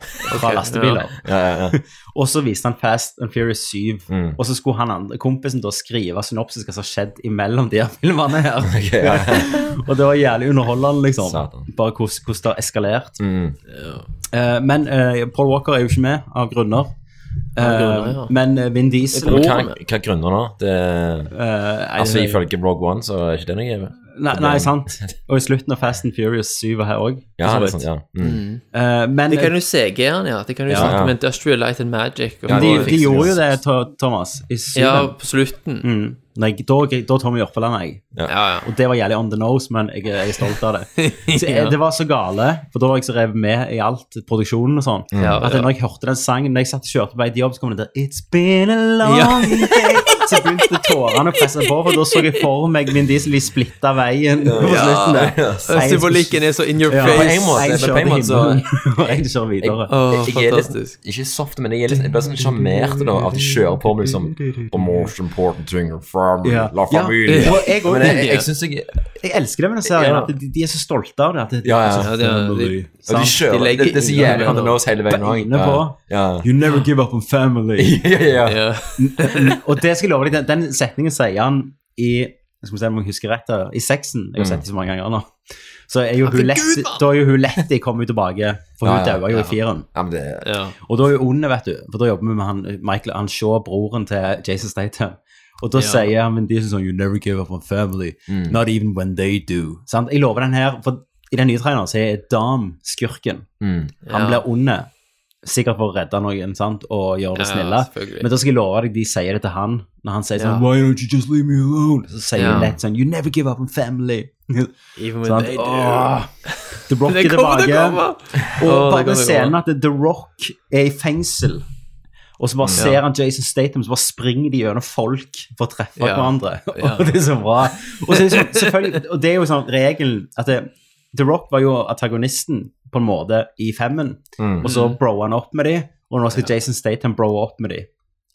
Speaker 1: fra
Speaker 2: Ok,
Speaker 1: lastebiler.
Speaker 3: Ja, ja, ja.
Speaker 1: Og så viste han Fast and Furious 7,
Speaker 3: Mm.
Speaker 1: og så skulle han andre, kompisen da skrive synopsis hva som har skjedd imellom de her filmene her.
Speaker 3: Ok, ja, ja.
Speaker 1: Og det var jævlig underholdende, liksom.
Speaker 3: Satan.
Speaker 1: Bare hvordan hvordan det har eskalert.
Speaker 3: Mm.
Speaker 1: Eh, men eh, Paul Walker er jo ikke med, av grunner.
Speaker 2: Av grunner,
Speaker 1: Eh,
Speaker 2: ja.
Speaker 1: Men eh, Vin Diesel
Speaker 2: Jeg
Speaker 3: Men
Speaker 2: tror-
Speaker 3: Hva, hva er grunnen da? Det,
Speaker 1: eh,
Speaker 3: altså,
Speaker 1: er-
Speaker 3: ifølge Rogue One så er ikke det noe givet.
Speaker 1: Nei, nei, sant. Og i slutten av Fast and Furious 7 var her òg.
Speaker 3: Ja, det er sant, ja. Mm.
Speaker 1: Eh, men
Speaker 2: De kan jo CG-en, ja. De kan jo
Speaker 1: Ja,
Speaker 2: snakke
Speaker 3: ja.
Speaker 2: med Industrial Light and Magic. Og
Speaker 1: de,
Speaker 2: og
Speaker 1: de
Speaker 2: fikse-
Speaker 1: gjorde jo det, Tho- Thomas. I
Speaker 2: Ja,
Speaker 1: syvende.
Speaker 2: på slutten.
Speaker 1: Mm. Nei, da, da tar vi Jørpeland, jeg.
Speaker 2: Ja, ja.
Speaker 1: Og det var jævlig on the nose, men jeg, jeg er stolt av det. Så jeg,
Speaker 2: Ja.
Speaker 1: Det var så gale, for da var jeg så revet med i alt, produksjonen og sånn,
Speaker 2: Ja,
Speaker 1: at
Speaker 2: ja.
Speaker 1: når jeg hørte den sangen, når jeg satt og kjørte på vei til jobb, så kom det der It's been a long
Speaker 2: Ja.
Speaker 1: day. Så begynte tårene å presse på, for da så jeg for meg min diesel i splitta veien på slutten der.
Speaker 2: Og Symbolikken er så in your
Speaker 1: Ja,
Speaker 3: På
Speaker 2: face.
Speaker 3: en måte,
Speaker 1: jeg
Speaker 3: men på en
Speaker 1: kjører
Speaker 3: måte så-
Speaker 1: himmelen, og jeg kjører videre.
Speaker 2: Å,
Speaker 3: jeg er litt,
Speaker 2: fantastisk.
Speaker 3: ikke soft, men jeg er litt jeg blir sånn sjarmert da, av at de kjører på med liksom The most important thing in family,
Speaker 1: Ja.
Speaker 3: la
Speaker 1: Ja.
Speaker 3: familie.
Speaker 1: Og jeg også
Speaker 3: men jeg, jeg,
Speaker 2: tenker-
Speaker 3: synes jeg
Speaker 1: Jeg elsker det med den serien, at de, de er så stolte av det. At det Altså,
Speaker 3: Ja, ja.
Speaker 2: Ja, det er- de-
Speaker 3: Og
Speaker 1: Sant.
Speaker 3: de kjører,
Speaker 2: De legger
Speaker 3: det, det er så
Speaker 2: ingen
Speaker 3: jævlig on the
Speaker 2: elementer.
Speaker 3: nose hele veien.
Speaker 1: Beine
Speaker 3: Ja.
Speaker 1: på.
Speaker 3: Ja.
Speaker 1: You never give up on family.
Speaker 3: ja, ja, ja.
Speaker 2: Ja.
Speaker 1: Og det skal jeg love deg, den, den setningen sier han i skal vi se om jeg husker rett, her, i sexen. Jeg har sett det så mange ganger nå. Så er jo hun Letty, da er jo hun Letty kommet tilbake, for hun
Speaker 3: Ja, ja,
Speaker 1: daua jo i fireren.
Speaker 3: ja men det
Speaker 2: ja.
Speaker 1: Og da er hun ond, vet du, for da jobber vi med han, Michael, han Shaw, broren til Jason Statham. Og da
Speaker 2: Ja. Mm.
Speaker 1: sier han men de som sånn You never give up on family. Not even when they do. Sant? Jeg lover den her, for i den nye traileren så er Dam skurken.
Speaker 3: mm.
Speaker 1: Han
Speaker 2: Ja.
Speaker 1: blir onde, sikkert for å redde noen sant? og gjøre det
Speaker 2: Ja,
Speaker 1: snille.
Speaker 2: selvfølgelig.
Speaker 1: Men da skal jeg love deg, de sier det til han. Når han sier sånn
Speaker 2: Ja.
Speaker 1: Why don't you just leave me alone? Så sier
Speaker 2: Ja.
Speaker 1: han lett sånn You never give up on family.
Speaker 2: Even when
Speaker 1: Sant?
Speaker 2: they do.
Speaker 1: Åh, The Rock
Speaker 2: Det
Speaker 1: er
Speaker 2: kommer, det
Speaker 1: tilbake.
Speaker 2: kommer!
Speaker 1: Og
Speaker 2: Åh, det
Speaker 1: bare
Speaker 2: kommer,
Speaker 1: den
Speaker 2: det
Speaker 1: scenen
Speaker 2: kommer.
Speaker 1: at The Rock er i fengsel, og så bare ser han Jason Statham, så bare springer de gjennom folk for å treffe
Speaker 2: Ja.
Speaker 1: hverandre.
Speaker 2: Ja.
Speaker 1: Og det er så bra. Og, så er det sånn, selvfølgelig- og det er jo sånn regelen at det, The Rock var jo antagonisten på en måte i femmen,
Speaker 3: Mm.
Speaker 1: og så broa han opp med de, og nå skal Jason Statham broe opp med de.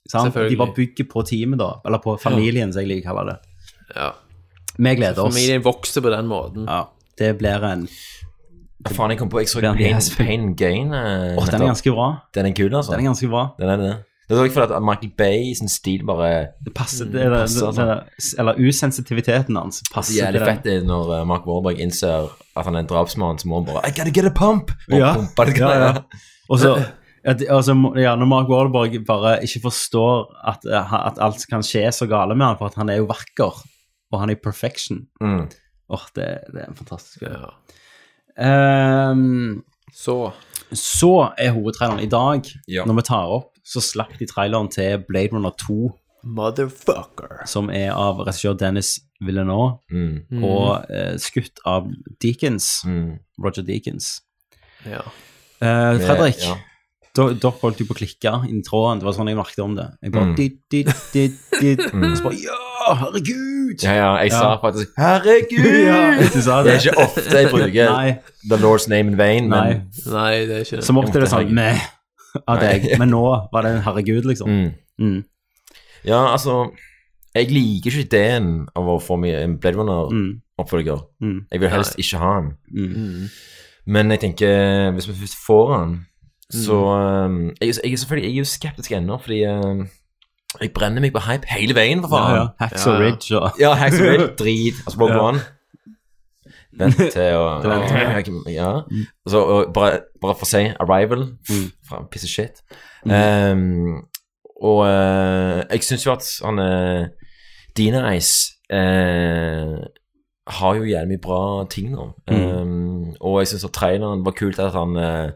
Speaker 1: Sant? De
Speaker 2: Selvfølgelig.
Speaker 1: bare bygger på teamet, da, eller på familien, som jeg liker å kalle det.
Speaker 2: Ja.
Speaker 1: Vi gleder oss.
Speaker 2: Familien vokser på den måten.
Speaker 1: Ja, det blir en
Speaker 3: Hva faen, jeg kom på Jeg så
Speaker 1: Det er en
Speaker 3: Pain,
Speaker 1: yes.
Speaker 3: Pain Gain. eh,
Speaker 1: Åh, den er
Speaker 3: nettopp.
Speaker 1: ganske bra.
Speaker 3: den er kul, altså.
Speaker 1: Den er ganske bra.
Speaker 3: Den er det. Det er også fordi at Michael Bay sin stil bare
Speaker 1: Det passer til det,
Speaker 3: Mm, passer,
Speaker 1: det, det, Eller usensitiviteten hans
Speaker 3: Så
Speaker 1: passer
Speaker 3: jævlig
Speaker 1: til
Speaker 3: fett
Speaker 1: det.
Speaker 3: er når eh, Mark Wahlberg innser at han er en drapsmann, så må han bare I gotta get a pump! Og
Speaker 1: Ja.
Speaker 3: pumper det
Speaker 1: Ja, ja.
Speaker 3: greier.
Speaker 1: Og så at- og så må- ja, Når Mark Wahlberg bare ikke forstår at, eh, at alt kan skje så gale med han, for at han er jo vakker, og han er i perfection.
Speaker 3: Mm.
Speaker 1: Åh, det, det er en fantastisk
Speaker 2: Ja.
Speaker 1: Ehm,
Speaker 2: Så
Speaker 1: Så er hovedtraileren i dag,
Speaker 3: Ja.
Speaker 1: når vi tar opp, så slapp de traileren til Blade Runner 2,
Speaker 2: Motherfucker.
Speaker 1: som er av regissør Dennis Villeneuve,
Speaker 3: Mm.
Speaker 1: og eh, skutt av Deakins,
Speaker 3: Mm.
Speaker 1: Roger Deakins.
Speaker 2: Ja.
Speaker 1: Eh,
Speaker 3: Med-
Speaker 1: Fredrik,
Speaker 3: ja.
Speaker 1: da- dere holdt jo på å klikke inn i tråden, det var sånn jeg merket om det. Jeg bare,
Speaker 3: Mm.
Speaker 1: dit, dit, dit, dit. Og så bare, ja, herregud!
Speaker 3: ja, ja, jeg sa
Speaker 1: Ja.
Speaker 3: faktisk Herregud!
Speaker 1: Ja, du sa
Speaker 3: Det er
Speaker 1: det.
Speaker 3: ikke ofte jeg bruker
Speaker 1: Nei,
Speaker 3: The Lord's name in vain, men
Speaker 1: nei.
Speaker 2: Nei, det er ikke det.
Speaker 1: Som ofte er det sånn,
Speaker 3: Herregud.
Speaker 1: meh, av
Speaker 3: Nei.
Speaker 1: deg. Men nå var det en herregud, liksom.
Speaker 3: Mm.
Speaker 1: Mm.
Speaker 3: Ja, altså Jeg liker ikke ideen av å få meg en Blade
Speaker 1: Mm.
Speaker 3: Runner-oppfølger.
Speaker 1: Mm.
Speaker 3: Jeg vil helst ikke ha den.
Speaker 1: Mm.
Speaker 3: Men jeg tenker, hvis vi først får den,
Speaker 1: Mm.
Speaker 3: så um, jeg, er- jeg er selvfølgelig jeg er jo skeptisk ennå, fordi um, jeg brenner meg på hype hele veien, for
Speaker 1: Ja,
Speaker 3: faen.
Speaker 1: ja. Hacks og
Speaker 2: Ja, ja.
Speaker 1: Ridge og...
Speaker 3: Ja, Hacks and Ridge, drit. Altså, Rogue
Speaker 1: Ja.
Speaker 3: One. Vent til å Ja. Og så, og bare, bare for å si Arrival.
Speaker 1: Mm.
Speaker 3: Fra piece of shit. Um, og eh, jeg syns jo at han eh, Dina Ice eh, har jo jævlig mye bra ting nå.
Speaker 1: Mm.
Speaker 3: Um, og jeg syns at traileren var kult at han eh,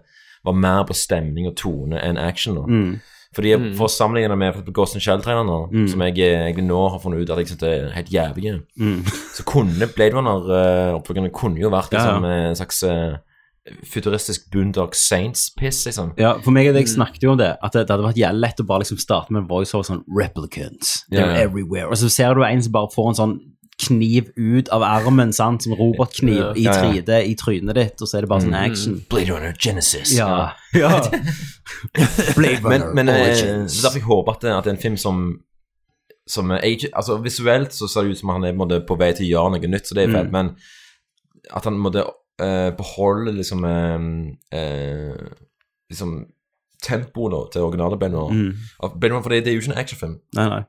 Speaker 3: var mer på stemning og tone enn action. nå.
Speaker 1: Mm.
Speaker 3: Fordi jeg, For å sammenligne det med for eksempel Ghost in Shell-traileren, nå, som jeg eh, egentlig nå har funnet ut at jeg synes det er helt jævlig,
Speaker 1: Mm.
Speaker 3: så kunne Blade Runner-oppfølgerne kunne jo vært
Speaker 1: Ja, ja.
Speaker 3: liksom, en slags eh, futuristisk Boondock Saints-piss, liksom.
Speaker 1: Ja, for meg og deg snakket jo om det, at det, det hadde vært jævlig lett å bare liksom starte med en voiceover sånn Replicants, they're
Speaker 3: Ja, ja.
Speaker 1: everywhere. Og så ser du en som bare får en sånn kniv ut av armen, sant, som robotkniv i
Speaker 3: Ja, ja.
Speaker 1: 3D i trynet ditt, og så er det bare sånn action.
Speaker 3: Blade Runner Genesis.
Speaker 1: Ja. ja. Blade
Speaker 3: Men,
Speaker 1: Runner
Speaker 3: men eh,
Speaker 1: Origins.
Speaker 3: så derfor jeg håper at, det- at det er en film som som er age, altså Visuelt så ser det ut som han er på, en måte, på vei til å gjøre noe nytt, så det er fett, men at han måtte uh, beholde liksom eh, eh, liksom tempoet da, til originale Ben Hur.
Speaker 1: Mm.
Speaker 3: Ben Hur, For det, det er jo ikke en actionfilm.
Speaker 1: Nei, nei.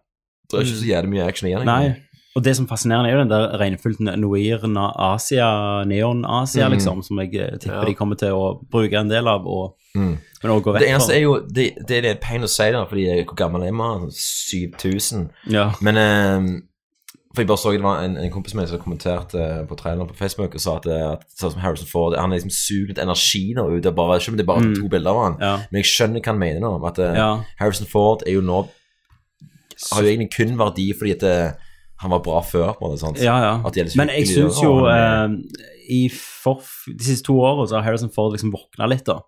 Speaker 3: Det er ikke så jævlig mye action igjen.
Speaker 1: Nei. Og det som er fascinerende, er jo den der regnfullt noiren av Asia, neon-Asia,
Speaker 3: Mm.
Speaker 1: liksom, som jeg eh, tipper de kommer til å bruke en del av, og, men også gå
Speaker 3: Mm. Det
Speaker 1: vekk
Speaker 3: eneste
Speaker 1: fra.
Speaker 3: er jo Det, det er litt pain å si, da, fordi jeg, hvor gammel er man? 7000?
Speaker 1: Ja.
Speaker 3: Men eh, For jeg bare så det var en, en kompis med meg som kommenterte på traileren på Facebook og sa at, eh, at sånn som Harrison Ford Han er liksom sugd energi nå ut av bare Selv om det er bare to bilder av han
Speaker 1: Mm. Ja.
Speaker 3: Men jeg skjønner hva han mener nå. om At eh,
Speaker 1: Ja.
Speaker 3: Harrison Ford er jo nå Har jo egentlig kun verdi fordi at eh, han var bra før. På en måte, sant?
Speaker 1: Ja, ja.
Speaker 3: At de er litt
Speaker 1: Men jeg
Speaker 3: sugd i det,
Speaker 1: syns jo
Speaker 3: og
Speaker 1: eh,
Speaker 3: han er-
Speaker 1: i forf De siste to årene så har Harrison Ford liksom våkna litt, da.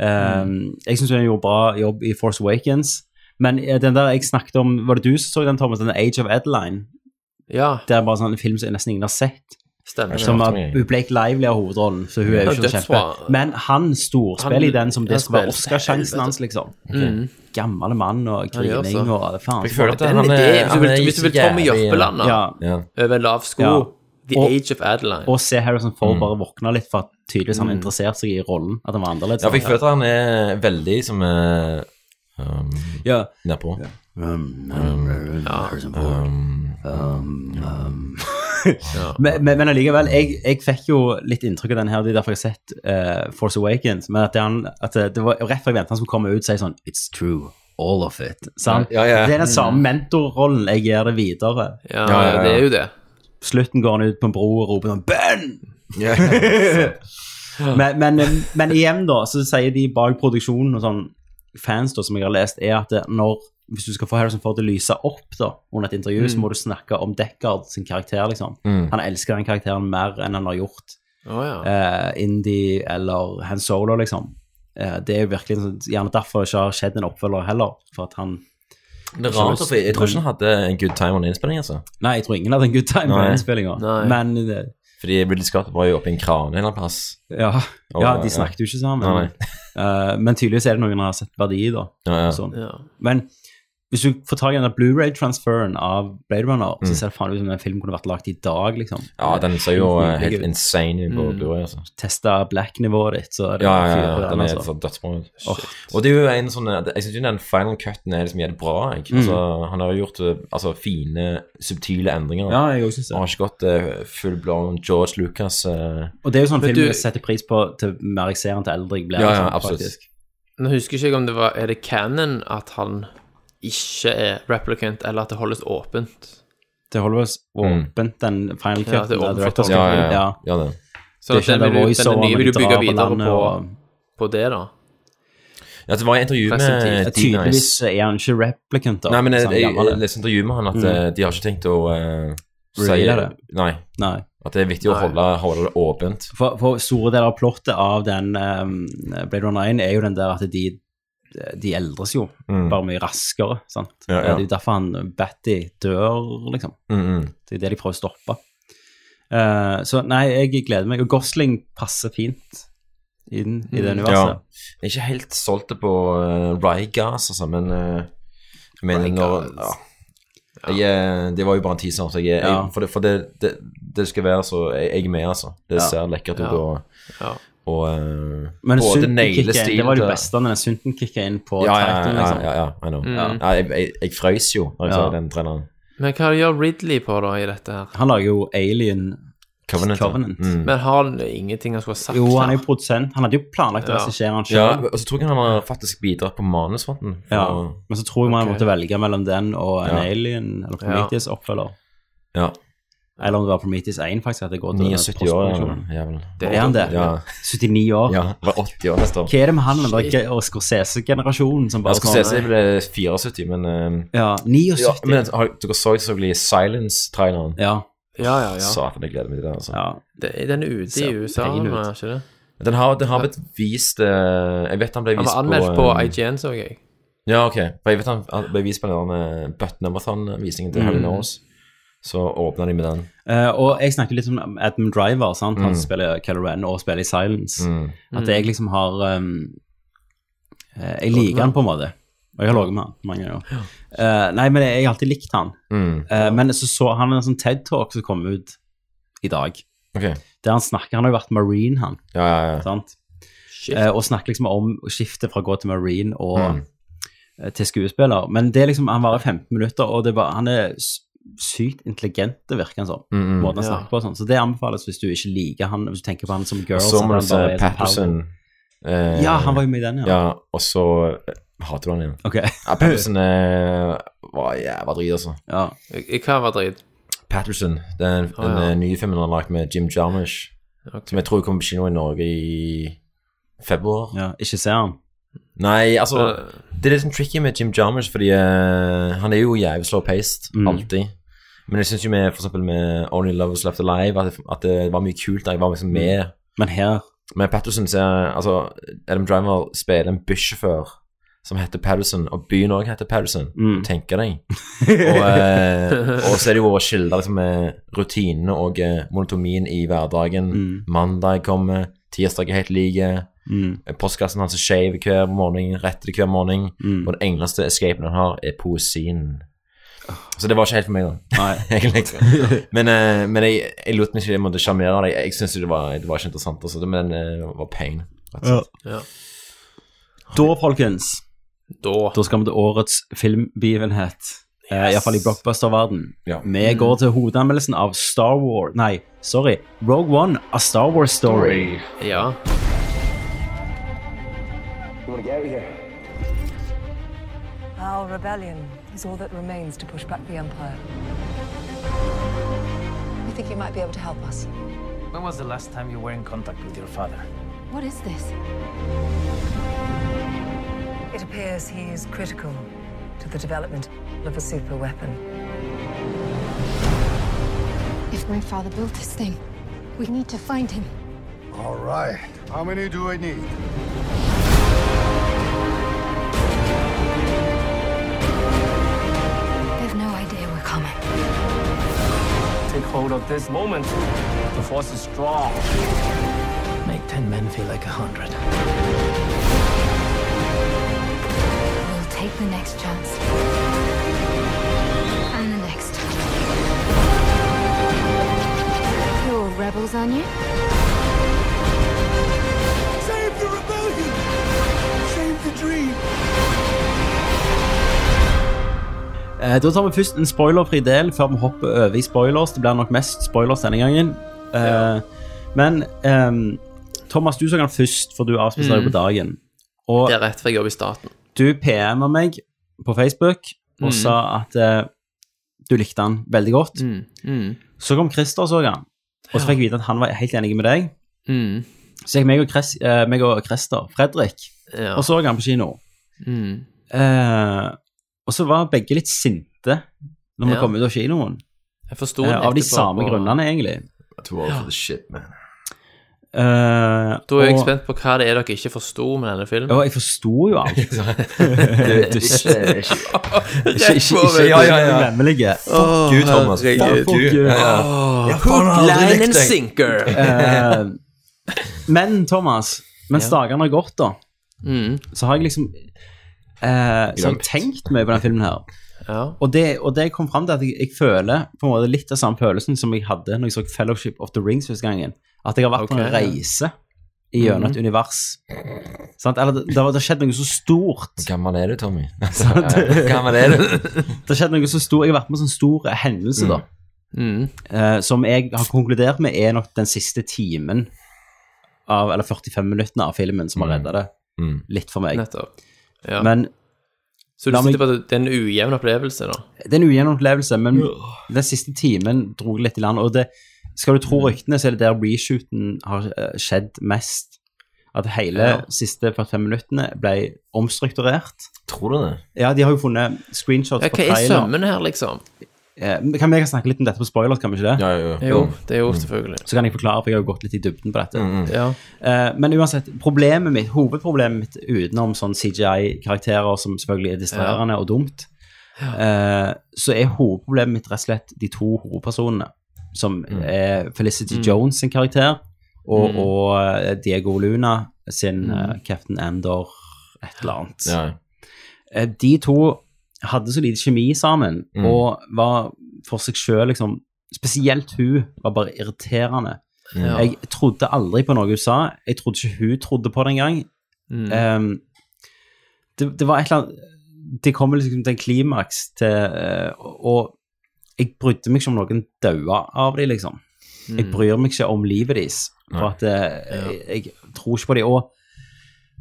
Speaker 1: Eh, Jeg syns han gjorde bra jobb i Force Awakens, men eh, den der jeg snakket om Var det du som så den, Thomas? Den Age of Adeline?
Speaker 2: Ja,
Speaker 1: Det er bare sånn en film som nesten ingen har sett.
Speaker 2: stemmer.
Speaker 1: Som
Speaker 3: Ja,
Speaker 1: er
Speaker 3: som jeg-
Speaker 1: hun Blake Lively har hovedrollen, så hun er jo
Speaker 2: Ja,
Speaker 1: ikke så kjempe.
Speaker 2: dødsbra.
Speaker 1: Men han storspiller i
Speaker 2: Han-
Speaker 1: den som det
Speaker 2: han
Speaker 1: skal være
Speaker 2: spiller til
Speaker 1: Oscarsjansen
Speaker 2: helvete.
Speaker 1: hans, liksom. Gammel mann og
Speaker 2: Han gjør
Speaker 1: grining
Speaker 2: så.
Speaker 1: og det faen.
Speaker 3: Jeg føler at
Speaker 2: Den
Speaker 3: han er,
Speaker 2: ideen, hvis du
Speaker 3: han
Speaker 2: vil,
Speaker 3: er
Speaker 2: hvis du vil
Speaker 3: så
Speaker 2: Tommy
Speaker 3: jævlig-
Speaker 2: Jørpeland da,
Speaker 1: Ja,
Speaker 3: Ja.
Speaker 2: over lav sko
Speaker 1: Ja.
Speaker 2: The
Speaker 1: Og-
Speaker 2: Age of Adeline.
Speaker 1: Og se Harrison Ford
Speaker 3: Mm.
Speaker 1: bare våkne litt for at tydeligvis han interesserte seg i rollen, at han var annerledes.
Speaker 3: Ja, for jeg føler at han er veldig som uh, um,
Speaker 1: Ja.
Speaker 3: Nedpå.
Speaker 1: Um,
Speaker 3: Um,
Speaker 1: um. Men, men, men allikevel, jeg, jeg fikk jo litt inntrykk av den her, det er derfor jeg har sett eh, Force Awakens, men at det, han, at eh, det- det var rett før jeg ventet han skulle komme ut og si sånn, it's true, all of it. Sant?
Speaker 3: Ja, ja. Mm.
Speaker 1: Det er den samme mentorrollen jeg gir det videre.
Speaker 3: Ja,
Speaker 2: ja,
Speaker 3: ja, ja.
Speaker 2: det er jo det.
Speaker 1: På slutten går han ut på en bro og roper sånn, Ben! men, men, eh, men igjen, da, så sier de bak produksjonen og sånn fans da, som jeg har lest, er at det, når hvis du skal få Harrison Ford til å lyse opp da, under et intervju, så må du snakke om Deckard sin karakter. liksom. Han elsker den karakteren mer enn han har gjort
Speaker 2: Å, ja.
Speaker 1: eh, Indie eller Han Solo, liksom. Eh, det er jo virkelig en sånn- gjerne derfor ikke har skjedd en oppfølger heller. for at han...
Speaker 3: Det er rart, for jeg, jeg tror ikke han hadde en good time under innspilling, altså.
Speaker 1: Nei, jeg tror ingen hadde en good time på
Speaker 3: Nei.
Speaker 1: innspillinga.
Speaker 2: Nei.
Speaker 1: Men eh,
Speaker 3: Fordi Ridley Scott var jo oppe i en kran en eller annen plass.
Speaker 1: ja,
Speaker 3: Og-
Speaker 1: ja, de snakket jo ikke sammen.
Speaker 3: Nei,
Speaker 1: Eh, men tydeligvis er det noen som har sett verdi i, da.
Speaker 3: Ja, ja.
Speaker 1: Sånn.
Speaker 2: Ja.
Speaker 1: Men hvis du får tak i den Blu-ray-transferen av Blade Runner, så ser det faen ut som den filmen kunne vært lagd i dag, liksom.
Speaker 3: Mm. Ja, den ser jo eh, helt
Speaker 1: Herregud.
Speaker 3: insane ut på Blu-ray, altså.
Speaker 1: Testa black-nivået ditt, så er det
Speaker 3: Ja, ja,
Speaker 1: fyr
Speaker 3: ja,
Speaker 1: på
Speaker 3: den er
Speaker 1: altså.
Speaker 3: så dødsbra ut. Og det er jo en sånn Jeg syns jo den final cutten er liksom jævlig bra. Jeg. Altså, han har jo gjort eh, altså, fine, subtile endringer.
Speaker 1: Ja, jeg også synes
Speaker 3: Han
Speaker 1: det.
Speaker 3: har ikke gått eh, full blown George Lucas. eh,
Speaker 1: Og det er jo sånn
Speaker 2: Men
Speaker 1: film
Speaker 2: du-
Speaker 1: jeg setter pris på til mer jeg ser den, til eldre jeg blir.
Speaker 3: Ja, ja,
Speaker 1: liksom,
Speaker 3: absolutt.
Speaker 1: faktisk.
Speaker 2: Nå husker jeg ikke om det var Er det canon at han ikke er replicant, eller at det holdes åpent?
Speaker 1: Det holder oss åpent, den final
Speaker 2: Ja,
Speaker 1: cut.
Speaker 2: det er åpent for tolkning.
Speaker 3: Mm. ja, ja, ja. ja det.
Speaker 2: Så
Speaker 1: Det er ikke den
Speaker 2: den, vil du, den
Speaker 1: voiceoveren
Speaker 2: nye
Speaker 1: med
Speaker 2: vil du bygge
Speaker 1: gitarer på
Speaker 2: videre
Speaker 1: landet
Speaker 2: på,
Speaker 1: og-
Speaker 2: på det, da.
Speaker 3: Ja, det var et eh, sånn intervju med
Speaker 2: Presentivt.
Speaker 1: Tydeligvis
Speaker 3: D-Nice.
Speaker 1: er han ikke replicant, da.
Speaker 3: Nei, men jeg,
Speaker 1: så han
Speaker 3: jeg,
Speaker 1: gammel er.
Speaker 3: jeg leste intervju med han at eh, de har ikke tenkt å eh, si
Speaker 1: Reveale det.
Speaker 3: Nei.
Speaker 1: Nei.
Speaker 3: At det er viktig å
Speaker 2: Nei.
Speaker 3: holde, holde det åpent.
Speaker 1: For, for store deler av plottet av den ehm, Blade Runner 1 er jo den der at de, de eldres jo,
Speaker 3: Mm.
Speaker 1: bare mye raskere. sant?
Speaker 3: Ja, ja.
Speaker 1: Og Det er jo derfor han Batty dør, liksom.
Speaker 3: Mm, mm.
Speaker 1: Det er det de prøver å stoppe. Eh, så nei, jeg gleder meg. Og Gosling passer fint inn i
Speaker 3: Mm.
Speaker 1: det universet.
Speaker 3: Jeg er ikke helt solgt det på uh, Rygas, altså, men eh, jeg mener når ja. jeg, eh, Det var jo bare en teaser, så jeg, jeg,
Speaker 1: Ja.
Speaker 3: for, det, for det, det, det skal være så Jeg, jeg er med, altså. Det ser lekkert ut
Speaker 2: Ja.
Speaker 3: og,
Speaker 2: Ja.
Speaker 3: og eh,
Speaker 1: Men
Speaker 3: og
Speaker 1: Sunten
Speaker 3: nailer
Speaker 1: kicker inn,
Speaker 3: stilen
Speaker 1: det var det
Speaker 3: til-
Speaker 1: beste når den Sunten kicka inn på
Speaker 3: Ja, ja, ja,
Speaker 1: titlen,
Speaker 3: ja,
Speaker 1: liksom.
Speaker 3: ja, ja, I know. Ja, jeg, jeg, jeg frøys jo da jeg
Speaker 1: Ja.
Speaker 3: så den treneren.
Speaker 2: Men hva gjør Ridley på, da, i dette her?
Speaker 1: Han lager jo Alien
Speaker 3: Covenant. ja.
Speaker 1: Covenant.
Speaker 3: Mm.
Speaker 2: Men har han ingenting han skulle ha sagt?
Speaker 1: Jo, han er
Speaker 2: her?
Speaker 1: jo produsent. Han hadde jo planlagt å
Speaker 2: Ja.
Speaker 1: regissere han
Speaker 3: Ja,
Speaker 1: sjøl.
Speaker 3: og så tror jeg han har faktisk bidratt på manusfronten. for-
Speaker 1: Ja. Men så tror jeg man
Speaker 2: Ok.
Speaker 1: måtte velge mellom den og en
Speaker 3: Ja.
Speaker 1: Alien eller Prometheus-oppfølger.
Speaker 3: ja.
Speaker 1: Eller om det var Prometheus 1, faktisk. at det går til den
Speaker 3: 79 år, ja.
Speaker 1: postproduksjonen.
Speaker 3: Jævel.
Speaker 1: Er han det?
Speaker 3: Ja.
Speaker 1: 79 år.
Speaker 3: ja. Det var 80 år neste år.
Speaker 1: Hva er det med han eller Ge- og Scorsese-generasjonen som
Speaker 3: Jeg
Speaker 1: bare
Speaker 3: skulle se seg ble 74, men eh,
Speaker 1: Ja,
Speaker 3: ja,
Speaker 1: 79.
Speaker 3: Men har, dere så selvfølgelig Silence-traileren?
Speaker 1: Ja.
Speaker 2: Ja, ja, ja.
Speaker 3: Satan, jeg gleder meg til den. Altså.
Speaker 1: ja.
Speaker 2: Det, den er ute i
Speaker 1: Ser
Speaker 2: USA
Speaker 1: feil
Speaker 2: nå,
Speaker 1: ut.
Speaker 2: er ikke det?
Speaker 3: Den, har, den har blitt vist eh, Jeg vet han ble
Speaker 2: Han
Speaker 3: vist
Speaker 2: var anmeldt på
Speaker 3: eh,
Speaker 2: IGN, så jeg.
Speaker 3: Ja, ok. For jeg vet han, han ble vist på den der, eh, Butt Numberthon-visningen til Harry Knows. Så åpna de med den.
Speaker 1: Eh, og jeg snakket litt om Adam Driver, sant? han som spiller Keller Ren og spiller i Silence. At jeg liksom har um, eh, Jeg ehm, liker han på en måte. Og jeg har ligget med han mange ganger. Eh, nei, men jeg har alltid likt han. Eh, men så så han en sånn TED-talk som kom ut i dag,
Speaker 3: Ok.
Speaker 1: der han snakker Han har jo vært marine, han.
Speaker 3: Ja, ja, ja.
Speaker 1: sant? Eh, og snakker liksom om skiftet fra å gå til marine og
Speaker 3: Mm.
Speaker 1: eh, til skuespiller. Men det er liksom, han varer 15 minutter, og det er bare, han er s- sykt intelligent, det virker han som.
Speaker 3: Mm,
Speaker 1: måten han snakker på og sånn. Så det anbefales hvis du ikke liker han, hvis du tenker på han som girl.
Speaker 3: Så
Speaker 1: så
Speaker 3: må
Speaker 1: han
Speaker 3: du se
Speaker 1: bare er sånn
Speaker 3: eh, Patterson. eh,
Speaker 1: power. Ja, han var jo med i den, ja.
Speaker 3: Ja, og så eh, hater du han igjen.
Speaker 1: Ok,
Speaker 3: Ja, Patterson eh, var jævla drit, altså.
Speaker 1: ja.
Speaker 2: I hva var drit?
Speaker 3: Patterson, den, den
Speaker 2: ja.
Speaker 3: eh, nye filmen han har lagt med Jim Jarmusch, som jeg tror kommer på kino i Norge i februar.
Speaker 1: ja. Ikke se han.
Speaker 3: Nei, altså
Speaker 2: Eh.
Speaker 3: Det er litt sånn tricky med Jim Jarmusch, fordi eh, han er jo jævlig slow-paced, alltid. Men jeg syns jo med for eksempel med Only Lovers Left Alive at det, at det var mye kult der jeg var liksom med.
Speaker 1: Men her
Speaker 3: Men Patterson ser Altså, Adam Driver spiller en bussjåfør som heter Patterson, og byen òg heter Patterson. Tenker deg. Og, eh, og så er det jo å skildre liksom, eh, rutinene og eh, monotomien i hverdagen. Mandag kommer, tirsdag er helt like. Eh, Postkassen hans er skeiv hver morgen, retter hver morgen. Og den eneste escapen han har, er poesien. Så det var ikke helt for meg, da. Egentlig. men eh, men jeg, jeg lot meg ikke jeg måtte sjarmere deg. Jeg syns det, var- det var ikke interessant, altså. Det- men eh, det var pain. rett og slett.
Speaker 1: Da, folkens,
Speaker 2: Da.
Speaker 1: da skal vi til årets filmbegivenhet. Eh, i hvert Iallfall i blockbuster-verden.
Speaker 3: Ja.
Speaker 1: Vi går til hovedanmeldelsen av Star Wars Nei, sorry. Rogue One, A Star Wars Story.
Speaker 2: Ja.
Speaker 4: Our rebellion is all that remains to push back the Empire. We think you might be able to help us.
Speaker 9: When was the last time you were in contact with your father?
Speaker 4: What is this? It appears he is critical to the development of a super weapon. If my father built this thing, we need to find him.
Speaker 10: All right. How many do I need?
Speaker 4: They've no idea we're coming.
Speaker 9: Take hold of this moment. The force is strong. Make ten men feel like a hundred.
Speaker 4: We'll take the next chance. And the next. You're rebels, aren't you?
Speaker 10: Save the rebellion! Save the dream!
Speaker 1: Eh, da tar vi først en spoilerfri del før vi hopper over i spoilers. Det blir nok mest spoilers denne gangen. Eh, Men ehm, Thomas, du så den først, for du avspiste deg på dagen. Og
Speaker 2: Det er rett før jeg jobber i staten.
Speaker 1: du PM-a meg på Facebook og sa at eh, du likte han veldig
Speaker 2: Mm.
Speaker 1: godt. Så kom Christer og så han, og så fikk jeg vite at han var helt enig med deg.
Speaker 2: Mm.
Speaker 1: Så gikk meg og, Chris, eh, meg og Christer, Fredrik,
Speaker 2: Ja.
Speaker 1: og så han på kino.
Speaker 2: Mm.
Speaker 1: Eh, og så var begge litt sinte når vi
Speaker 2: Ja.
Speaker 1: kom ut av kinoen,
Speaker 2: Jeg forsto
Speaker 1: eh,
Speaker 2: den
Speaker 1: av de
Speaker 2: etterpå
Speaker 1: samme
Speaker 2: på-
Speaker 1: grunnene, egentlig.
Speaker 3: Two hours for the shit, man.
Speaker 1: Eh,
Speaker 2: Da er jeg
Speaker 1: og-
Speaker 2: spent på hva det er dere ikke forsto med denne filmen.
Speaker 1: Ja, jeg forsto jo alt.
Speaker 2: Rett på meg.
Speaker 3: Ja, ja, ja.
Speaker 1: Glemmelige.
Speaker 3: Gud, Thomas.
Speaker 2: herregud.
Speaker 3: Fuck you. Ja, ja.
Speaker 2: Line and sinker.
Speaker 1: Eh, men Thomas, mens dagene har gått, da,
Speaker 2: Mm.
Speaker 1: så har jeg liksom eh, Så har jeg tenkt mye på den filmen her.
Speaker 2: Ja.
Speaker 1: Og det, og det jeg kom fram til, at jeg, jeg føler på en måte litt av samme følelsen som jeg hadde når jeg så Fellowship of the Rings første gangen. At jeg har vært på en
Speaker 2: Ok, ja. Mhm.
Speaker 1: reise i gjennom et univers. Sant? Eller det, det har det har skjedd noe så stort.
Speaker 3: Hvor eh, gammel er du, Tommy? Altså, Hvor gammel er du?
Speaker 1: Det har skjedd noe så stor, Jeg har vært med på en sånn stor hendelse, da.
Speaker 2: Mm.
Speaker 1: Eh, som jeg har konkludert med er nok den siste timen av, eller 45 minuttene av filmen som har redda det litt for meg.
Speaker 2: Nettopp. Mm. Ja.
Speaker 1: Men
Speaker 2: Så du
Speaker 1: La meg-
Speaker 2: sitter på at det er en ujevn opplevelse, da?
Speaker 1: det er en ujevn opplevelse, men den siste timen dro jeg litt i land. Og det, skal du tro ryktene, så er det der reshooten har eh, skjedd mest. At hele
Speaker 2: Ja.
Speaker 1: siste 45 minuttene ble omstrukturert.
Speaker 3: Tror du det?
Speaker 1: Ja, de har jo funnet screenshots
Speaker 2: Ja,
Speaker 1: på
Speaker 2: hva er
Speaker 1: trailer.
Speaker 2: sømmene her, liksom?
Speaker 1: Eh, men kan vi kan snakke litt om dette på spoilers, kan vi ikke det?
Speaker 3: Ja, jo.
Speaker 2: Jo,
Speaker 1: Mm.
Speaker 2: det er jo selvfølgelig.
Speaker 1: Så kan jeg forklare, for jeg har jo gått litt i dybden på
Speaker 3: Mm,
Speaker 1: dette.
Speaker 2: Ja.
Speaker 1: Eh, men uansett, problemet mitt, hovedproblemet mitt utenom sånn CGI-karakterer som selvfølgelig er distraherende og dumt, eh, så er hovedproblemet mitt rett og slett de to hovedpersonene, som
Speaker 3: Mm.
Speaker 1: er Felicity Jones sin karakter, og, og eh, Diego Luna sin eh, Captain Andor et eller annet.
Speaker 3: Mm. Ja.
Speaker 1: Eh, De to hadde så lite kjemi sammen,
Speaker 3: Mm.
Speaker 1: og var for seg sjøl liksom Spesielt hun var bare irriterende.
Speaker 3: Ja.
Speaker 1: Jeg trodde aldri på noe hun sa. Jeg trodde ikke hun trodde på det engang.
Speaker 2: Mm.
Speaker 1: Ehm, det, det var et eller annet Det kommer liksom til en klimaks til eh, Og jeg brydde meg ikke om noen daua av dem, liksom. Jeg bryr meg ikke om livet deres. For
Speaker 3: Mm. Nei.
Speaker 1: at eh, jeg, jeg tror ikke på dem. Og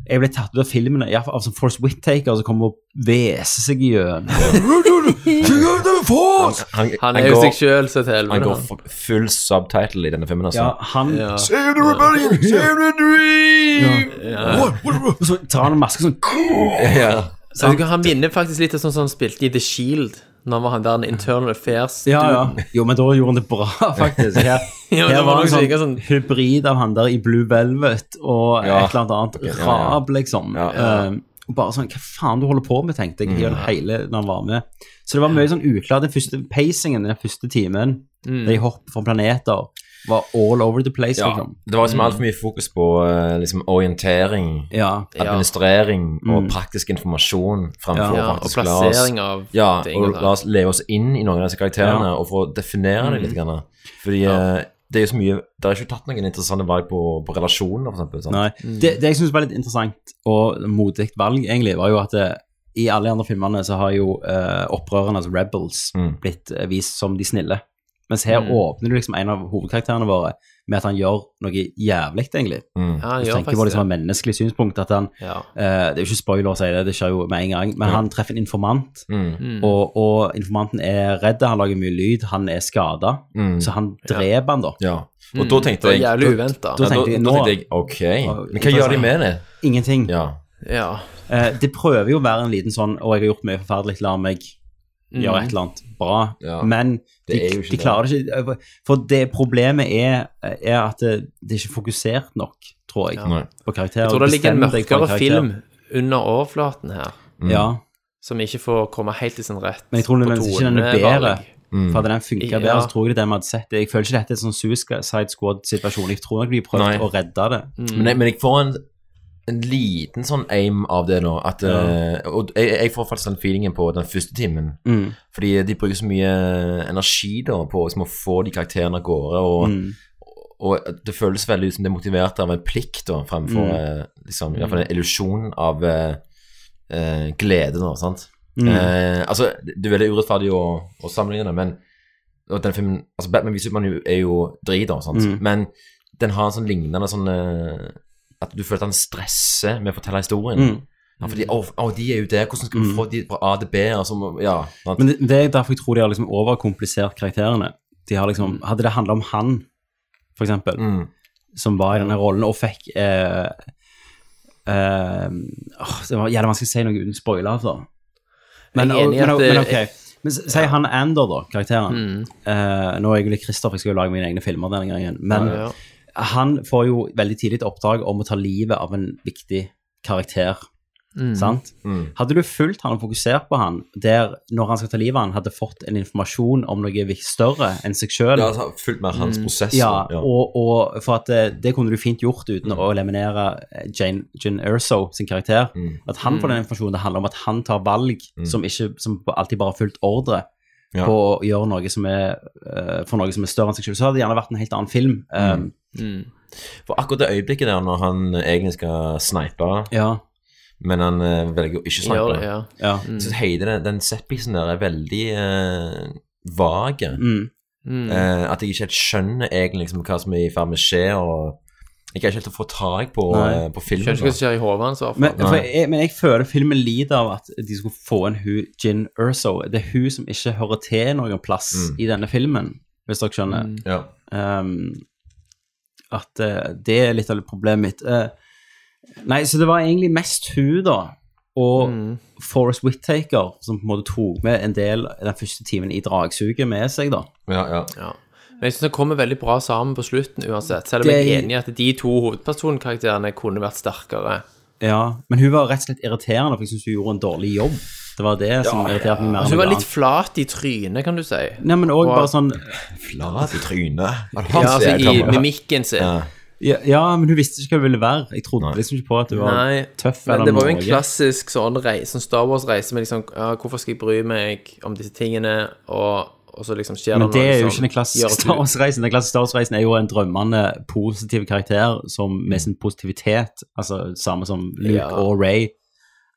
Speaker 1: jeg ble tatt ut av filmen i hvert fall av sånn Force Whittaker som kommer og hveser seg i
Speaker 3: Han,
Speaker 1: hjørnet.
Speaker 3: han,
Speaker 2: Han
Speaker 3: han
Speaker 2: er jo
Speaker 3: går-
Speaker 2: seg sjøl så til
Speaker 3: Han
Speaker 2: helvete.
Speaker 3: går
Speaker 2: han.
Speaker 3: for full subtitle i denne filmen, altså.
Speaker 1: Ja, han
Speaker 2: Ja.
Speaker 3: Save the rebellion! Save the dream!
Speaker 1: Og Så tar han en maske sånn
Speaker 3: Ja.
Speaker 2: Så vet du hva, Han minner faktisk litt av sånn som han spilte i The Shield, når han var han der en internal affairs.
Speaker 1: Ja, ja. Jo, men da gjorde han det bra, faktisk. Her,
Speaker 2: Ja, men
Speaker 1: her
Speaker 2: det var
Speaker 1: var
Speaker 2: noe
Speaker 1: en
Speaker 2: som
Speaker 1: sånn,
Speaker 2: gikk sånn-
Speaker 1: hybrid av han der i Blue Velvet og
Speaker 3: Ja.
Speaker 1: et eller annet
Speaker 3: ja,
Speaker 1: annet
Speaker 3: ja.
Speaker 1: rab, liksom.
Speaker 3: Ja, ja.
Speaker 1: Eh, og bare sånn Hva faen du holder på med, tenkte jeg gjennom hele når han var med. Så det var mye sånn uklart. Den første pacingen den første timen, der de hopper fra planeter, var all over the place,
Speaker 3: ja.
Speaker 1: liksom.
Speaker 3: Det var liksom altfor mye fokus på eh, liksom, orientering,
Speaker 1: Ja.
Speaker 3: administrering og praktisk informasjon
Speaker 1: Ja.
Speaker 3: fremfor
Speaker 2: Mm. Ja, og
Speaker 3: faktisk la oss-
Speaker 2: plassering av
Speaker 3: ja,
Speaker 2: ting.
Speaker 3: og
Speaker 2: og sånn.
Speaker 3: la oss leve oss inn i noen av disse karakterene
Speaker 1: Ja. Mm.
Speaker 3: og få definere dem litt. Grann. Fordi eh, det er jo så mye Det er ikke tatt noen interessante valg på, på relasjoner, for eksempel. Sant?
Speaker 1: Nei.
Speaker 2: Mm.
Speaker 1: Det, det jeg syns var litt interessant og modig valg, egentlig, var jo at det, i alle de andre filmene så har jo eh, opprørerne, altså Rebels,
Speaker 3: Mm.
Speaker 1: blitt eh, vist som de snille. Mens her
Speaker 2: Mm.
Speaker 1: åpner du liksom en av hovedkarakterene våre med at han gjør noe jævlig, egentlig.
Speaker 3: Mm.
Speaker 2: Ja, han
Speaker 1: Hvis du
Speaker 2: gjør
Speaker 1: tenker på det
Speaker 2: faktisk
Speaker 1: som
Speaker 2: det.
Speaker 1: et menneskelig synspunkt, at han
Speaker 2: Ja.
Speaker 1: eh, Det er jo ikke spoiler å si det, det skjer jo med en gang, men han treffer en informant,
Speaker 3: Mm.
Speaker 1: og, og informanten er redd, han lager mye lyd, han er skada,
Speaker 3: Mm.
Speaker 1: så han dreper han da.
Speaker 3: Ja. Og da tenkte
Speaker 2: Det var
Speaker 3: jeg
Speaker 2: jævlig uventa.
Speaker 1: da-
Speaker 3: Ja, da,
Speaker 1: tenkte jeg,
Speaker 3: da
Speaker 1: nå-
Speaker 3: tenkte jeg ok, men hva gjør de med det?
Speaker 1: Ingenting.
Speaker 3: Ja.
Speaker 2: Ja.
Speaker 1: Eh, det prøver jo å være en liten sånn Og jeg har gjort mye forferdelig, la meg
Speaker 2: Mhm.
Speaker 1: gjøre et eller annet bra.
Speaker 3: Ja.
Speaker 1: Men de,
Speaker 3: Det er jo ikke
Speaker 1: de klarer det ikke. Eh, For det problemet er, er at det, det er ikke fokusert nok, tror jeg,
Speaker 3: Nei.
Speaker 1: på karakterer.
Speaker 2: Jeg tror det ligger en
Speaker 1: Bestem deg for
Speaker 2: mørkere
Speaker 1: karakter.
Speaker 2: film under overflaten her,
Speaker 1: Ja,
Speaker 2: som ikke får komme helt i sin rett.
Speaker 1: men jeg tror
Speaker 2: på
Speaker 1: nødvendigvis ikke den er
Speaker 2: tonevalg.
Speaker 1: bedre.
Speaker 3: Mm.
Speaker 1: For hadde den funka
Speaker 2: Ja.
Speaker 1: bedre, så tror jeg det er det vi hadde sett. det. Jeg føler ikke dette er en sånn Suicide Squad-situasjon. Jeg tror nok de prøvde
Speaker 3: Nei.
Speaker 1: å redde det.
Speaker 3: Men, jeg, men jeg får en, en liten sånn aim av det nå. At, eh, og jeg, jeg får faktisk den feelingen på den første timen.
Speaker 1: Mm.
Speaker 3: Fordi de bruker så mye energi da på liksom, å få de karakterene av gårde. Og,
Speaker 1: Mm.
Speaker 3: og det føles veldig ut som det er motivert av en plikt da,
Speaker 1: Mm.
Speaker 3: fremfor eh, liksom, i hvert fall en illusjon av eh, eh, glede. Da, sant?
Speaker 1: Mm.
Speaker 3: Eh, altså, det er veldig urettferdig å, å sammenligne det, men og den filmen, altså Batman v Superman er jo- er jo drit, da, sant?
Speaker 1: Mm.
Speaker 3: men den har en sånn lignende sånn eh, At du føler at han stresser med å fortelle historien.
Speaker 1: Mm.
Speaker 3: Ja, fordi, å, å, de er jo der, hvordan skal vi få de fra A til B? Og så, må- ja, sant?
Speaker 1: Men det, det er derfor jeg tror de har liksom overkomplisert karakterene. De har liksom, hadde det handla om han, for eksempel,
Speaker 3: Mm.
Speaker 1: som var i denne rollen og fikk eh, eh, åh, Det var jævlig vanskelig å si noe uten spoiler. Da. Men,
Speaker 2: Jeg er
Speaker 1: og,
Speaker 2: enig i
Speaker 1: men,
Speaker 2: at
Speaker 1: og- men
Speaker 2: det- Mm.
Speaker 1: ok. Men s- si han Ander, da, karakteren. Eh, nå er jeg jo litt Christer, for jeg skal jo lage mine egne filmer denne gangen. Men
Speaker 2: Ja, ja.
Speaker 1: han får jo veldig tidlig et oppdrag om å ta livet av en viktig karakter.
Speaker 2: Mm.
Speaker 1: Sant?
Speaker 3: mm.
Speaker 1: Hadde du fulgt han og fokusert på han, der når han skal ta livet av han, hadde fått en informasjon om noe vik- større enn seg sjøl,
Speaker 3: Det har tatt fullt altså, med hans prosess.
Speaker 1: Mm. ja,
Speaker 3: da, ja. Mm.
Speaker 1: og, og for at eh, det kunne du fint gjort uten å eliminere eh, Jane, Jane Erso sin karakter.
Speaker 3: Mm.
Speaker 1: At han får den informasjonen, det handler om at han tar valg som, ikke, som alltid bare har fulgt ordre
Speaker 3: Ja.
Speaker 1: på å gjøre noe som er, eh, for noe som er større enn seg selv. Så hadde det gjerne vært en helt annen film.
Speaker 3: Mm.
Speaker 1: Um,
Speaker 3: For akkurat det øyeblikket der når han egentlig skal snipe,
Speaker 1: ja,
Speaker 3: men han eh, velger å ikke snipe
Speaker 2: Gjør det, ja.
Speaker 1: ja.
Speaker 3: Jeg synes hele den, den setpisen der er veldig eh, vage.
Speaker 1: Mm.
Speaker 3: Eh, at jeg ikke helt skjønner egentlig liksom, hva som er i ferd med å skje, og jeg klarer ikke helt å få tak på,
Speaker 1: Nei.
Speaker 3: eh, på filmen.
Speaker 2: Skjønner ikke hva
Speaker 3: da.
Speaker 2: som skjer i hodet hans. i hvert fall.
Speaker 1: Men, for jeg, men jeg føler filmen lider av at de skulle få en hun, Jin Erso. Det er hun som ikke hører til noen plass
Speaker 3: Mm.
Speaker 1: i denne filmen, hvis dere skjønner.
Speaker 3: Ja.
Speaker 1: Um, at eh, det er litt av problemet mitt. Eh, nei, så det var egentlig mest hun, da. Og
Speaker 2: Mm.
Speaker 1: Forest Whittaker, som på en måte tok med en del den første timen i dragsuget med seg, da.
Speaker 3: Ja, ja.
Speaker 2: Ja. Men jeg syns det kommer veldig bra sammen på slutten uansett. Selv om
Speaker 1: Det-
Speaker 2: jeg er enig i at de to hovedpersonkarakterene kunne vært sterkere.
Speaker 1: Ja, Men hun var rett og slett irriterende, for jeg syns hun gjorde en dårlig jobb. Det var det som irriterte meg mer. enn
Speaker 2: Altså, hun var
Speaker 1: noe
Speaker 2: litt
Speaker 1: annet.
Speaker 2: flat i trynet, kan du si.
Speaker 1: Nei, men òg
Speaker 2: og-
Speaker 1: bare sånn
Speaker 3: Flat i trynet.
Speaker 1: altså,
Speaker 2: Ja, altså i mimikken sin.
Speaker 3: Ja.
Speaker 1: Ja, ja, men hun visste ikke hva det ville være. Jeg trodde liksom ikke på at du var
Speaker 2: Nei,
Speaker 1: tøff.
Speaker 2: men
Speaker 1: eller
Speaker 2: det var jo en
Speaker 1: noe.
Speaker 2: klassisk sånn, reise, sånn Star Wars-reise med liksom ja, Hvorfor skal jeg bry meg om disse tingene? Og, og så liksom skjer
Speaker 1: Men det
Speaker 2: noe
Speaker 1: er jo
Speaker 2: som
Speaker 1: ikke den klassiske
Speaker 2: gjør at du-
Speaker 1: Star Wars-reisen. Den klassiske Star Wars-reisen er jo en drømmende positiv karakter som med sin positivitet, altså samme som Luke
Speaker 2: Ja.
Speaker 1: og Ray,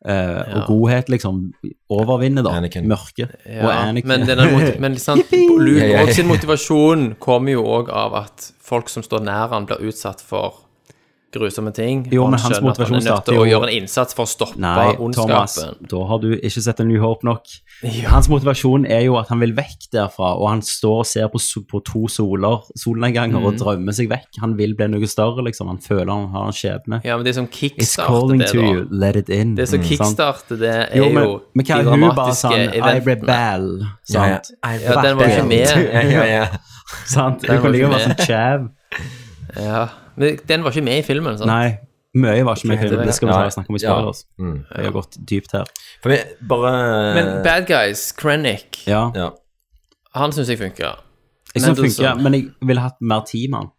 Speaker 1: og godhet, liksom, overvinner da
Speaker 3: Anakin.
Speaker 1: mørke.
Speaker 2: Ja,
Speaker 1: Og Anakin.
Speaker 2: Men, denne, moti- men sant, Luke
Speaker 3: Ja, ja, ja.
Speaker 2: og sin motivasjon kommer jo òg av at folk som står nær han blir utsatt for grusomme ting.
Speaker 1: Jo,
Speaker 2: og
Speaker 1: men
Speaker 2: han
Speaker 1: hans
Speaker 2: skjønner at han er
Speaker 1: motivasjon
Speaker 2: nødt til
Speaker 1: starter
Speaker 2: å
Speaker 1: jo-
Speaker 2: gjøre en innsats for å stoppe
Speaker 1: Nei, Thomas,
Speaker 2: ondskapen.
Speaker 1: da har du ikke sett en New Hope nok. Hans motivasjon er jo at han vil vekk derfra, og han står og ser på, so- på to soler, solnedganger
Speaker 2: Mhm.
Speaker 1: og drømmer seg vekk. Han vil bli noe større, liksom. Han føler han har en skjebne.
Speaker 2: Ja, men det som
Speaker 1: It's
Speaker 2: kickstarter
Speaker 1: calling
Speaker 2: det,
Speaker 1: to
Speaker 2: da
Speaker 1: you, let it in.
Speaker 2: Det som
Speaker 1: Mm, sant?
Speaker 2: kickstarter det, er
Speaker 1: Jo,
Speaker 2: jo,
Speaker 1: men, men hva
Speaker 2: de
Speaker 1: er hun bare
Speaker 2: dramatiske
Speaker 1: sånn I
Speaker 2: eventene.
Speaker 1: rebel, sant?
Speaker 2: Ja, den var ikke med.
Speaker 3: Ja, ja, ja.
Speaker 1: sant?
Speaker 2: Den
Speaker 1: Hun kan
Speaker 2: var
Speaker 1: like
Speaker 2: ikke
Speaker 1: å være
Speaker 2: med.
Speaker 1: sånn chav.
Speaker 2: Ja, men den var ikke med i filmen, sant?
Speaker 1: Nei, mye var ikke med i filmen. Det skal vi ta og snakke om i
Speaker 3: Ja.
Speaker 1: spoilers.
Speaker 3: Mm.
Speaker 1: Jeg har gått dypt her.
Speaker 3: For meg, bare
Speaker 2: Men Bad Guys, Krennic,
Speaker 1: Ja.
Speaker 3: ja.
Speaker 2: han syns jeg funka.
Speaker 1: Jeg synes det
Speaker 2: Mendelssohn.
Speaker 1: funker, men jeg ville hatt mer tid med han.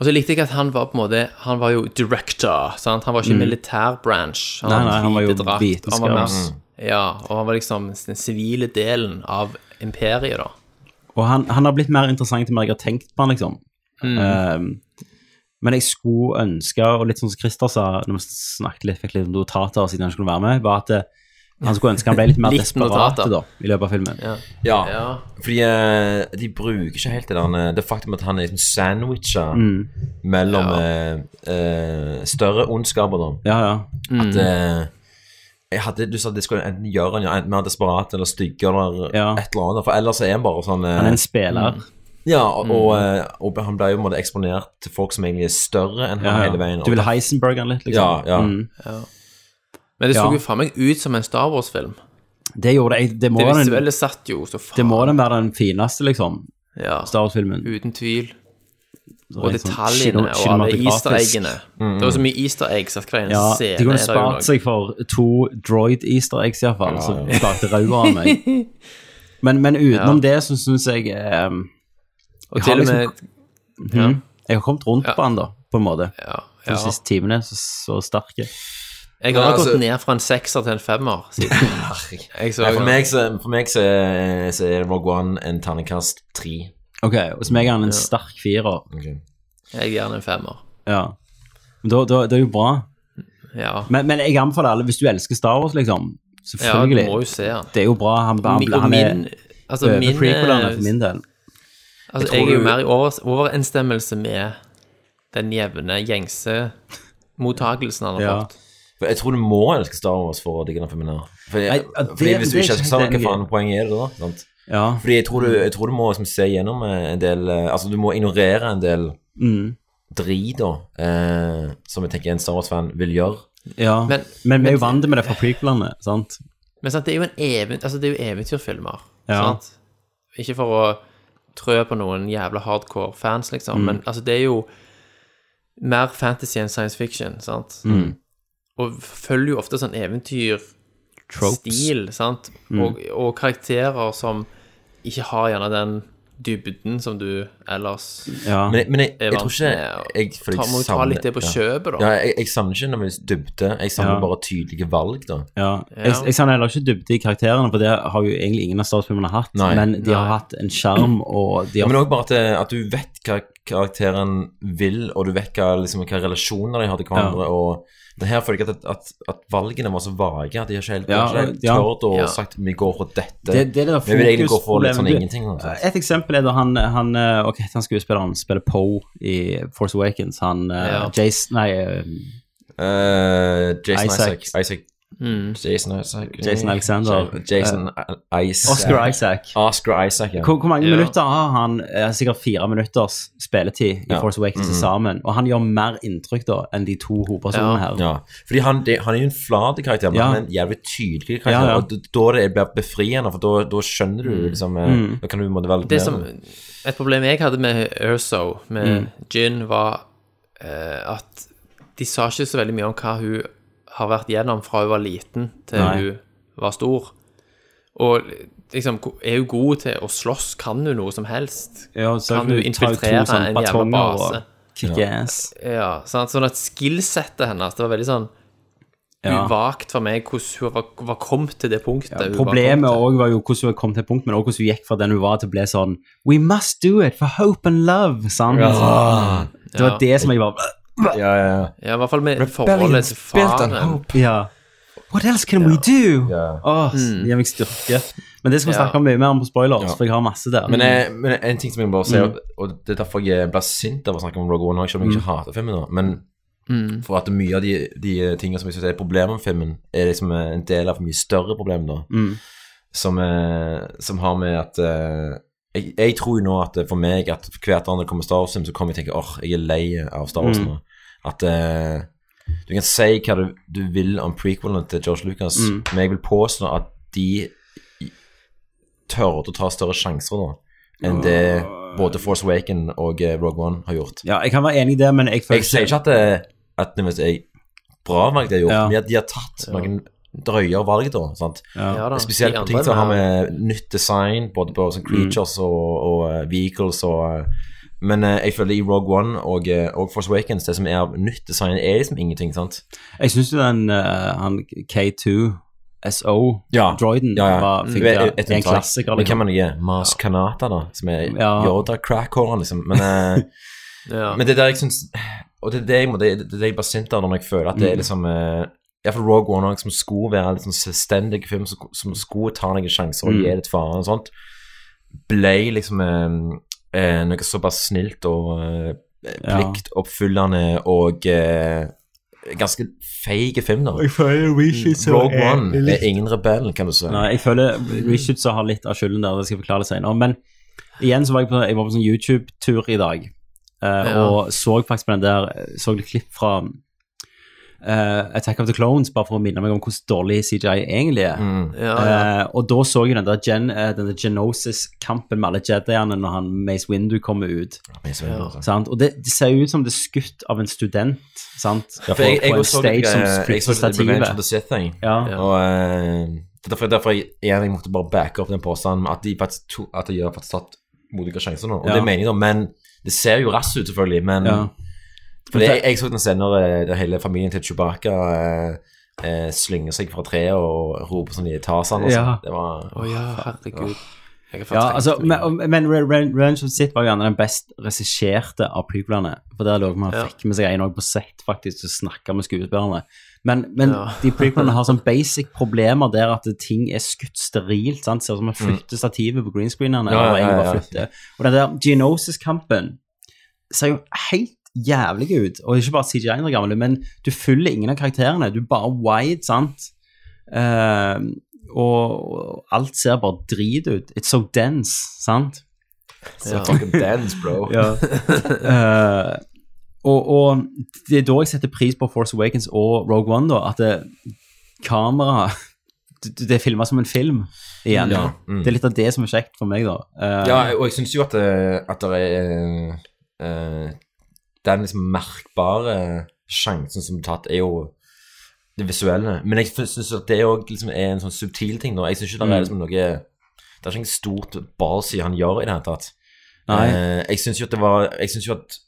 Speaker 2: Og så likte jeg at han var på en måte Han var jo director, sant? Han var ikke militær branch.
Speaker 1: Mm. Nei, nei, han var jo
Speaker 2: hvite drakt, og han var mer-
Speaker 1: vitenskaps-
Speaker 2: Ja, og han var liksom den sivile delen av imperiet, da.
Speaker 1: Og han, han har blitt mer interessant til mer jeg har tenkt på han, liksom.
Speaker 2: Mm.
Speaker 1: Ehm, men jeg skulle ønske, og litt sånn som Christer sa, når vi snakket litt, fikk litt om notater siden han ikke kunne være med, var at eh, han skulle ønske han ble litt mer
Speaker 2: Litt
Speaker 1: desperat
Speaker 2: notater.
Speaker 1: da, i løpet av filmen.
Speaker 2: Ja.
Speaker 3: ja.
Speaker 2: Ja.
Speaker 3: Fordi eh, de bruker ikke helt det der eh, Det faktum at han er liksom sandwicha
Speaker 1: Mm.
Speaker 3: mellom eh, eh, større ondskaper, da.
Speaker 1: Ja, ja.
Speaker 3: At
Speaker 1: Mm.
Speaker 3: eh, jeg hadde, Du sa at det skulle enten gjøre han ja, enten mer desperat eller stygg eller
Speaker 1: Ja.
Speaker 3: et eller annet. For ellers er han bare sånn eh,
Speaker 1: Han er en Mm. spiller.
Speaker 3: Ja, og, og, eh, og han ble jo på en måte eksponert til folk som egentlig er større enn
Speaker 1: Ja,
Speaker 3: han
Speaker 1: ja.
Speaker 3: hele veien.
Speaker 1: Du vil Heisenberg han litt,
Speaker 3: ja,
Speaker 1: liksom?
Speaker 3: ja.
Speaker 2: Men det så
Speaker 1: Ja.
Speaker 2: jo faen meg ut som en Star Wars-film.
Speaker 1: Det gjorde jeg. Det må,
Speaker 2: Det
Speaker 1: den,
Speaker 2: visuelle satt jo så faen.
Speaker 1: det må den være den fineste, liksom.
Speaker 2: ja.
Speaker 1: Star Wars-filmen.
Speaker 2: Uten tvil.
Speaker 1: Så
Speaker 2: Og
Speaker 1: det er sånn
Speaker 2: detaljene
Speaker 1: kino-
Speaker 2: og alle
Speaker 1: cinematografisk.
Speaker 2: easter eggene.
Speaker 3: Mm.
Speaker 2: Det var så mye easter eggs at hver
Speaker 1: Ja,
Speaker 2: eneste scene
Speaker 1: de kunne
Speaker 2: er det jo noe.
Speaker 1: spart seg for to droid easter eggs iallfall, som lagde rauer av meg. Men, men utenom det så syns jeg eh,
Speaker 2: Og
Speaker 1: Jeg har
Speaker 2: til og
Speaker 1: liksom-
Speaker 2: med ja,
Speaker 1: Jeg har kommet rundt på han da, på en måte.
Speaker 2: ja,
Speaker 1: De
Speaker 2: ja.
Speaker 1: siste timene er så, så sterke.
Speaker 2: Jeg har
Speaker 3: Ja, altså-
Speaker 2: gått ned fra en sekser til en femmer siden. Jeg så,
Speaker 3: Nei, for, meg så, for meg så, er- så er Rogue One en ternekast tre.
Speaker 1: Ok, Hos meg er han en sterk firer.
Speaker 2: Jeg gir den en femmer.
Speaker 1: Ja. Men Da, da, det er jo bra.
Speaker 2: Ja.
Speaker 1: Men, men jeg anbefaler alle, hvis du elsker Star Wars, liksom
Speaker 2: ja, du
Speaker 1: Selvfølgelig.
Speaker 2: må jo se den.
Speaker 1: det er jo bra. Han, han,
Speaker 2: Mi- og
Speaker 1: han er
Speaker 2: min- altså,
Speaker 1: over
Speaker 2: min,
Speaker 1: prequelene for min del.
Speaker 2: altså,
Speaker 3: tror
Speaker 2: jeg er jo
Speaker 3: du-
Speaker 2: mer i over, overensstemmelse med den jevne, gjengse mottagelsen han har
Speaker 1: Ja.
Speaker 2: fått.
Speaker 3: For jeg tror du må elske Star Wars for å digge den filmen. her. Fordi,
Speaker 1: Nei, ja, det-
Speaker 3: fordi hvis du
Speaker 1: det er ikke
Speaker 3: ikke elsker Star Wars,
Speaker 1: helt
Speaker 3: hva faen poenget er det da? Sant?
Speaker 1: Ja.
Speaker 3: Fordi jeg tror du, jeg tror du må liksom, se gjennom eh, en del eh, Altså, du må ignorere en del
Speaker 1: Mm.
Speaker 3: drit, da, eh, som jeg tenker en Star Wars-fan vil gjøre.
Speaker 1: ja.
Speaker 2: Men-
Speaker 1: Men, vi er jo vant med det fra prequelene, sant?
Speaker 2: Men sant, det er jo en even, altså, det er jo eventyrfilmer.
Speaker 1: Ja.
Speaker 2: Sant? Ikke for å trø på noen jævla hardcore fans,
Speaker 3: Mm.
Speaker 2: liksom, men altså, det er jo mer fantasy enn science fiction, sant?
Speaker 3: Mm.
Speaker 2: Og følger jo ofte sånn eventyrstil, sant?
Speaker 3: Mm.
Speaker 2: Og, og karakterer som ikke har gjerne den dybden som du ellers
Speaker 1: Ja.
Speaker 3: Men, men jeg, jeg,
Speaker 2: er
Speaker 3: tror
Speaker 2: vant
Speaker 3: ikke
Speaker 2: med.
Speaker 3: jeg,
Speaker 2: Ta-
Speaker 3: fordi jeg
Speaker 2: Må jo ta
Speaker 3: savner-
Speaker 2: litt det på
Speaker 3: ja.
Speaker 2: kjøpet, da.
Speaker 3: Ja, jeg, jeg savner ikke når vi dybde. Jeg savner
Speaker 1: Ja.
Speaker 3: bare tydelige valg, da.
Speaker 1: ja. Jeg, jeg savner heller ikke dybde i karakterene, for det har jo egentlig ingen av statsfilmene hatt.
Speaker 3: Nei.
Speaker 1: Men de har hatt en skjerm, og de
Speaker 3: Ja,
Speaker 1: har
Speaker 3: men òg bare at, det- at du vet hva karakteren vil, og du vet hva, liksom, hva relasjoner de har til hverandre. og men her føler jeg at, at, at valgene var så vage at de har ikke helt, de har
Speaker 1: Ja,
Speaker 3: ikke helt
Speaker 1: ja.
Speaker 3: tørt å
Speaker 2: Ja.
Speaker 3: sagt vi går for dette.
Speaker 1: Det- det er det der
Speaker 3: vi vil egentlig gå for
Speaker 1: fokusproblemet.
Speaker 3: litt sånn
Speaker 1: Du-
Speaker 3: ingenting. og sånt.
Speaker 1: Et eksempel er da han, han eh, Ok, han skuespilleren spiller Poe i Force Awakens. Han eh,
Speaker 2: Ja.
Speaker 1: Jace Nei, eh,
Speaker 3: Eh, Jason
Speaker 1: Isaac.
Speaker 3: Isaac. Isaac. Jason Isaac.
Speaker 1: Jason Alexander.
Speaker 3: Jason Isaac.
Speaker 1: Oscar Isaac.
Speaker 3: Oscar Isaac, ja.
Speaker 1: Hvor, hvor mange
Speaker 2: Ja.
Speaker 1: minutter har han? Eh, Sikkert fire minutters spilletid i
Speaker 3: Ja. Mhm.
Speaker 1: Force Awakens til sammen. Og han gjør mer inntrykk da enn de to hovedpersonene her.
Speaker 3: Ja, fordi han, det, han er jo en flat karakter, men
Speaker 1: Ja.
Speaker 3: han er en jævlig tydelig karakter.
Speaker 1: Ja, ja.
Speaker 3: Og d- da det blir befriende, for da, da skjønner du liksom eh,
Speaker 1: Mm.
Speaker 3: Da kan du måtte velge
Speaker 2: Det som, et problem jeg hadde med Erso, med
Speaker 1: Mm.
Speaker 2: Gin, var eh, at de sa ikke så veldig mye om hva hun har vært gjennom fra hun var liten til
Speaker 1: Nei.
Speaker 2: hun var stor. Og liksom, er hun god til å slåss? Kan hun noe som helst?
Speaker 1: Ja, så
Speaker 2: kan
Speaker 1: hun
Speaker 2: hun
Speaker 1: tar jo to
Speaker 2: infiltrere
Speaker 1: sånne
Speaker 2: en jævla
Speaker 1: batonger og
Speaker 2: base?
Speaker 1: Kickass.
Speaker 2: Ja, sant? Sånn at skillsettet hennes Det var veldig sånn
Speaker 1: Ja.
Speaker 2: uvagt for meg hvordan hun var, var kommet til det punktet. hun var
Speaker 1: Problemet
Speaker 2: kommet til.
Speaker 1: også var jo hvordan hun kom til et punkt, men også hvordan hun gikk fra den hun var til å bli sånn We must do it for hope and love, sant? Det var
Speaker 2: Ja.
Speaker 1: det som jeg var
Speaker 3: Ja, ja, ja.
Speaker 2: Ja, i hvert fall med forholdet til faren.
Speaker 1: Ja. What else can we do? Åh, det gir meg styrke. Men det skal vi
Speaker 2: Mm. Ja.
Speaker 1: snakke om mye mer om på spoilers,
Speaker 3: Ja.
Speaker 1: for jeg har masse der.
Speaker 3: Men, eh, men en ting som jeg må bare si, og- og det er derfor jeg ble sint av å snakke om Rogue One, også, selv om jeg ikke hater filmen nå, men for at mye av de, de tingene som jeg synes er problemer med filmen, er liksom eh, en del av mye større problemer da, som, eh, som har med at eh, jeg, jeg tror jo nå at eh, for meg, at hvert andre kommer Star Wars-film, så kommer jeg til å tenke, åh, jeg er lei av Star Wars nå. At eh, du kan si hva du, du vil om prequelene til George Lucas, men jeg vil påstå at de tør å ta større sjanser nå enn det både Force Awaken og eh, Rogue One har gjort.
Speaker 1: ja, jeg kan være enig i det, men jeg føler
Speaker 3: Jeg sier ikke at det, at det er bra valg de har gjort,
Speaker 1: Ja.
Speaker 3: men de har, de har tatt noen drøyere valg da. Sant?
Speaker 2: Ja, da.
Speaker 3: Spesielt
Speaker 2: De
Speaker 3: på ting
Speaker 2: andre
Speaker 3: som har
Speaker 2: med-
Speaker 3: med nytt design, både på
Speaker 1: Mm.
Speaker 3: sånn creatures og, og eh, vehicles og eh, men eh, jeg føler i Rogue One og, eh, og Force Awakens, det som er av nytt design, er liksom ingenting, sant?
Speaker 1: Jeg syns jo den eh, han K2 SO,
Speaker 3: Ja.
Speaker 1: droiden,
Speaker 3: Ja, Mm. ja.
Speaker 1: var
Speaker 3: Jeg
Speaker 1: fikk,
Speaker 3: vet-
Speaker 1: ja,
Speaker 3: jeg- jeg
Speaker 1: det er en
Speaker 3: tenkte-
Speaker 1: klassiker.
Speaker 3: Men hvem
Speaker 1: Liksom.
Speaker 3: er det? Mars Kanata, da? Som er
Speaker 1: Ja.
Speaker 3: Yoda-crackhåren, liksom. Men, eh,
Speaker 2: Ja.
Speaker 3: men det der jeg syns Og det er det jeg, må, det, det er det jeg bare sint av når jeg føler at det er
Speaker 1: Mm.
Speaker 3: liksom eh, i hvert fall Rogue One også, som skulle være en litt sånn selvstendig film, som, som skulle ta noen sjanser og
Speaker 1: Mm.
Speaker 3: gi litt fare og sånt, ble liksom eh, eh, noe såpass snilt og eh,
Speaker 1: Ja.
Speaker 3: pliktoppfyllende og eh, ganske feig film, da.
Speaker 1: føler
Speaker 3: Rogue One er ingen rebell, kan du si.
Speaker 1: Nei, jeg føler Richard så har litt av skylden der, det skal jeg forklare litt senere. Men igjen så var jeg på, jeg var på sånn YouTube-tur i dag, eh,
Speaker 2: Ja.
Speaker 1: og så faktisk på den der Så litt klipp fra eh, Attack of the Clones, bare for å minne meg om hvordan dårlig CGI egentlig er.
Speaker 3: Mm.
Speaker 2: Ja, ja.
Speaker 1: Eh, og da så jeg den der, gen, eh, den der Genosis-kampen med alle jediene når han Mace Windu kommer ut.
Speaker 3: Men så er det sånn.
Speaker 1: Sant? Og det, det ser jo ut som det er skutt av en student, sant?
Speaker 3: Ja, for jeg, jeg,
Speaker 1: på en
Speaker 3: også så noe-
Speaker 1: stage som
Speaker 3: jeg
Speaker 1: flytter
Speaker 3: så The Revenge of
Speaker 1: stativet.
Speaker 3: the Sith thing.
Speaker 1: Ja.
Speaker 3: Og eh, det er derfor, derfor jeg, igjen, jeg måtte bare backe opp den påstanden med at de faktisk, to, at de har faktisk tatt modige sjanser nå. Og
Speaker 1: Ja.
Speaker 3: det mener jeg, da. Men det ser jo raskt ut, selvfølgelig. Men
Speaker 1: Ja.
Speaker 3: for jeg, jeg så den senere eh, der hele familien til Chewbacca eh, eh, slynger seg fra treet og roper sånn i Tarzan og sånn.
Speaker 1: Ja.
Speaker 3: Det var
Speaker 2: Å ja, herregud. Jeg har fått
Speaker 1: Ja, altså,
Speaker 2: trengt mye.
Speaker 1: men, men Re- Re- Revenge of the Sith var jo gjerne den best regisserte av prequelene. For der lå man
Speaker 2: Ja.
Speaker 1: fikk med seg en også på sett, faktisk, og snakka med skuespillerne. Men, men
Speaker 2: Ja.
Speaker 1: de prequelene har sånn basic problemer der at ting er skutt sterilt. sant? Ser ut som man flytter stativet på greenscreenene.
Speaker 3: Ja, ja,
Speaker 1: eller egentlig
Speaker 3: ja,
Speaker 1: bare
Speaker 3: ja.
Speaker 1: flytter. Og den der Geonosis-kampen ser jo helt jævlig ut. Og ikke bare CGI-en er gammel, men du følger ingen av karakterene. Du er bare wide, sant? Eh, og og alt ser bare drit ut. It's so dense, sant?
Speaker 3: så fucking dance, bro.
Speaker 1: Eh, og, og det er da jeg setter pris på Force Awakens og Rogue One, da, at det, kamera Det, det er filma som en film igjen.
Speaker 3: Ja, mm.
Speaker 1: Det er litt av det som er kjekt for meg, da. Eh,
Speaker 3: Ja, og jeg syns jo at, eh, at det er eh, Den liksom merkbare sjansen som er tatt, er jo det visuelle. Men jeg syns at det òg liksom er en sånn subtil ting. nå. Jeg syns ikke
Speaker 1: Mm.
Speaker 3: det er liksom noe Det er ikke noe stort ballsy han gjør i det hele tatt.
Speaker 1: Nei.
Speaker 3: Eh, jeg syns jo at det var Jeg synes jo at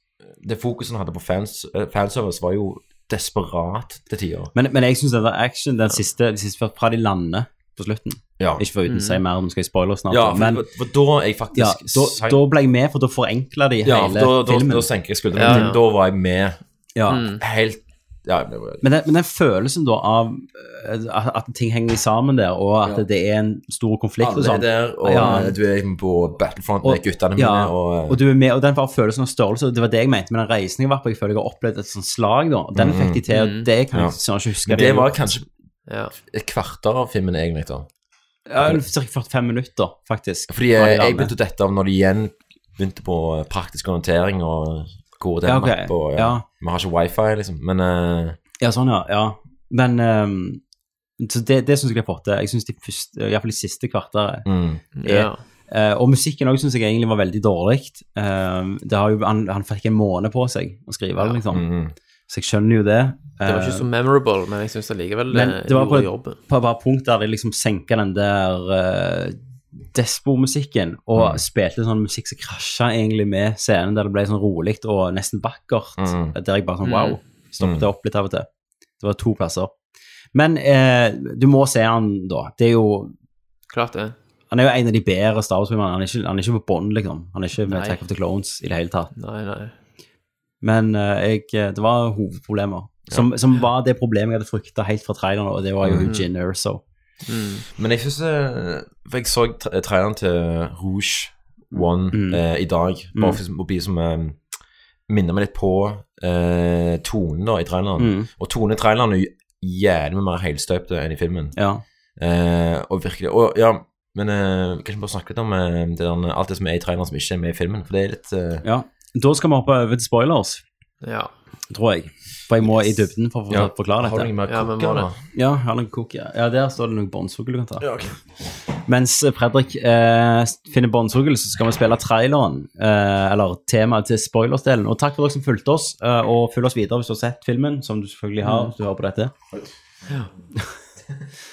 Speaker 3: det fokuset han hadde på fans, eh, fanservice, var jo desperat til tider.
Speaker 1: Men, men jeg syns den der action, den siste, de siste fra de lander på slutten
Speaker 3: Ja.
Speaker 1: Ikke for uten å si mer, om skal jeg spoile snart.
Speaker 3: ja,
Speaker 1: da,
Speaker 3: for,
Speaker 1: men
Speaker 3: for, for da er jeg faktisk
Speaker 1: ja, da,
Speaker 3: sa-
Speaker 1: da ble jeg med, for da forenkla de
Speaker 3: ja, for
Speaker 1: hele
Speaker 3: da, da,
Speaker 1: filmen.
Speaker 3: da senker jeg skuldrene.
Speaker 2: Ja, ja.
Speaker 3: Da var jeg med
Speaker 1: ja.
Speaker 3: Mm. helt Ja, det var
Speaker 1: Men, den, men den følelsen da av eh, at, at ting henger sammen der, og at
Speaker 3: Ja.
Speaker 1: det er en stor konflikt
Speaker 3: Alle
Speaker 1: og sånn.
Speaker 3: er der, og
Speaker 1: Ja.
Speaker 3: eh, du er liksom på battlefront med guttene mine.
Speaker 1: ja,
Speaker 3: og, eh,
Speaker 1: og, du er med, og den bare følelsen av størrelse, og det var det jeg mente med den reisen jeg var på. Jeg føler jeg har opplevd et sånt slag, da. og Den fikk de til, og det kan
Speaker 3: Mm. Ja.
Speaker 1: jeg sånn ikke huske.
Speaker 3: men det var kanskje
Speaker 2: ja.
Speaker 3: et kvarter av filmen, egentlig. da.
Speaker 1: ja, ca. 45 minutter, faktisk.
Speaker 3: Fordi
Speaker 1: fra
Speaker 3: eh,
Speaker 1: de
Speaker 3: jeg
Speaker 1: landene.
Speaker 3: begynte å dette av når de igjen begynte på eh, praktisk orientering og kodet
Speaker 1: Ja, ok,
Speaker 3: mapp. Og, ja.
Speaker 1: ja.
Speaker 3: Vi har ikke wifi, liksom. Men eh,
Speaker 1: Ja, sånn, ja. ja. Men ehm, så det, det syns jeg de har fått til. Jeg syns de første, iallfall de siste kvarteret
Speaker 3: mm,
Speaker 1: er
Speaker 2: Ja.
Speaker 1: Eh, og musikken òg syns jeg egentlig var veldig dårlig. Eh, det har jo, han, han fikk en måned på seg å skrive, det, liksom.
Speaker 3: mm, mm.
Speaker 1: så jeg skjønner jo det.
Speaker 2: Det var ikke så memorable, men jeg syns allikevel det
Speaker 1: Men det var på
Speaker 2: gjorde
Speaker 1: et
Speaker 2: jobben.
Speaker 1: på bare punkt der de liksom senka den der eh, despo-musikken og
Speaker 3: Mm.
Speaker 1: spilte sånn musikk som krasja egentlig med scenen, der det ble sånn rolig og nesten vakkert.
Speaker 3: Mm.
Speaker 1: Der jeg bare sånn wow.
Speaker 3: Mm.
Speaker 1: Stoppet opp litt av og til. Det var to plasser. Men eh, du må se han da. Det er jo
Speaker 2: Klart det.
Speaker 1: Han er jo en av de bedre Star Wars-filmene. Han, er ikke- han er ikke på bånd, liksom. Han er ikke med
Speaker 2: Nei.
Speaker 1: Attack of the Clones i det hele tatt.
Speaker 2: Nei, nei.
Speaker 1: Men eh, jeg, eh, det var hovedproblemer, som, som var det problemet jeg hadde frykta helt fra traileren, og det var jo
Speaker 3: Mm.
Speaker 1: Eugene Erso.
Speaker 3: Men jeg syns eh, For jeg så tra- traileren til Rouge One
Speaker 1: Mm.
Speaker 3: eh, i dag,
Speaker 1: Mm.
Speaker 3: bare for å bli som eh, Minner meg litt på eh, tonen da i traileren.
Speaker 1: Mm.
Speaker 3: Og tonen i traileren er jævlig mye mer helstøpt enn i filmen.
Speaker 1: Ja.
Speaker 3: Eh, og virkelig Og ja, men eh, kanskje vi bare snakke litt om eh, det der, alt det som er i traileren som ikke er med i filmen, for det er litt eh,
Speaker 1: ja. Da skal vi hoppe over til spoilers,
Speaker 2: Ja.
Speaker 1: tror jeg. For jeg må i dybden for å for-
Speaker 3: Ja.
Speaker 1: forklare
Speaker 3: Har du
Speaker 1: dette.
Speaker 3: noe mer
Speaker 2: Ja, men
Speaker 3: koker,
Speaker 2: må
Speaker 3: da?
Speaker 1: Ja, her er noen cookie. ja, der står det noe båndsugel du kan ta.
Speaker 3: Ja, ok.
Speaker 1: Mens Fredrik eh, finner båndsugel, så skal vi spille traileren, eh, eller temaet til spoilers-delen. Og takk for dere som fulgte oss, eh, og følg oss videre hvis du har sett filmen, som du selvfølgelig har hvis du hører på dette.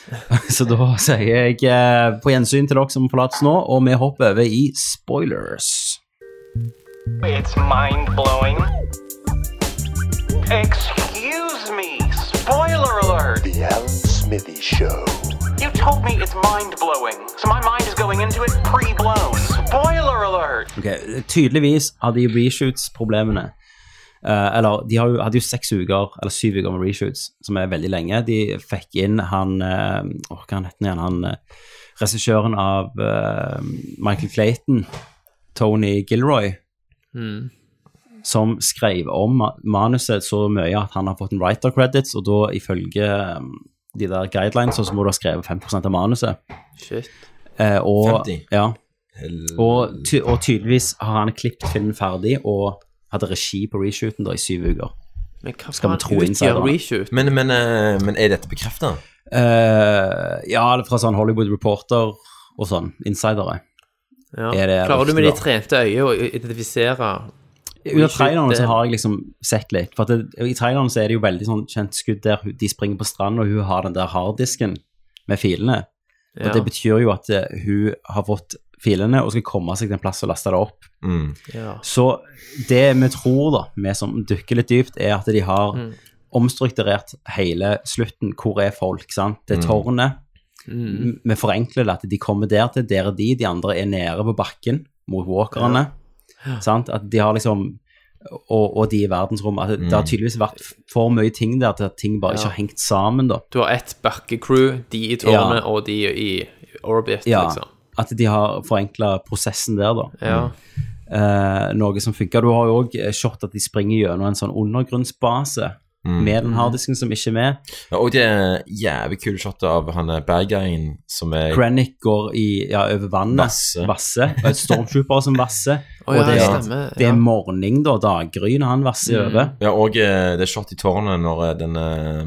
Speaker 1: så da sier jeg eh, på gjensyn til dere som forlates nå, og vi hopper over i spoilers.
Speaker 9: It's mind blowing. Excuse me. Spoiler alert.
Speaker 10: The Alan Smithy Show.
Speaker 9: You told me it's mind blowing, so my mind is going into it pre blown. Spoiler alert.
Speaker 1: Ok, Tydeligvis hadde de reshoots problemene. Eh, eller de har jo, hadde jo seks uker, eller syv uker med reshoots, som er veldig lenge. De fikk inn han eh, åh, Hva het han igjen? Han eh, regissøren av eh, Michael Clayton, Tony Gilroy,
Speaker 2: Mm.
Speaker 1: som skrev om ma- manuset så mye at han har fått en writer credits, og da ifølge eh, de der guidelines så må du ha skrevet 5 av manuset.
Speaker 2: Shit.
Speaker 1: Eh, og,
Speaker 3: 50?
Speaker 1: Ja,
Speaker 3: Hel-
Speaker 1: og, ty og tydeligvis har han klippet filmen ferdig og hadde regi på reshooten da i syv uker.
Speaker 2: Men hva
Speaker 1: Skal vi
Speaker 2: faen
Speaker 1: tro
Speaker 2: utgjør
Speaker 1: insiderne?
Speaker 2: reshoot?
Speaker 3: men, men, eh, men er dette bekrefta?
Speaker 1: Eh, ja, det er fra sånn Hollywood Reporter og sånn, insidere.
Speaker 2: Ja.
Speaker 1: Er det
Speaker 2: Klarer du
Speaker 1: ofte
Speaker 2: med de
Speaker 1: bra?
Speaker 2: trente øyne å identifisere
Speaker 1: Under traileren
Speaker 2: det-
Speaker 1: så har jeg liksom sett litt, for at det, i traileren så er det jo veldig sånn kjent skudd der hun- de springer på stranden og hun har den der harddisken med filene.
Speaker 2: ja.
Speaker 1: Og det betyr jo at eh, hun har fått filene og skal komme seg til en plass og laste det opp.
Speaker 3: Mm.
Speaker 2: ja.
Speaker 1: Så det vi tror, da, vi som dykker litt dypt, er at de har omstrukturert hele slutten. Hvor er folk? sant? Det er tårnet. M- Vi forenkler det at de kommer der til, der er de. De andre er nede på bakken mot walkerne. Sant? At de har liksom og, og de i verdensrommet. At det, det har tydeligvis vært f- for mye ting der til at ting bare ikke har hengt sammen, da.
Speaker 2: Du har ett bakkecrew, de i tårnet
Speaker 1: Ja.
Speaker 2: og de i orbit,
Speaker 1: Ja,
Speaker 2: liksom.
Speaker 1: At de har forenkla prosessen der, da.
Speaker 2: Ja.
Speaker 1: eh, noe som funker. Du har jo òg shot at de springer gjennom en sånn undergrunnsbase med den harddisken som ikke er med.
Speaker 3: Ja, og det er jævlig kule shotet av han eh, bad guyen som er
Speaker 1: Krennic går i, ja, over vannet,
Speaker 3: Vasse.
Speaker 1: og et stormtrooper som vasser.
Speaker 2: Å,
Speaker 1: og
Speaker 2: ja,
Speaker 1: det, er-
Speaker 2: stemmer,
Speaker 1: det
Speaker 2: ja.
Speaker 1: er morgen, da, daggry, når han vasser over.
Speaker 3: Ja, og eh, det er shot i tårnet når eh, den eh,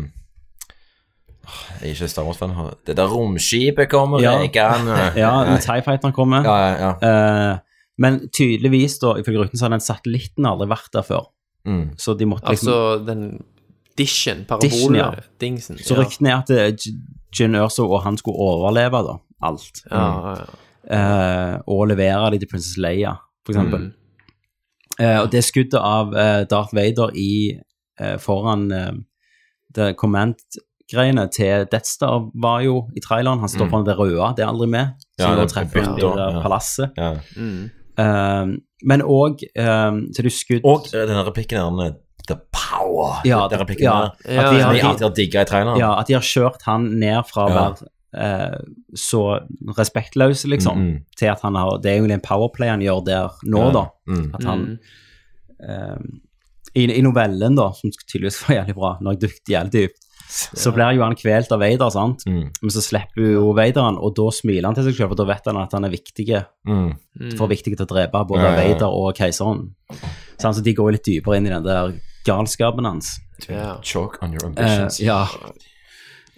Speaker 3: åh, Jeg er ikke Star Wars-fan. har- Det der romskipet kommer,
Speaker 1: Ja.
Speaker 3: jeg kan eh.
Speaker 1: Ja, når Tie Fighteren kommer.
Speaker 3: ja, ja, ja.
Speaker 1: Eh, men tydeligvis, da, ifølge rykten, så har den satellitten aldri vært der før.
Speaker 3: Mm.
Speaker 1: Så de måtte liksom
Speaker 2: Altså den dishen,
Speaker 1: Dishen, ja.
Speaker 2: parabola-dingsen.
Speaker 1: Så ryktene er at eh, J- Jyn Erso og han skulle overleve da, alt.
Speaker 2: Ja, ja,
Speaker 1: Mm.
Speaker 2: ja.
Speaker 1: eh, og levere de til Princess Leia, for eksempel.
Speaker 2: Mm.
Speaker 1: Eh, og det skuddet av eh, Darth Vader i, eh, foran eh, det command-greiene til Death Star var jo i traileren. Han står foran det røde, det er aldri med.
Speaker 3: Mm. Ja,
Speaker 1: Som da
Speaker 3: det er
Speaker 1: treffer
Speaker 3: bytta,
Speaker 1: det der
Speaker 3: ja.
Speaker 1: palasset.
Speaker 3: ja.
Speaker 1: Eh, men òg eh, til du skudd
Speaker 3: Og eh, denne replikken der den er The power!
Speaker 1: Ja,
Speaker 3: den replikken
Speaker 1: ja,
Speaker 3: der.
Speaker 1: at de
Speaker 2: Ja,
Speaker 3: Som jeg
Speaker 1: har,
Speaker 3: alltid har digga i traileren.
Speaker 1: ja, at de har kjørt han ned fra å
Speaker 3: Ja.
Speaker 1: være eh, så respektløs, liksom,
Speaker 3: Mm,
Speaker 1: til at han har Det er jo egentlig en powerplay han gjør der nå,
Speaker 3: Ja.
Speaker 1: da.
Speaker 3: Mm.
Speaker 1: At han eh, i, I novellen, da, som tydeligvis var jævlig bra, når jeg dykket jævlig dypt, så blir jo han kvelt av Vader, sant?
Speaker 3: Mm.
Speaker 1: Men så slipper jo Vader han, og da smiler han til seg selv, for da vet han at han er viktig,
Speaker 3: Mm.
Speaker 1: for viktig til å drepe både
Speaker 3: Ja, ja, ja.
Speaker 1: Vader og keiseren. Sant? Så de går jo litt dypere inn i den der galskapen hans.
Speaker 2: ja.
Speaker 3: Choke on your
Speaker 1: Eh,
Speaker 3: ambitions.
Speaker 1: ja.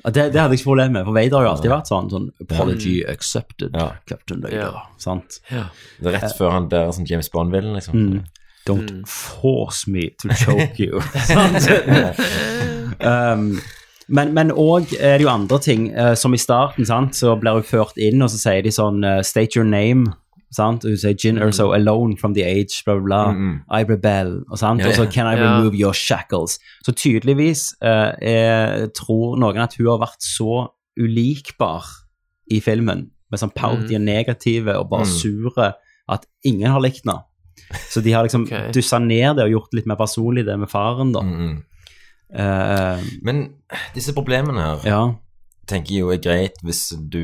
Speaker 1: Og Det, det hadde jeg ikke problem med, for Vader har jo alltid vært sånn, sånn apology accepted,
Speaker 3: Ja.
Speaker 1: Captain Vader,
Speaker 2: Ja.
Speaker 1: sant?
Speaker 3: Det er rett før han blir som James Bond-villen, liksom.
Speaker 1: Mm. Don't
Speaker 3: Mm.
Speaker 1: force me to choke you. Sant? um, Men, men også er det jo andre ting, eh, som i starten, sant, så blir hun ført inn, og så sier de sånn eh, State your name. Sant? Hun sier Gin
Speaker 3: Mm.
Speaker 1: Erso alone from the age, bla, bla, bla. I rebel. Og, sant?
Speaker 3: Ja, ja.
Speaker 1: og så Can I
Speaker 2: Ja.
Speaker 1: remove your shackles? Så tydeligvis eh, er, tror noen at hun har vært så ulikbar i filmen, med sånn
Speaker 3: Mm.
Speaker 1: pouty og negative og bare sure, at ingen har likt henne. Så de har liksom
Speaker 2: Ok.
Speaker 1: dussa ned det og gjort det litt mer personlig, det med faren,
Speaker 3: Mm.
Speaker 1: da. Eh,
Speaker 3: Men disse problemene her
Speaker 1: ja.
Speaker 3: tenker jeg jo er greit hvis du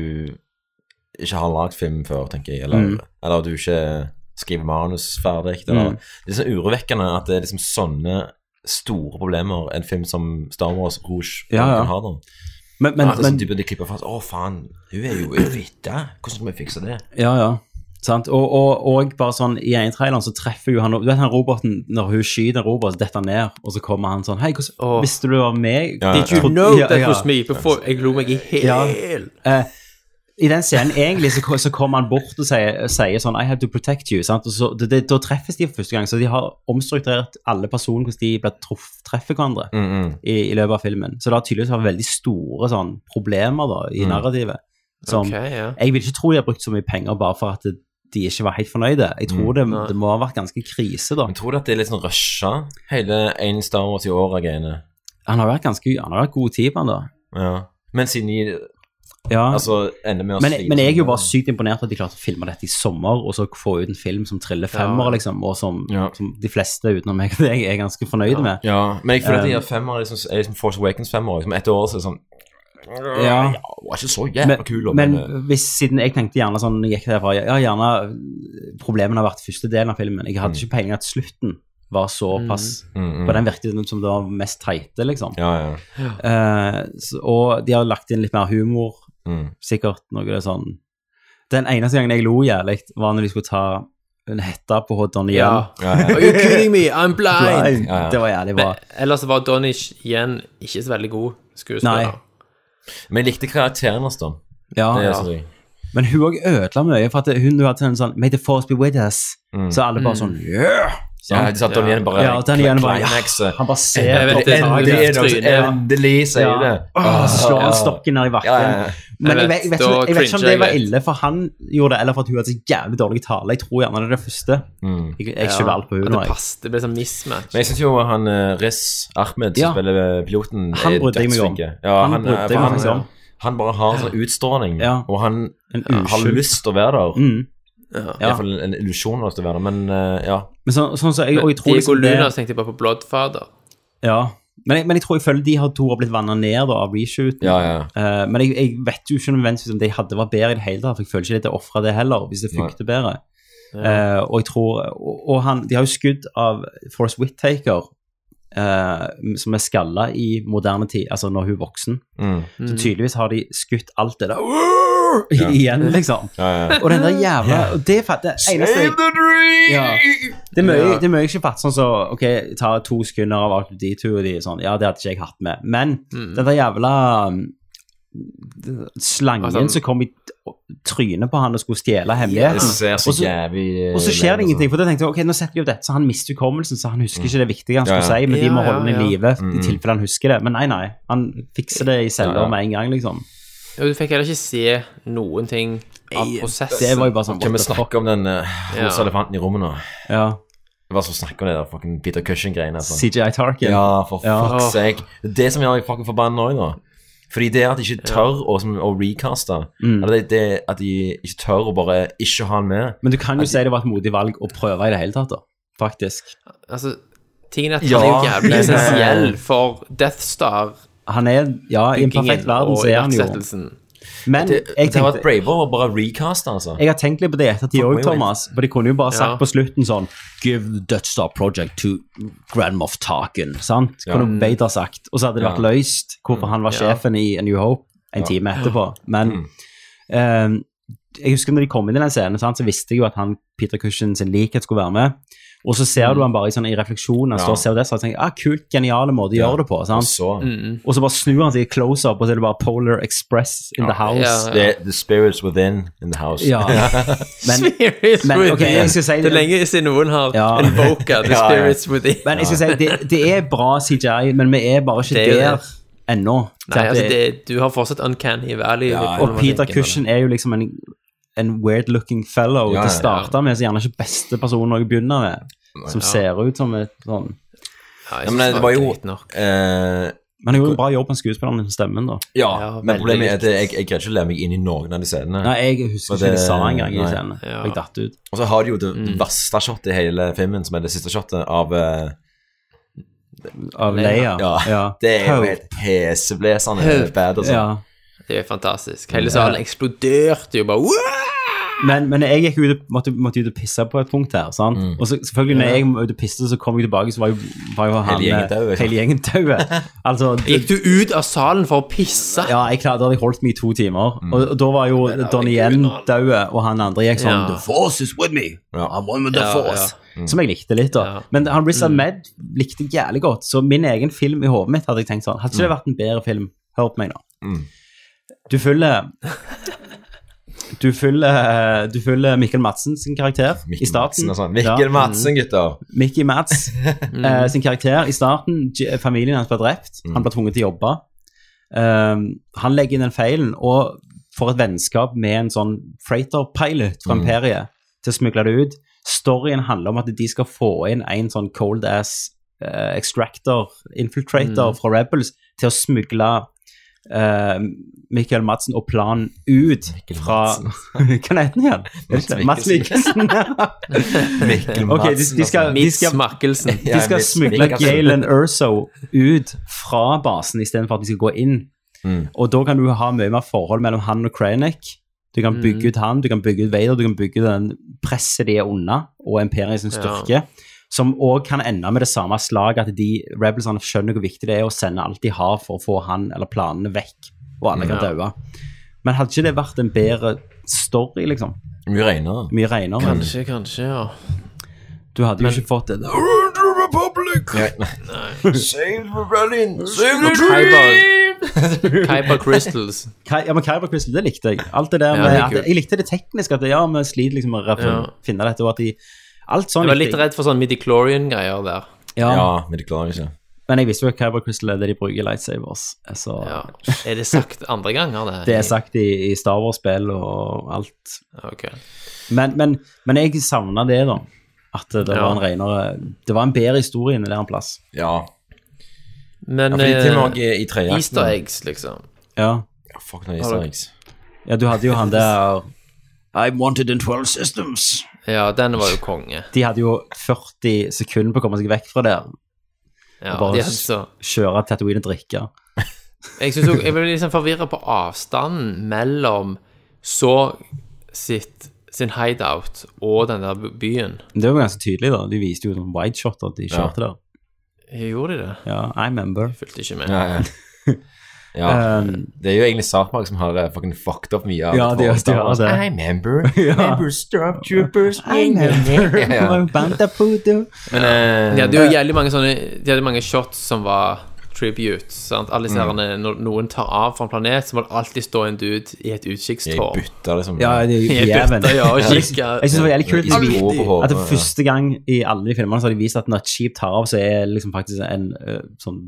Speaker 3: ikke har lagd film før, tenker jeg, eller,
Speaker 1: Mm.
Speaker 3: eller du ikke skriver manus ferdig. Eller,
Speaker 1: Mm.
Speaker 3: Det er så urovekkende at det er liksom sånne store problemer en film som Star Wars Rouge
Speaker 1: Ja, ja.
Speaker 3: kan ha. da.
Speaker 1: Men, men,
Speaker 3: At det er
Speaker 1: men
Speaker 3: sånn type de klipper fast Å, faen, hun er jo en fitte. Hvordan skal vi fikse det?
Speaker 1: Ja, ja. Sant? Og, og, og bare sånn, i ene traileren så treffer jo han Du vet han roboten, når hun skyter en robot, så detter han ned, og så kommer han sånn Hei, hvordan
Speaker 2: Åh.
Speaker 1: visste du det var meg?
Speaker 3: Ja,
Speaker 2: Did you
Speaker 1: ja.
Speaker 2: know
Speaker 1: Ja,
Speaker 2: that
Speaker 1: ja.
Speaker 2: was me before Jeg lo meg i
Speaker 1: Ja. Eh,
Speaker 2: hel.
Speaker 1: I den scenen egentlig så, så kommer han bort og sier, sier sånn I have to protect you. Sant? Og så, det, det, da treffes de for første gang, så de har omstrukturert alle personene hvordan de blir truff, treffer hverandre
Speaker 3: Mm,
Speaker 1: i, i løpet av filmen. Så det har tydeligvis vært veldig store sånn, problemer da,
Speaker 3: Mm.
Speaker 1: i narrativet. Som,
Speaker 2: Ok, ja.
Speaker 1: Jeg vil ikke tro de har brukt så mye penger bare for at de ikke var helt fornøyde. Jeg
Speaker 3: Mm.
Speaker 1: tror det,
Speaker 2: Nei.
Speaker 1: det må ha vært ganske krise, da.
Speaker 3: Men tror du at det er litt sånn rusha, hele én Star Wars i året-greiene?
Speaker 1: Han har vært ganske, han har vært god tid på han, da.
Speaker 3: Ja. Men siden de
Speaker 1: Ja.
Speaker 3: altså, ender med å
Speaker 1: men,
Speaker 3: slite
Speaker 1: men jeg er jo bare
Speaker 3: sånn.
Speaker 1: sykt imponert at de klarte å filme dette i sommer, og så få ut en film som triller femmer, liksom, og som,
Speaker 3: Ja.
Speaker 1: som de fleste utenom meg og deg er ganske fornøyde med.
Speaker 3: Ja, men jeg føler at de
Speaker 1: Eh.
Speaker 3: har femmer liksom, er liksom Force Awakens-femmer. Liksom, etter året så er det sånn
Speaker 1: Ja.
Speaker 3: Ja, hun er ikke så jævla
Speaker 1: Men,
Speaker 3: kul.
Speaker 1: men
Speaker 3: eh,
Speaker 1: hvis, siden jeg tenkte gjerne sånn når jeg gikk derfra, ja, gjerne problemene har vært første delen av filmen. Jeg hadde ikke peiling at slutten var såpass
Speaker 3: Mm, mm.
Speaker 1: På den virket det som det var mest teite, liksom.
Speaker 3: Ja, ja.
Speaker 1: Eh, så- og de har lagt inn litt mer humor,
Speaker 3: Mm.
Speaker 1: sikkert noe det er sånn Den eneste gangen jeg lo jævlig, var når de skulle ta en hette på hun Donnie
Speaker 2: ja.
Speaker 1: Yen.
Speaker 3: Ja, ja.
Speaker 2: Are you kidding me? I'm blind!
Speaker 1: Blind.
Speaker 3: Ja, ja.
Speaker 1: Det var jævlig bra.
Speaker 2: Men ellers var Donnie igjen ikke så veldig god skuespiller.
Speaker 1: Nei.
Speaker 3: Men jeg likte karakteren hans, da. Det
Speaker 1: Ah, Ja.
Speaker 3: er sånn.
Speaker 1: Men hun òg ødela mye, for at hun hun hadde en sånn May the force be with us. Så alle bare sånn Yeah!
Speaker 3: Mm. Ja, de satt Donnie igjen bare
Speaker 1: Ja, og Donnie Yen bare,
Speaker 3: climax, eh.
Speaker 1: Han bare
Speaker 2: Jeg
Speaker 1: ser
Speaker 2: vet
Speaker 1: på
Speaker 2: det.
Speaker 3: Endelig er det noen som
Speaker 2: Ja.
Speaker 3: endelig sier det. Ah,
Speaker 1: Åh, Ah, Så slår han stokken ned i
Speaker 3: Ja,
Speaker 1: bakken.
Speaker 3: ja, ja.
Speaker 1: Men jeg vet,
Speaker 2: Jeg
Speaker 1: jeg, vet,
Speaker 2: vet,
Speaker 1: ikke- jeg vet ikke om
Speaker 2: da
Speaker 1: det var
Speaker 2: cringer jeg
Speaker 1: ille for han gjorde det, eller for at hun hadde så jævlig dårlig tale. Jeg tror gjerne det er det første. Jeg, jeg skylder alt på
Speaker 2: At
Speaker 1: henne.
Speaker 2: det
Speaker 1: jeg.
Speaker 2: passet. Det ble sånn mismatch.
Speaker 3: Mm. Men jeg syns jo han eh, Riz Ahmed, som
Speaker 1: Ja.
Speaker 3: spiller eh, piloten,
Speaker 1: Han brydde jeg meg om.
Speaker 3: dødsflink. Ja,
Speaker 1: Han
Speaker 3: han, eh,
Speaker 1: brydde jeg
Speaker 3: for
Speaker 1: meg
Speaker 3: han,
Speaker 1: faktisk om.
Speaker 3: eh, han bare har en sånn utstråling,
Speaker 1: Ja.
Speaker 3: og han
Speaker 1: En
Speaker 3: eh, har
Speaker 1: uskyld.
Speaker 3: lyst til å være der.
Speaker 1: Mm.
Speaker 3: I
Speaker 1: Ja.
Speaker 3: hvert fall en illusjon av å være der, men eh, ja.
Speaker 1: Men så, sånn så jeg, og jeg tror
Speaker 2: Diego
Speaker 1: liksom det-
Speaker 2: Luna så tenkte jeg bare på Bloodfather.
Speaker 1: Ja. Men jeg, men jeg tror jeg føler de har to har blitt vanna ned da, av reshooten.
Speaker 3: Ja, ja.
Speaker 1: Eh, men jeg, jeg vet jo ikke nødvendigvis om de hadde vært bedre i det hele tatt. For jeg føler ikke litt å ofre det heller, hvis det funket bedre. Eh, og jeg tror Og, og han, de har jo skudd av Force Whittaker, eh, som er skalla i moderne tid, altså når hun er voksen.
Speaker 3: Mm.
Speaker 1: Så tydeligvis har de skutt alt det der «Åh!» igjen, liksom.
Speaker 3: ja, ja.
Speaker 1: Og den der jævla og Det fatter jeg. eneste jeg-
Speaker 3: the dream!
Speaker 1: Ja. Det er mye, det er mye jeg ikke fatter sånn så, ok, ta to sekunder av alt de to, og de er sånn, ja, det hadde ikke jeg hatt med. Men
Speaker 3: Mm.
Speaker 1: den der jævla um, d- slangen
Speaker 2: Altså, han-
Speaker 1: som kom i t- trynet på han og skulle stjele
Speaker 3: Det
Speaker 1: hemmeligheten.
Speaker 3: ser så
Speaker 1: Og så-
Speaker 3: jævlig eh, altså.
Speaker 1: Og så skjer det ingenting, for da tenkte jeg, ok, nå setter vi opp dette, så han mister hukommelsen, så han husker ikke det viktige han
Speaker 3: Ja,
Speaker 1: skulle
Speaker 3: ja.
Speaker 1: si, men de
Speaker 2: Ja,
Speaker 1: må
Speaker 2: ja,
Speaker 1: holde den i
Speaker 2: ja.
Speaker 1: live,
Speaker 3: Mm.
Speaker 1: i tilfelle han husker det. Men nei, nei, han fikser det i
Speaker 3: Ja,
Speaker 1: celler
Speaker 3: ja.
Speaker 1: med en gang, liksom.
Speaker 2: Ja, du fikk heller ikke se noen ting av prosessen.
Speaker 1: Det var jo bare sånn,
Speaker 3: Kan vi
Speaker 1: what the fuck?
Speaker 3: snakke om den uh, rosa
Speaker 2: Ja.
Speaker 3: elefanten i rommet nå?
Speaker 1: Ja,
Speaker 3: Hva skal vi snakke om det der fucking Peter Cushing-greiene? sånn.
Speaker 1: CGI Tarkin.
Speaker 3: Ja, for
Speaker 1: Ja.
Speaker 3: fuck's sake. Det er det som gjør meg fucking forbanna nå, da. Fordi det at de ikke tør å, som, å recaste
Speaker 1: Mm.
Speaker 3: Eller det, det at de ikke tør å bare ikke ha han med
Speaker 1: Men du kan jo si det var et modig valg å prøve i det hele tatt, da. Faktisk.
Speaker 2: Altså, tingen er at
Speaker 3: Ja.
Speaker 2: han er jo
Speaker 1: eh,
Speaker 2: jævlig
Speaker 3: Men-
Speaker 2: essensiell for Death Star.
Speaker 1: Han er, ja, i en perfekt verden så er han jo Men
Speaker 3: Det,
Speaker 1: jeg,
Speaker 3: det har vært
Speaker 1: tenkte,
Speaker 3: bravere å bare recaste, altså.
Speaker 1: jeg har tenkt litt på det i ettertid
Speaker 3: Fuck
Speaker 1: òg,
Speaker 3: me,
Speaker 1: Thomas. For de kunne jo bare sagt
Speaker 2: Ja.
Speaker 1: på slutten sånn Give the Dutch Star Project to Grand Moff Tarkin. Sant? Kunne Bader sagt. Og så hadde det vært
Speaker 3: Ja. Mm.
Speaker 1: løst hvorfor han var
Speaker 2: Ja.
Speaker 1: sjefen i A New Hope en time etterpå. Men eh, jeg husker når de kom inn i den scenen, sant, så visste jeg jo at han, Peter Cushing sin likhet skulle være med. Og så ser du han bare i, sånn, i refleksjonen, han
Speaker 3: Mm. Ja.
Speaker 1: står og ser det, så tenker jeg, ah, kult, geniale måte å gjøre det på.
Speaker 3: Og
Speaker 1: Sant?
Speaker 3: så
Speaker 2: Mm,
Speaker 1: Og så bare snur han seg i close-up, og så er det bare Polar Express in the house.
Speaker 2: Ja,
Speaker 3: Det er The spirits within in the house.
Speaker 1: Ja. Men, Men,
Speaker 2: Men,
Speaker 1: ok, jeg skal si det-
Speaker 2: det er lenge siden noen har
Speaker 1: Ja.
Speaker 2: invoka the
Speaker 3: Ja, ja.
Speaker 2: spirits within.
Speaker 1: men jeg skal si, det, det er bra CGI, men vi er bare ikke
Speaker 2: Det er jo
Speaker 1: der
Speaker 2: det.
Speaker 1: ennå. til
Speaker 2: Nei,
Speaker 1: at
Speaker 2: altså,
Speaker 1: det-
Speaker 2: det, du har fortsatt Uncanny Valley.
Speaker 3: Ja,
Speaker 2: i
Speaker 3: ja.
Speaker 1: Og Peter
Speaker 2: problematikken,
Speaker 1: Cushion er jo liksom en, en weird-looking fellow
Speaker 3: Ja, ja,
Speaker 1: til
Speaker 3: ja.
Speaker 1: å starte med, så gjerne ikke beste personen å begynne med, som ser ut som et sånn
Speaker 2: eller?
Speaker 3: Ja, men det var jo eh,
Speaker 1: Men han gjorde en bra jobb med skuespilleren med stemmen, da.
Speaker 3: Ja,
Speaker 2: Ja,
Speaker 3: men
Speaker 2: veldig
Speaker 3: problemet er at
Speaker 2: likt.
Speaker 3: jeg, jeg greide ikke å lære meg inn i noen av de scenene.
Speaker 1: Nei, jeg husker
Speaker 3: Og
Speaker 1: ikke
Speaker 3: det-
Speaker 1: det sa engang i
Speaker 3: nei.
Speaker 1: scenen.
Speaker 2: Ja.
Speaker 1: Jeg datt ut.
Speaker 3: Og så har de jo det
Speaker 1: Mm.
Speaker 3: verste shotet i hele filmen, som er det siste shotet av eh,
Speaker 1: Av Leia.
Speaker 3: Ja. Det er jo helt heseblesende
Speaker 2: Høp.
Speaker 3: bad og
Speaker 1: ja.
Speaker 3: sånn.
Speaker 2: Det er jo fantastisk. Hele salen eksploderte jo bare «Wow!»
Speaker 1: Men, men jeg gikk ut, og- måtte, måtte ut og pisse på et punkt her. sant?
Speaker 3: Mm.
Speaker 1: Og så selvfølgelig, når jeg var ute og pisse, så kom jeg tilbake, så var jo, var jo han
Speaker 3: Hele gjengen liksom.
Speaker 1: eh,
Speaker 3: død, ikke sant?
Speaker 1: Hele gjengen død. Altså,
Speaker 2: Gikk du ut av salen for å pisse?
Speaker 1: Ja, jeg klarte, da hadde jeg holdt meg i to timer.
Speaker 3: Mm.
Speaker 1: Og, og da var jo Donnie Yen død, og han andre gikk sånn
Speaker 2: Ja.
Speaker 1: The force is with me. I'm one with the
Speaker 2: Ja,
Speaker 1: force. Som jeg likte litt, da.
Speaker 2: Ja.
Speaker 1: Men han Riz
Speaker 3: Mm.
Speaker 1: Ahmed likte jeg jævlig godt, så min egen film i hodet mitt hadde jeg tenkt sånn Hadde ikke
Speaker 3: Mm.
Speaker 1: det vært en bedre film? Hør på meg nå. Du følger Du følger, du følger Mikkel Madsen sin karakter i
Speaker 3: Mikkel
Speaker 1: starten.
Speaker 3: Madsen og sånn.
Speaker 1: Ja.
Speaker 3: Mikkel Madsen, gutter!
Speaker 1: Mickey Mads eh, sin karakter i starten. J- eh, Familien hans ble drept. Han ble tvunget til å jobbe. Um, han legger inn den feilen og får et vennskap med en sånn freighter-pilot fra Imperiet til å smugle det ut. Storyen handler om at de skal få inn en sånn cold ass eh, extractor, infiltrator fra Rebels, til å smugle eh, Michael Madsen og planen ut fra Hva heter han igjen? Mads Mikkelsen.
Speaker 3: Mikkel Madsen. altså.
Speaker 1: Ok, de, de skal, de
Speaker 2: Mitt
Speaker 1: skal
Speaker 2: smakkelsen.
Speaker 3: Ja,
Speaker 1: de skal
Speaker 3: litt
Speaker 1: smugle
Speaker 3: smikker, kanskje.
Speaker 1: Galen Erso ut fra basen istedenfor at de skal gå inn. Og da kan du ha mye mer forhold mellom han og Krennic. Du kan bygge ut han, du kan bygge ut Vader, du kan bygge ut den presset de er unna, og imperiet sin styrke. Som òg kan ende med det samme slaget, at de rebelsene skjønner hvor viktig det er å sende alt de har for å få han eller planene vekk, og alle kan daue. Men hadde ikke det vært en bedre story, liksom?
Speaker 3: Mye renere.
Speaker 1: Mye renere.
Speaker 2: Kanskje, kanskje, ja.
Speaker 1: Du hadde jo ikke fått det.
Speaker 3: Save rebellion! Save the
Speaker 2: Kyber, Kyber Crystals.
Speaker 1: Kai- Ja, men Kyber Crystal, det likte jeg. Alt det der
Speaker 2: Ja,
Speaker 1: med,
Speaker 2: det er
Speaker 1: at,
Speaker 2: kult.
Speaker 1: jeg likte det tekniske, at det, ja, vi sliter liksom med å
Speaker 2: Ja.
Speaker 1: finne dette, og at de Alt sånn
Speaker 2: Jeg var
Speaker 1: likte
Speaker 2: litt
Speaker 1: jeg.
Speaker 2: redd for sånn midichlorian-greier der.
Speaker 1: Ja,
Speaker 3: Ja, men de klarer ikke.
Speaker 1: Men jeg visste jo at Kyber Crystal er det de bruker i lightsavers, så
Speaker 2: Ja. Er det sagt andre ganger, det?
Speaker 1: Det er sagt i, i Star Wars-spill og alt.
Speaker 2: Ok.
Speaker 1: Men, men, men jeg savna det, da. At det
Speaker 2: Ja.
Speaker 1: var en renere Det var en bedre historie enn det der en plass.
Speaker 3: Ja.
Speaker 2: Men
Speaker 3: ja fordi til og med
Speaker 2: eh,
Speaker 3: i trejakten
Speaker 2: Easter eggs, liksom.
Speaker 1: Ja.
Speaker 3: Ja, Fuck noen Easter eggs.
Speaker 1: ja, du hadde jo han der I wanted in 12 systems.
Speaker 2: Ja, den var jo konge.
Speaker 1: De hadde jo 40 sekunder på å komme seg vekk fra der.
Speaker 2: Ja,
Speaker 1: Bare
Speaker 2: de hadde så
Speaker 1: Kjøre Tatooine og drikke.
Speaker 2: Jeg synes også, jeg ble liksom forvirra på avstanden mellom så sitt, sin hideout og den der byen.
Speaker 1: Men Det var ganske tydelig, da. De viste jo sånn wideshot at de kjørte der.
Speaker 2: Gjorde de det?
Speaker 1: Ja, I remember.
Speaker 2: Fulgte ikke med.
Speaker 3: Ja, ja. ja.
Speaker 1: Um,
Speaker 3: Det er jo egentlig Sarpmark som har eh, fucking fucked opp mye av
Speaker 1: Ja, de har- de har det.
Speaker 3: I remember, remember Stormtroopers
Speaker 1: I remember.
Speaker 3: Ja.
Speaker 1: Bandapudo.
Speaker 3: Men eh,
Speaker 2: De hadde jo jævlig mange sånne De hadde mange shots som var tributes. Sant?
Speaker 1: Mm.
Speaker 2: Alle disse herrene, Når noen tar av fra en planet, så må det alltid stå en dude i et
Speaker 3: jeg
Speaker 2: utkikkstårn.
Speaker 3: bytta liksom
Speaker 1: Ja, det er jo
Speaker 2: Jeg
Speaker 1: jæven.
Speaker 2: bytter, ja, og
Speaker 1: Jeg
Speaker 2: kikker.
Speaker 1: jeg synes det var jævlig kult at,
Speaker 3: Idiot på
Speaker 1: de-
Speaker 3: hodet,
Speaker 1: at det
Speaker 3: ja.
Speaker 1: første gang i alle de filmene så har de vist at når et skip tar av, så er liksom faktisk en eh, sånn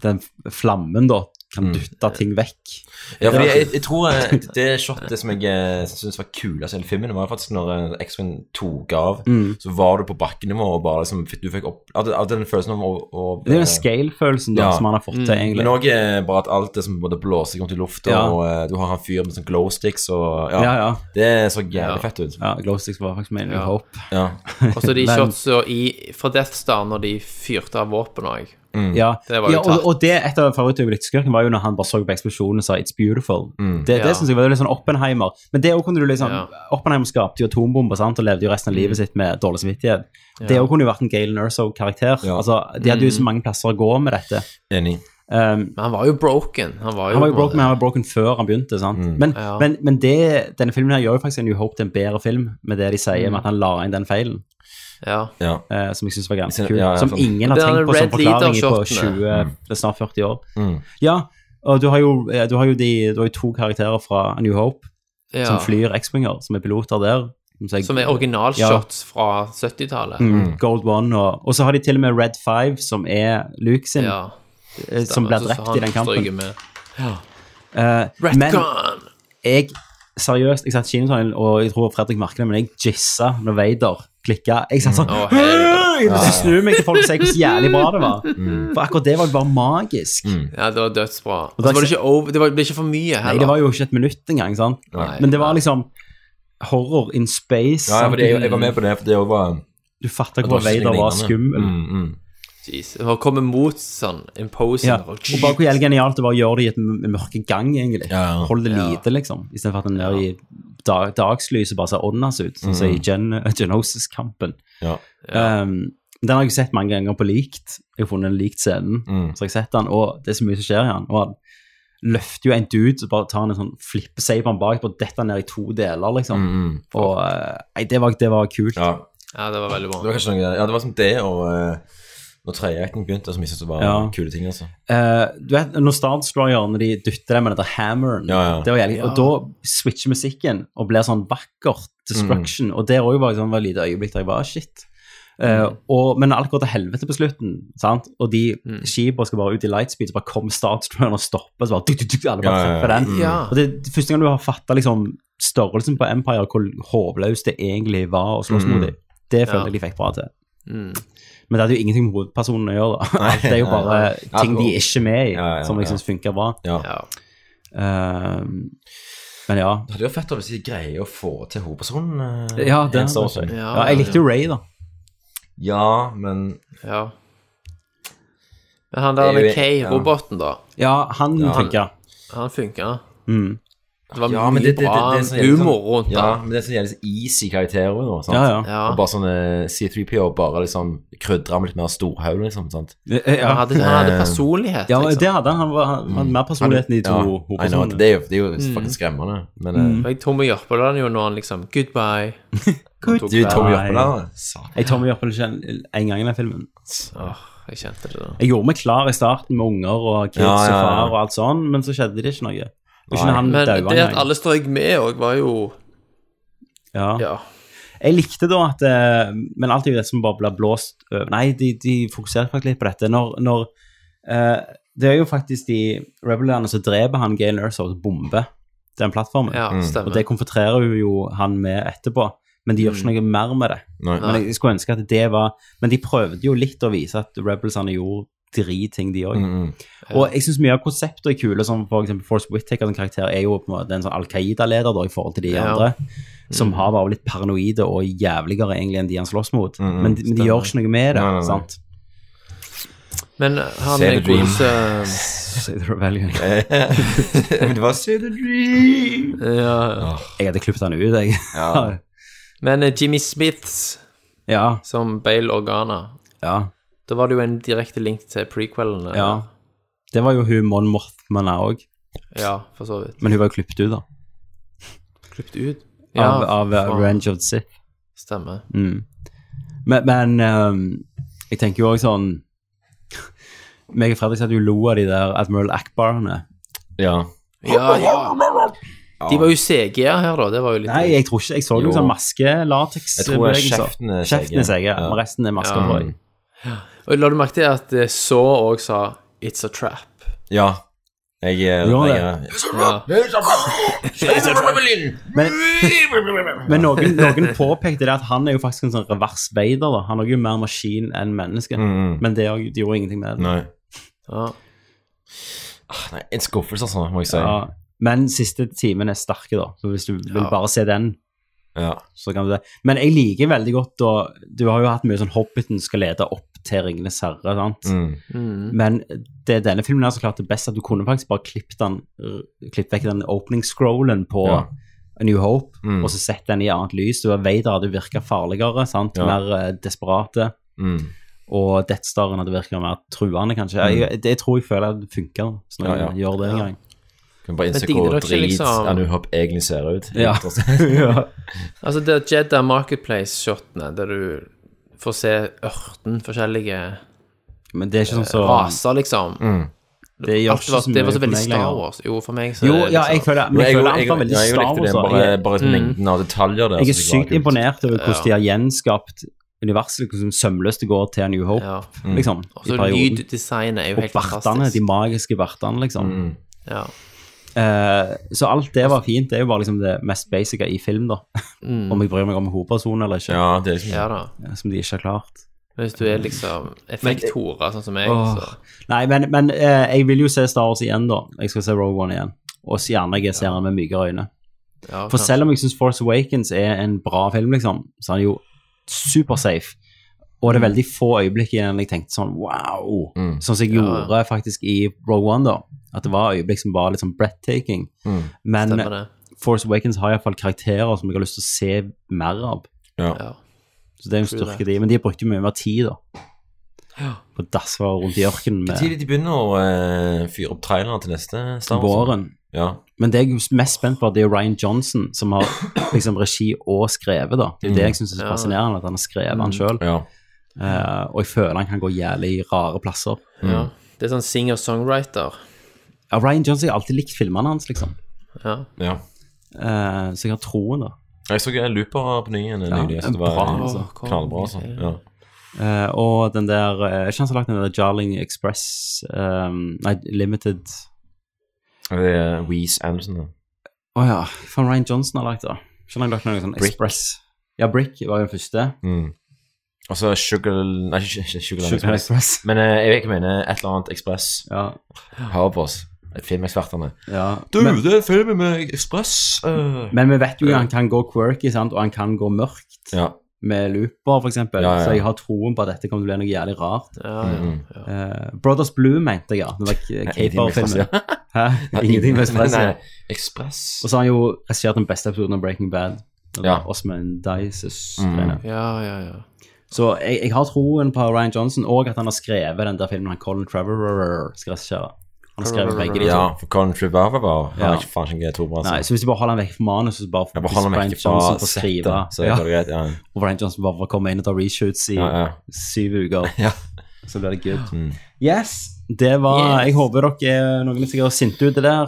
Speaker 1: Den flammen, da,
Speaker 3: Mm.
Speaker 1: kan dytte ting vekk.
Speaker 3: Ja, fordi jeg, jeg tror eh, det shotet som jeg syns var kulest i hele filmen, var faktisk når eh, X-Wing tok av.
Speaker 1: Mm.
Speaker 3: Så var du på bakkenivå og bare liksom fikk- Du fikk opp At, at den følelsen av å, å
Speaker 1: Det er jo den scale-følelsen da,
Speaker 3: Ja. Mm.
Speaker 1: som han har fått til, egentlig.
Speaker 3: Men òg bare at alt det som både blåser rundt i lufta,
Speaker 1: Ja.
Speaker 3: og eh, du har han fyren med sånn glow sticks og Ja,
Speaker 1: Ja, ja.
Speaker 3: det så jævlig fett ut.
Speaker 1: ja Glowsticks var faktisk min
Speaker 2: Ja.
Speaker 1: håp.
Speaker 3: Ja.
Speaker 2: Og så de
Speaker 1: Men-
Speaker 2: shotsa i- fra Death Star når de fyrte av våpen òg.
Speaker 1: Ja,
Speaker 2: Mm. Det var jo
Speaker 1: ja
Speaker 2: tatt.
Speaker 1: og, og det et av favorittøyeblikkskurkene var jo når han bare så på eksplosjonen og sa 'It's beautiful'. Det,
Speaker 2: Ja.
Speaker 1: det synes jeg var litt sånn Oppenheimer. Men det også kunne du liksom
Speaker 2: Mm. Ja. Mm.
Speaker 1: Oppenheimer skapte jo atombomber sant? og levde jo resten av livet sitt med dårlig samvittighet. Det også kunne jo vært en Galen Erso-karakter.
Speaker 3: Ja.
Speaker 1: Altså, de hadde jo
Speaker 2: Mm.
Speaker 1: så mange plasser å gå med dette.
Speaker 3: Enig.
Speaker 1: Um,
Speaker 2: Men han var jo broken. Han var jo,
Speaker 1: han var jo
Speaker 2: på en
Speaker 1: broken, men
Speaker 2: måte-
Speaker 1: han var broken før han begynte. sant? Men,
Speaker 2: Ja.
Speaker 1: men, men det, denne filmen her gjør jo faktisk en New Hope til en bedre film, med det de
Speaker 2: Mm.
Speaker 1: sier med at han la inn den feilen,
Speaker 2: ja.
Speaker 3: Ja.
Speaker 1: eh, som jeg synes var ganske
Speaker 3: Ja,
Speaker 1: kul.
Speaker 3: ja,
Speaker 1: som
Speaker 3: sånn. Mm.
Speaker 1: ingen har
Speaker 2: Det er
Speaker 1: tenkt på som
Speaker 2: Red
Speaker 1: forklaring i på
Speaker 2: Leader-shotene.
Speaker 1: 20, det er snart 40 år. Ja, og du har jo, eh, du har jo, de, du har jo to karakterer fra A New Hope
Speaker 2: ja.
Speaker 1: som flyr X-Winger, som er piloter der. sier-
Speaker 2: Som er originalshots fra 70-tallet.
Speaker 1: Mm, Gold One, og, og så har de til og med Red Five, som er Luke sin.
Speaker 2: Ja.
Speaker 1: eh, som blir
Speaker 2: Så
Speaker 1: drept
Speaker 2: han
Speaker 1: i den kampen.
Speaker 2: stryker med. Ja.
Speaker 1: Eh, men
Speaker 2: Retcon!
Speaker 1: jeg seriøst, jeg satt i kinosalen, og jeg tror Fredrik merker det, men jeg jissa når Vader klikka. Jeg satt sånn
Speaker 2: Å,
Speaker 1: oh,
Speaker 2: helvete.
Speaker 1: Jeg måtte snu meg til folk og si hvor så jævlig bra det var.
Speaker 3: Mm.
Speaker 1: For akkurat det var jo bare magisk.
Speaker 2: Ja, det var dødsbra. Og
Speaker 1: da-
Speaker 2: så var det ikke over, det, var, det ble ikke for mye
Speaker 1: Nei,
Speaker 2: heller.
Speaker 1: det var jo ikke et minutt engang, sant?
Speaker 2: Nei.
Speaker 1: men det var liksom horror in space.
Speaker 3: Ja,
Speaker 1: sant?
Speaker 3: for jeg, jeg var med på det, for det også var
Speaker 1: Du fatta
Speaker 3: det var
Speaker 1: hvor
Speaker 3: ikke
Speaker 1: Vader var
Speaker 3: lignende.
Speaker 1: skummel.
Speaker 3: Mm, mm.
Speaker 2: Jeez. Det var å komme mot sånn imposing.
Speaker 1: Ja. Og bare hvor jævlig genialt det var å gjøre det i et m- mørke gang, egentlig.
Speaker 3: Ja, ja.
Speaker 1: Hold det lite, liksom. Istedenfor at den der i dag, dagslyset bare ser åndas ut, sånn som
Speaker 3: Mm.
Speaker 1: i Gen Genosis-kampen.
Speaker 3: Ja.
Speaker 1: Um, den har jeg sett mange ganger på likt. Jeg har funnet en likt scenen.
Speaker 3: Mm.
Speaker 1: Så har jeg sett den, og det er så mye som skjer i den. Og han løfter jo en dude, så bare tar han en sånn flippesaberen bak, og detter ned i to deler, liksom.
Speaker 3: Mm,
Speaker 1: Og eh, nei, det var, det var kult.
Speaker 3: ja.
Speaker 2: Ja, det var veldig
Speaker 3: Det var
Speaker 2: bra.
Speaker 3: kanskje noe Ja, det var som det og uh, når tredjeakten begynte, som jeg syntes var
Speaker 1: Ja.
Speaker 3: kule ting, altså.
Speaker 1: Eh, du vet, når Star Destroyer, når de dytter deg med denne hammeren,
Speaker 3: Ja, ja.
Speaker 1: Det var jævlig, og da switcher musikken og blir sånn vakkert destruction,
Speaker 3: Mm.
Speaker 1: og der også var jeg sånn var et lite øyeblikk der jeg bare, shit. Eh, og, men alt går til helvete på slutten, sant? og de mm. skal bare ut i lightspeed, så bare kommer Star Destroyer og stopper, så bare, du, du, du, alle bare
Speaker 3: Ja, ja, ja.
Speaker 1: treffer den.
Speaker 2: Ja.
Speaker 1: Og det er første gang du har fattet liksom, størrelsen på Empire, hvor håpløst det egentlig var å slåss
Speaker 3: Mm.
Speaker 1: mot dem. Det følte
Speaker 2: Ja.
Speaker 1: jeg de fikk bra til.
Speaker 2: Mm.
Speaker 1: Men det hadde jo ingenting med hovedpersonen å gjøre. da. Alt er jo
Speaker 3: nei,
Speaker 1: bare
Speaker 3: nei.
Speaker 1: ting de er ikke med i,
Speaker 3: Ja, ja,
Speaker 1: som jeg
Speaker 3: ja.
Speaker 1: syns funker bra.
Speaker 3: Ja.
Speaker 2: Ja.
Speaker 1: Ehm, men ja.
Speaker 3: Det hadde jo vært fett hvis de greier å få til hovedpersonen. eh,
Speaker 1: Ja,
Speaker 3: i en
Speaker 1: det,
Speaker 3: Star Wars-film.
Speaker 2: Ja,
Speaker 1: ja, jeg likte jo Ray, da.
Speaker 3: ja, men
Speaker 2: ja. Men han der
Speaker 3: Det er jo-
Speaker 2: K-roboten, da.
Speaker 1: Ja, han
Speaker 3: Ja.
Speaker 1: funka.
Speaker 2: Han funka.
Speaker 1: Mm.
Speaker 2: Det var
Speaker 3: Ja, men
Speaker 2: mye
Speaker 3: det, det, det,
Speaker 2: bra
Speaker 3: det er sånn jævlig
Speaker 2: humor
Speaker 3: sånn-
Speaker 2: rundt
Speaker 3: Ja,
Speaker 2: det.
Speaker 3: men det er sånn jævlig sånn easy karakterer nå, sant?
Speaker 1: Ja, ja.
Speaker 2: Ja.
Speaker 3: Og bare sånn eh, C3PO bare liksom krydrer med litt mer storhaug, liksom, sant?
Speaker 2: Han
Speaker 1: Eh, Ja,
Speaker 2: hadde, han hadde personlighet,
Speaker 1: ja
Speaker 2: liksom.
Speaker 1: det hadde han. Han, var, han hadde mer personligheten i de to sånn,
Speaker 3: Ja, I know,
Speaker 1: hovedpersonene.
Speaker 3: det er jo, det er jo
Speaker 1: Mm.
Speaker 3: faktisk skremmende, men eh,
Speaker 2: Jeg Tommy Jørpeland jo når han liksom Goodbye. Han tok
Speaker 3: du, Tommy
Speaker 1: Nei.
Speaker 3: Jørpeland, satan.
Speaker 1: Jeg tar meg opp en en gang i den filmen.
Speaker 2: Åh, jeg kjente det da.
Speaker 1: Jeg gjorde meg klar i starten med unger og kids
Speaker 3: Ja, ja, ja.
Speaker 1: og far og alt sånn, men så skjedde det ikke noe. Og Ikke
Speaker 3: Nei.
Speaker 1: når han
Speaker 2: Men
Speaker 1: daua
Speaker 2: det at
Speaker 1: engang.
Speaker 2: alle strøk med òg, var jo
Speaker 1: Ja.
Speaker 2: Ja.
Speaker 1: Jeg likte da at eh, Men alt er jo det som bare blir blåst over. Nei, de, de fokuserer faktisk litt på dette. Når, når eh, Det er jo faktisk de rebellerne som dreper han Gale Ersow og bomber den plattformen.
Speaker 2: ja
Speaker 1: Mm. og
Speaker 2: stemmer.
Speaker 1: det konfronterer hun jo han med etterpå, men de gjør ikke noe
Speaker 2: Mm.
Speaker 1: mer med det.
Speaker 3: Nei.
Speaker 1: Men jeg skulle ønske at det var Men de prøvde jo litt å vise at rebelsene gjorde driting, de òg.
Speaker 3: Mm, mm.
Speaker 1: Og jeg syns mye av konseptet er kule, som for eksempel Force Whittaker som karakter er jo på en måte en sånn Al Qaida-leder da, i forhold til de
Speaker 2: Ja.
Speaker 1: andre,
Speaker 3: Mm.
Speaker 1: som har bare blitt paranoide og jævligere egentlig enn de han slåss mot.
Speaker 3: mm,
Speaker 1: men, de, men de gjør ikke noe med det,
Speaker 3: Nei, nei, nei.
Speaker 1: sant?
Speaker 2: Men han
Speaker 3: Save the dream.
Speaker 2: godeste-
Speaker 1: Så det er vel-
Speaker 3: Men det var Say the Dream.
Speaker 2: ja.
Speaker 1: Jeg hadde klippet han ut, jeg.
Speaker 3: Ja.
Speaker 2: Men eh, Jimmy Smiths
Speaker 1: ja,
Speaker 2: som Bale Organa
Speaker 1: ja,
Speaker 2: Da var det jo en direkte link til prequelene.
Speaker 1: ja. Det var jo hun Mon Mothman òg,
Speaker 2: ja for så vidt.
Speaker 1: men hun var jo klippet ut, da.
Speaker 2: Klippet ut.
Speaker 1: Av, av eh,
Speaker 2: faen.
Speaker 1: Revenge of the Sith.
Speaker 2: Stemmer.
Speaker 1: Mm. Men, men ehm, jeg tenker jo òg sånn meg og Fredrik satt jo og lo av de der Admiral Akbarene.
Speaker 3: ja.
Speaker 2: Ja, ja. De var jo CGA her, da. Det var jo litt
Speaker 1: Nei, jeg tror ikke. Jeg så
Speaker 3: Jo.
Speaker 1: noen sånn maske, latex
Speaker 3: Jeg tror kjeften er
Speaker 1: Kjeften er
Speaker 3: skjegge.
Speaker 1: seige, men
Speaker 3: Ja.
Speaker 1: resten er masker.
Speaker 2: Ja.
Speaker 1: tror jeg.
Speaker 2: Og La du merke til at eh, så òg sa 'It's a trap'?
Speaker 3: Ja. Jeg, eh,
Speaker 1: Gjorde
Speaker 3: jeg,
Speaker 2: Ja.
Speaker 1: Men, men noen, noen påpekte det at han er jo faktisk en sånn revers Vader. da. Han er jo mer maskin enn menneske.
Speaker 3: Mm, mm.
Speaker 1: Men det er jo- de gjorde ingenting med det.
Speaker 3: Nei.
Speaker 2: Ja.
Speaker 3: Ah, Nei, en skuffelse, altså, må jeg si.
Speaker 1: Ja. Men siste timen er sterke, da. Så hvis du vil
Speaker 2: Ja.
Speaker 1: bare se den,
Speaker 3: Ja.
Speaker 1: så kan du det. Men jeg liker veldig godt da Du har jo hatt mye sånn Hobbiten skal lede opp til Ringenes herre, sant.
Speaker 3: Mm.
Speaker 2: Mm.
Speaker 1: Men det er denne filmen her som klarte best at du kunne faktisk bare klippet den øh, klippet vekk den opening-scrollen på
Speaker 3: Ja.
Speaker 1: A New Hope,
Speaker 3: Mm.
Speaker 1: og så sett den i annet lys. Du var Vader hadde virka farligere, sant?
Speaker 3: Ja.
Speaker 1: mer eh, desperate.
Speaker 3: Mm.
Speaker 1: Og Death Staren hadde virka mer truende, kanskje. Jeg, det tror jeg føler at det funker, så når
Speaker 3: Ja, ja.
Speaker 1: jeg gjør det en gang.
Speaker 3: Kan bare innse
Speaker 2: Men digger
Speaker 3: hvor
Speaker 2: dere ikke
Speaker 3: drit
Speaker 2: liksom-
Speaker 3: Anu Hop egentlig ser ut.
Speaker 1: Ja.
Speaker 2: Altså, det er Jedda Marketplace-shotene, der du får se ørten forskjellige
Speaker 1: Men det er ikke sånn så
Speaker 2: raser, liksom.
Speaker 1: Det gjør
Speaker 2: Alt
Speaker 1: ikke sånn
Speaker 2: var,
Speaker 1: så mye
Speaker 2: det var så
Speaker 1: for
Speaker 2: veldig
Speaker 1: meg
Speaker 2: Star
Speaker 1: lenger.
Speaker 2: Wars. Jo, for meg så
Speaker 1: Jo,
Speaker 2: er det
Speaker 1: ja, jeg
Speaker 2: liksom-
Speaker 1: føler,
Speaker 3: Men
Speaker 1: men jeg
Speaker 3: jeg,
Speaker 1: føler
Speaker 3: jeg,
Speaker 1: alt var
Speaker 3: jeg,
Speaker 1: veldig
Speaker 3: jeg
Speaker 1: Star
Speaker 3: likte
Speaker 1: Wars.
Speaker 3: det,
Speaker 1: da.
Speaker 3: bare,
Speaker 1: Jeg,
Speaker 3: bare mengden av detaljer der.
Speaker 1: jeg er
Speaker 3: synes var
Speaker 1: sykt
Speaker 3: kult.
Speaker 1: imponert over hvordan de har gjenskapt universet liksom sømløst det går til New Hope,
Speaker 2: Ja. Mm.
Speaker 1: liksom,
Speaker 2: Og
Speaker 1: i
Speaker 2: så
Speaker 1: perioden.
Speaker 2: lyddesignet er jo
Speaker 1: Og
Speaker 2: helt
Speaker 1: vertene,
Speaker 2: fantastisk.
Speaker 1: de magiske vertene, liksom.
Speaker 2: Mm. Ja.
Speaker 1: Eh, så alt det var fint. Det er jo bare liksom det mest basice i film, da.
Speaker 2: Mm.
Speaker 1: om jeg bryr meg om hovedpersonen eller ikke,
Speaker 3: Ja, det er liksom
Speaker 2: ja da.
Speaker 1: som de ikke har klart.
Speaker 2: Men Hvis du er liksom effekthore, sånn som meg,
Speaker 1: Åh.
Speaker 2: så
Speaker 1: Nei, men, men eh, jeg vil jo se Star Wars igjen, da. Jeg skal se Rogue One igjen. Og så gjerne jeg ser den med mykere øyne.
Speaker 2: ja,
Speaker 1: For
Speaker 2: kanskje.
Speaker 1: selv om jeg syns Force Awakens er en bra film, liksom, så er den jo supersafe. Og
Speaker 2: Mm.
Speaker 1: det er veldig få øyeblikk i den jeg tenkte sånn wow.
Speaker 3: Mm.
Speaker 1: Sånn som jeg
Speaker 2: Ja.
Speaker 1: gjorde faktisk i Rogue One, da. At det var øyeblikk som var litt sånn breathtaking.
Speaker 3: Mm.
Speaker 1: Men
Speaker 2: Stemmer det.
Speaker 1: Force Awakens har iallfall karakterer som jeg har lyst til å se mer av.
Speaker 3: Ja.
Speaker 2: Ja.
Speaker 1: Så det er en
Speaker 2: True
Speaker 1: styrke, de. Men de brukte mye mer tid, da.
Speaker 2: Ja.
Speaker 1: På dasser rundt i ørkenen
Speaker 3: Hvor
Speaker 1: med
Speaker 3: tidlig de begynner å eh, fyre opp traileren til neste
Speaker 2: altså.
Speaker 3: Star Wars?
Speaker 1: våren.
Speaker 3: Ja.
Speaker 1: Men det jeg er mest spent på, det er jo Ryan Johnson, som har liksom regi og skrevet, da. Det er jo det jeg syns er så
Speaker 2: Ja.
Speaker 1: fascinerende, at han har skrevet han sjøl.
Speaker 3: ja.
Speaker 1: og jeg føler han kan gå jævlig rare plasser.
Speaker 2: ja. Det er sånn singer-songwriter.
Speaker 1: Ja, Ryan Johnson jeg har alltid likt filmene hans, liksom.
Speaker 2: Ja.
Speaker 3: ja.
Speaker 1: Eh, så jeg har troen, da.
Speaker 3: Jeg så eh, Looper på ny igjen
Speaker 1: Ja,
Speaker 3: nylig. så Det var
Speaker 1: bra,
Speaker 3: eh,
Speaker 1: altså.
Speaker 3: knallbra, altså. Ja.
Speaker 1: Eh, og den der eh, Er ikke han som har lagt den der Jarling Express eh, Nei, Limited
Speaker 3: Og Det er Weeze Anderson, da.
Speaker 1: Å ja, faen Ryan Johnson har lagt det. Ikke han har lagt noe sånn
Speaker 3: Brick.
Speaker 1: Express Ja, Brick var jo den første.
Speaker 3: Mm. Og så Sugar Nei, ikke ikke Sugarland
Speaker 1: Sugar
Speaker 3: Express.
Speaker 1: Express.
Speaker 3: Men eh, jeg vet ikke hva jeg mener. Et eller annet Ekspress.
Speaker 1: Ja,
Speaker 3: Hør på oss. Filmekspertene.
Speaker 1: ja.
Speaker 3: Du, det er filmen med Ekspress. eh.
Speaker 1: Men vi vet jo at han kan gå quirky, sant? og han kan gå mørkt.
Speaker 3: Ja.
Speaker 1: med Looper, for eksempel.
Speaker 3: Ja, ja, ja.
Speaker 1: Så jeg har troen på at dette kommer til å bli noe jævlig rart.
Speaker 2: Ja, ja. ja.
Speaker 1: Eh, Brothers Blue mente jeg, ja. Det var k-
Speaker 3: Ingenting med
Speaker 1: Caper-filmen.
Speaker 3: Express,
Speaker 1: Hæ? Ingenting med stress.
Speaker 3: Nei,
Speaker 1: ja.
Speaker 3: nei, Ekspress.
Speaker 1: Og så har han jo regissert den beste episoden av Breaking Bad.
Speaker 3: Ja. Mm.
Speaker 1: Ja. Osman Dices. greiene.
Speaker 2: ja, ja, ja.
Speaker 1: Så jeg, jeg har troen på Ryan Johnson, og at han har skrevet den der filmen han Colin Trevor skal regissere. Han har skrevet begge de to.
Speaker 3: Ja, for Colin Trevorrow var
Speaker 1: Ja.
Speaker 3: ja. ikke faen ikke jeg tror på. Altså.
Speaker 1: Nei, så hvis de bare holder han vekk fra manus, så bare
Speaker 3: jeg bare holder meg
Speaker 1: Ryan
Speaker 3: ikke fra
Speaker 1: Johnson får skrive.
Speaker 3: settet, så
Speaker 1: Ja.
Speaker 3: går det greit. Ja.
Speaker 1: Og Ryan Johnson bare får komme inn og ta reshoots i
Speaker 3: Ja, ja.
Speaker 1: syv uker.
Speaker 3: Ja.
Speaker 1: Så blir det good.
Speaker 3: Mm.
Speaker 1: Yes, det var
Speaker 2: Yes.
Speaker 1: Jeg håper dere er- noen er sikkert sinte ute der.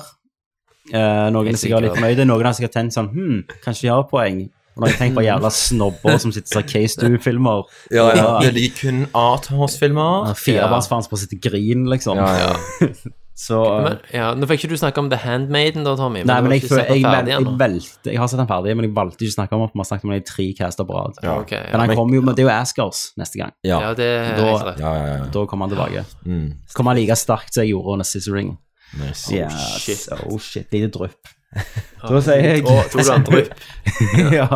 Speaker 1: Eh, noen er
Speaker 2: Helt
Speaker 1: sikkert litt
Speaker 2: sikkert.
Speaker 1: fornøyde. Noen har sikkert tenkt sånn Hm, kanskje jeg har poeng. Og når jeg tenker på jævla snobber som sitter og ser Case 2-filmer
Speaker 3: Ja, ja. Jeg liker kun
Speaker 1: Ah,
Speaker 3: Arthouse-filmer.
Speaker 1: Firebarnsfaren som bare sitter og griner, liksom.
Speaker 3: Ja, ja.
Speaker 1: Så eh,
Speaker 2: Men, ja. Nå fikk ikke du snakke om The Handmaiden, da, Tommy.
Speaker 1: Nei,
Speaker 2: du
Speaker 1: men
Speaker 2: har
Speaker 1: jeg,
Speaker 2: ikke
Speaker 1: føler-
Speaker 2: sett den
Speaker 1: jeg, vel-
Speaker 2: ferdig
Speaker 1: jeg,
Speaker 2: ennå.
Speaker 1: valgte Jeg har sett den ferdig, men jeg valgte ikke å snakke om den, for vi har snakket om den i tre caster på rad.
Speaker 3: Ja.
Speaker 2: Ok, ja.
Speaker 1: Men han
Speaker 3: men-
Speaker 1: kommer jo med Det er jo Askers neste gang.
Speaker 3: Ja,
Speaker 2: Ja, det er
Speaker 1: Da-
Speaker 2: helt rett.
Speaker 3: ja, ja. ja.
Speaker 1: Da kommer han tilbake.
Speaker 3: Mm.
Speaker 1: Kommer han like sterkt som jeg gjorde under Scissoring.
Speaker 3: Nice.
Speaker 1: Yes.
Speaker 2: shit.
Speaker 1: Oh shit, lite drypp. Da sier jeg
Speaker 2: Å, tror du han drypp?
Speaker 1: ja.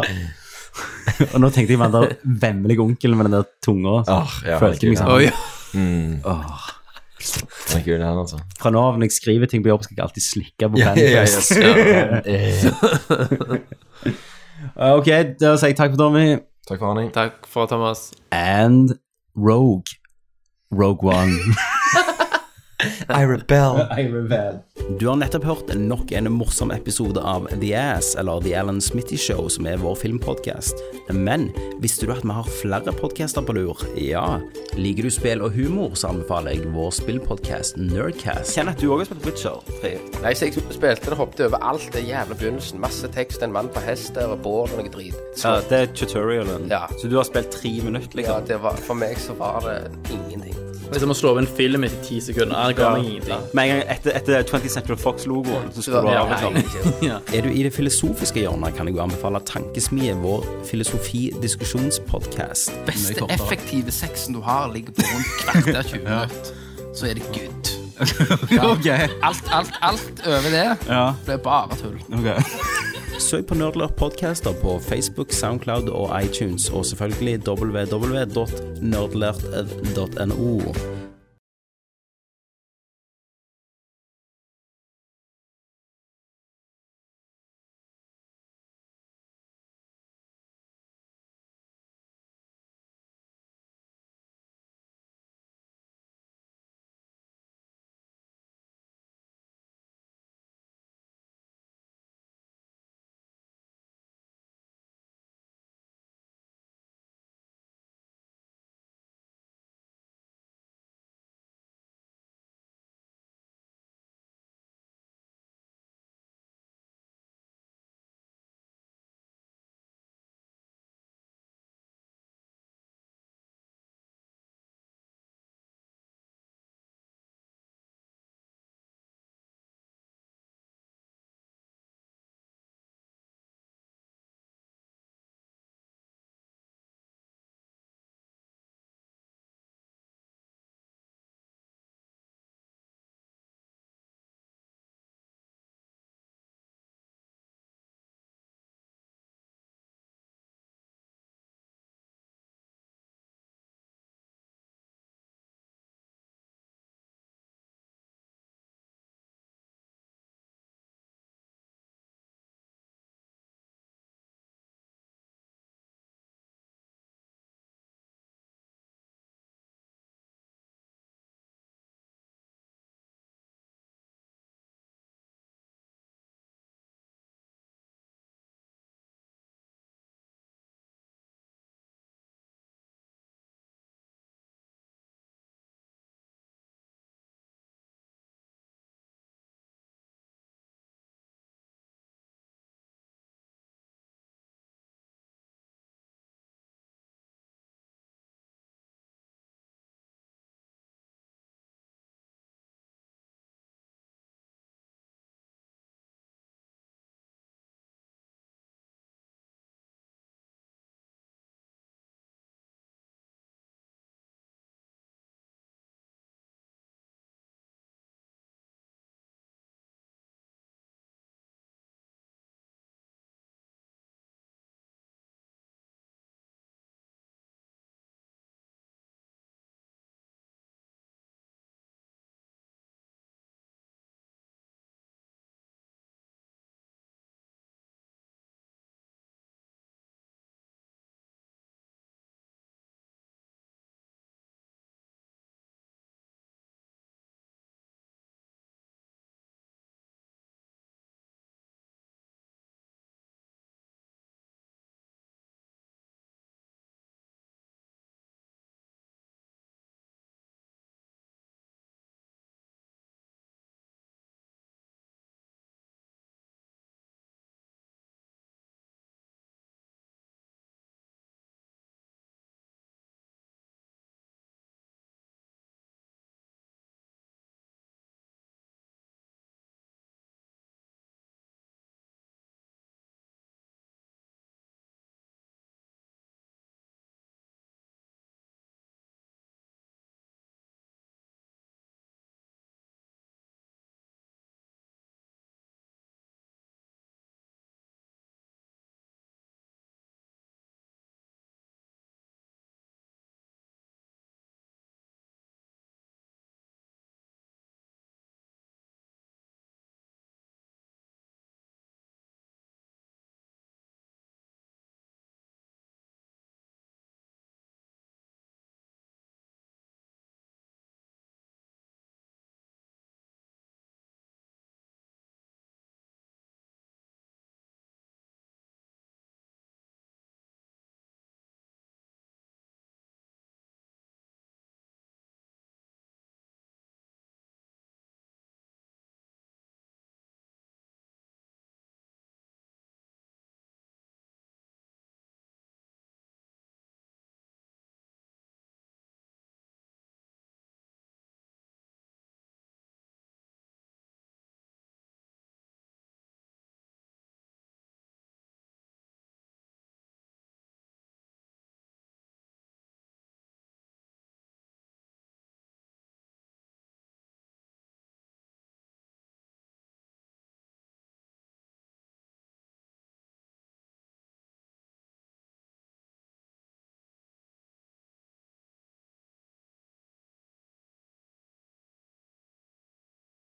Speaker 1: Og nå tenkte jeg på den der vemmelige onkelen med den der tunga. så
Speaker 3: Ah, ja,
Speaker 1: følte meg
Speaker 3: herregud.
Speaker 1: sånn.
Speaker 2: Oi.
Speaker 3: Mm.
Speaker 1: Åh.
Speaker 3: Den er kul, den, altså.
Speaker 1: Fra nå av når jeg skriver ting på jobb, skal jeg alltid slikke på
Speaker 3: Ja,
Speaker 1: pennen
Speaker 3: ja, ja,
Speaker 1: først.
Speaker 3: Eh,
Speaker 1: Eh. Ok, da sier jeg takk for Tommy.
Speaker 3: Takk for handling.
Speaker 2: Takk for Thomas.
Speaker 1: And Rogue. Rogue One.
Speaker 3: I rebel.
Speaker 1: Du har nettopp hørt nok en morsom episode av The Ass, eller The Alan Smitty Show, som er vår filmpodkast. Men visste du at vi har flere podkaster på lur? Ja. Liker du spill og humor, så anbefaler jeg vår spillpodkast Nerdcast. Kjenn at du òg har spilt Witcher 3.
Speaker 11: Nei, så jeg spilte det, hoppet over alt det jævla begynnelsen. Masse tekst, en mann på hest der, og bål og noe drit. Så,
Speaker 1: Ja, det er tutorialen.
Speaker 11: Ja.
Speaker 1: Så du har spilt tre minutter,
Speaker 11: ja,
Speaker 1: liksom?
Speaker 11: det var, for meg så var det ingenting.
Speaker 2: Det er som å slå av en film etter ti sekunder. Det ga meg ingenting.
Speaker 1: Med en gang etter, etter 20th Central Fox-logoen, så
Speaker 11: Det var,
Speaker 1: liksom.
Speaker 11: ingenting.
Speaker 1: Er du i det filosofiske hjørnet, kan jeg jo anbefale Tankesmie, vår filosofi-diskusjonspodkast.
Speaker 11: beste effektive sexen du har, ligger på rundt kvarter 20 minutter. Så er det good. Alt, alt, alt over det ble bare tull.
Speaker 1: Søk på Nerdlert-podcaster på Facebook, Soundcloud og iTunes, og selvfølgelig www.nerdlert.no.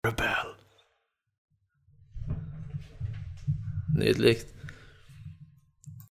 Speaker 2: Rebel. Nydelig.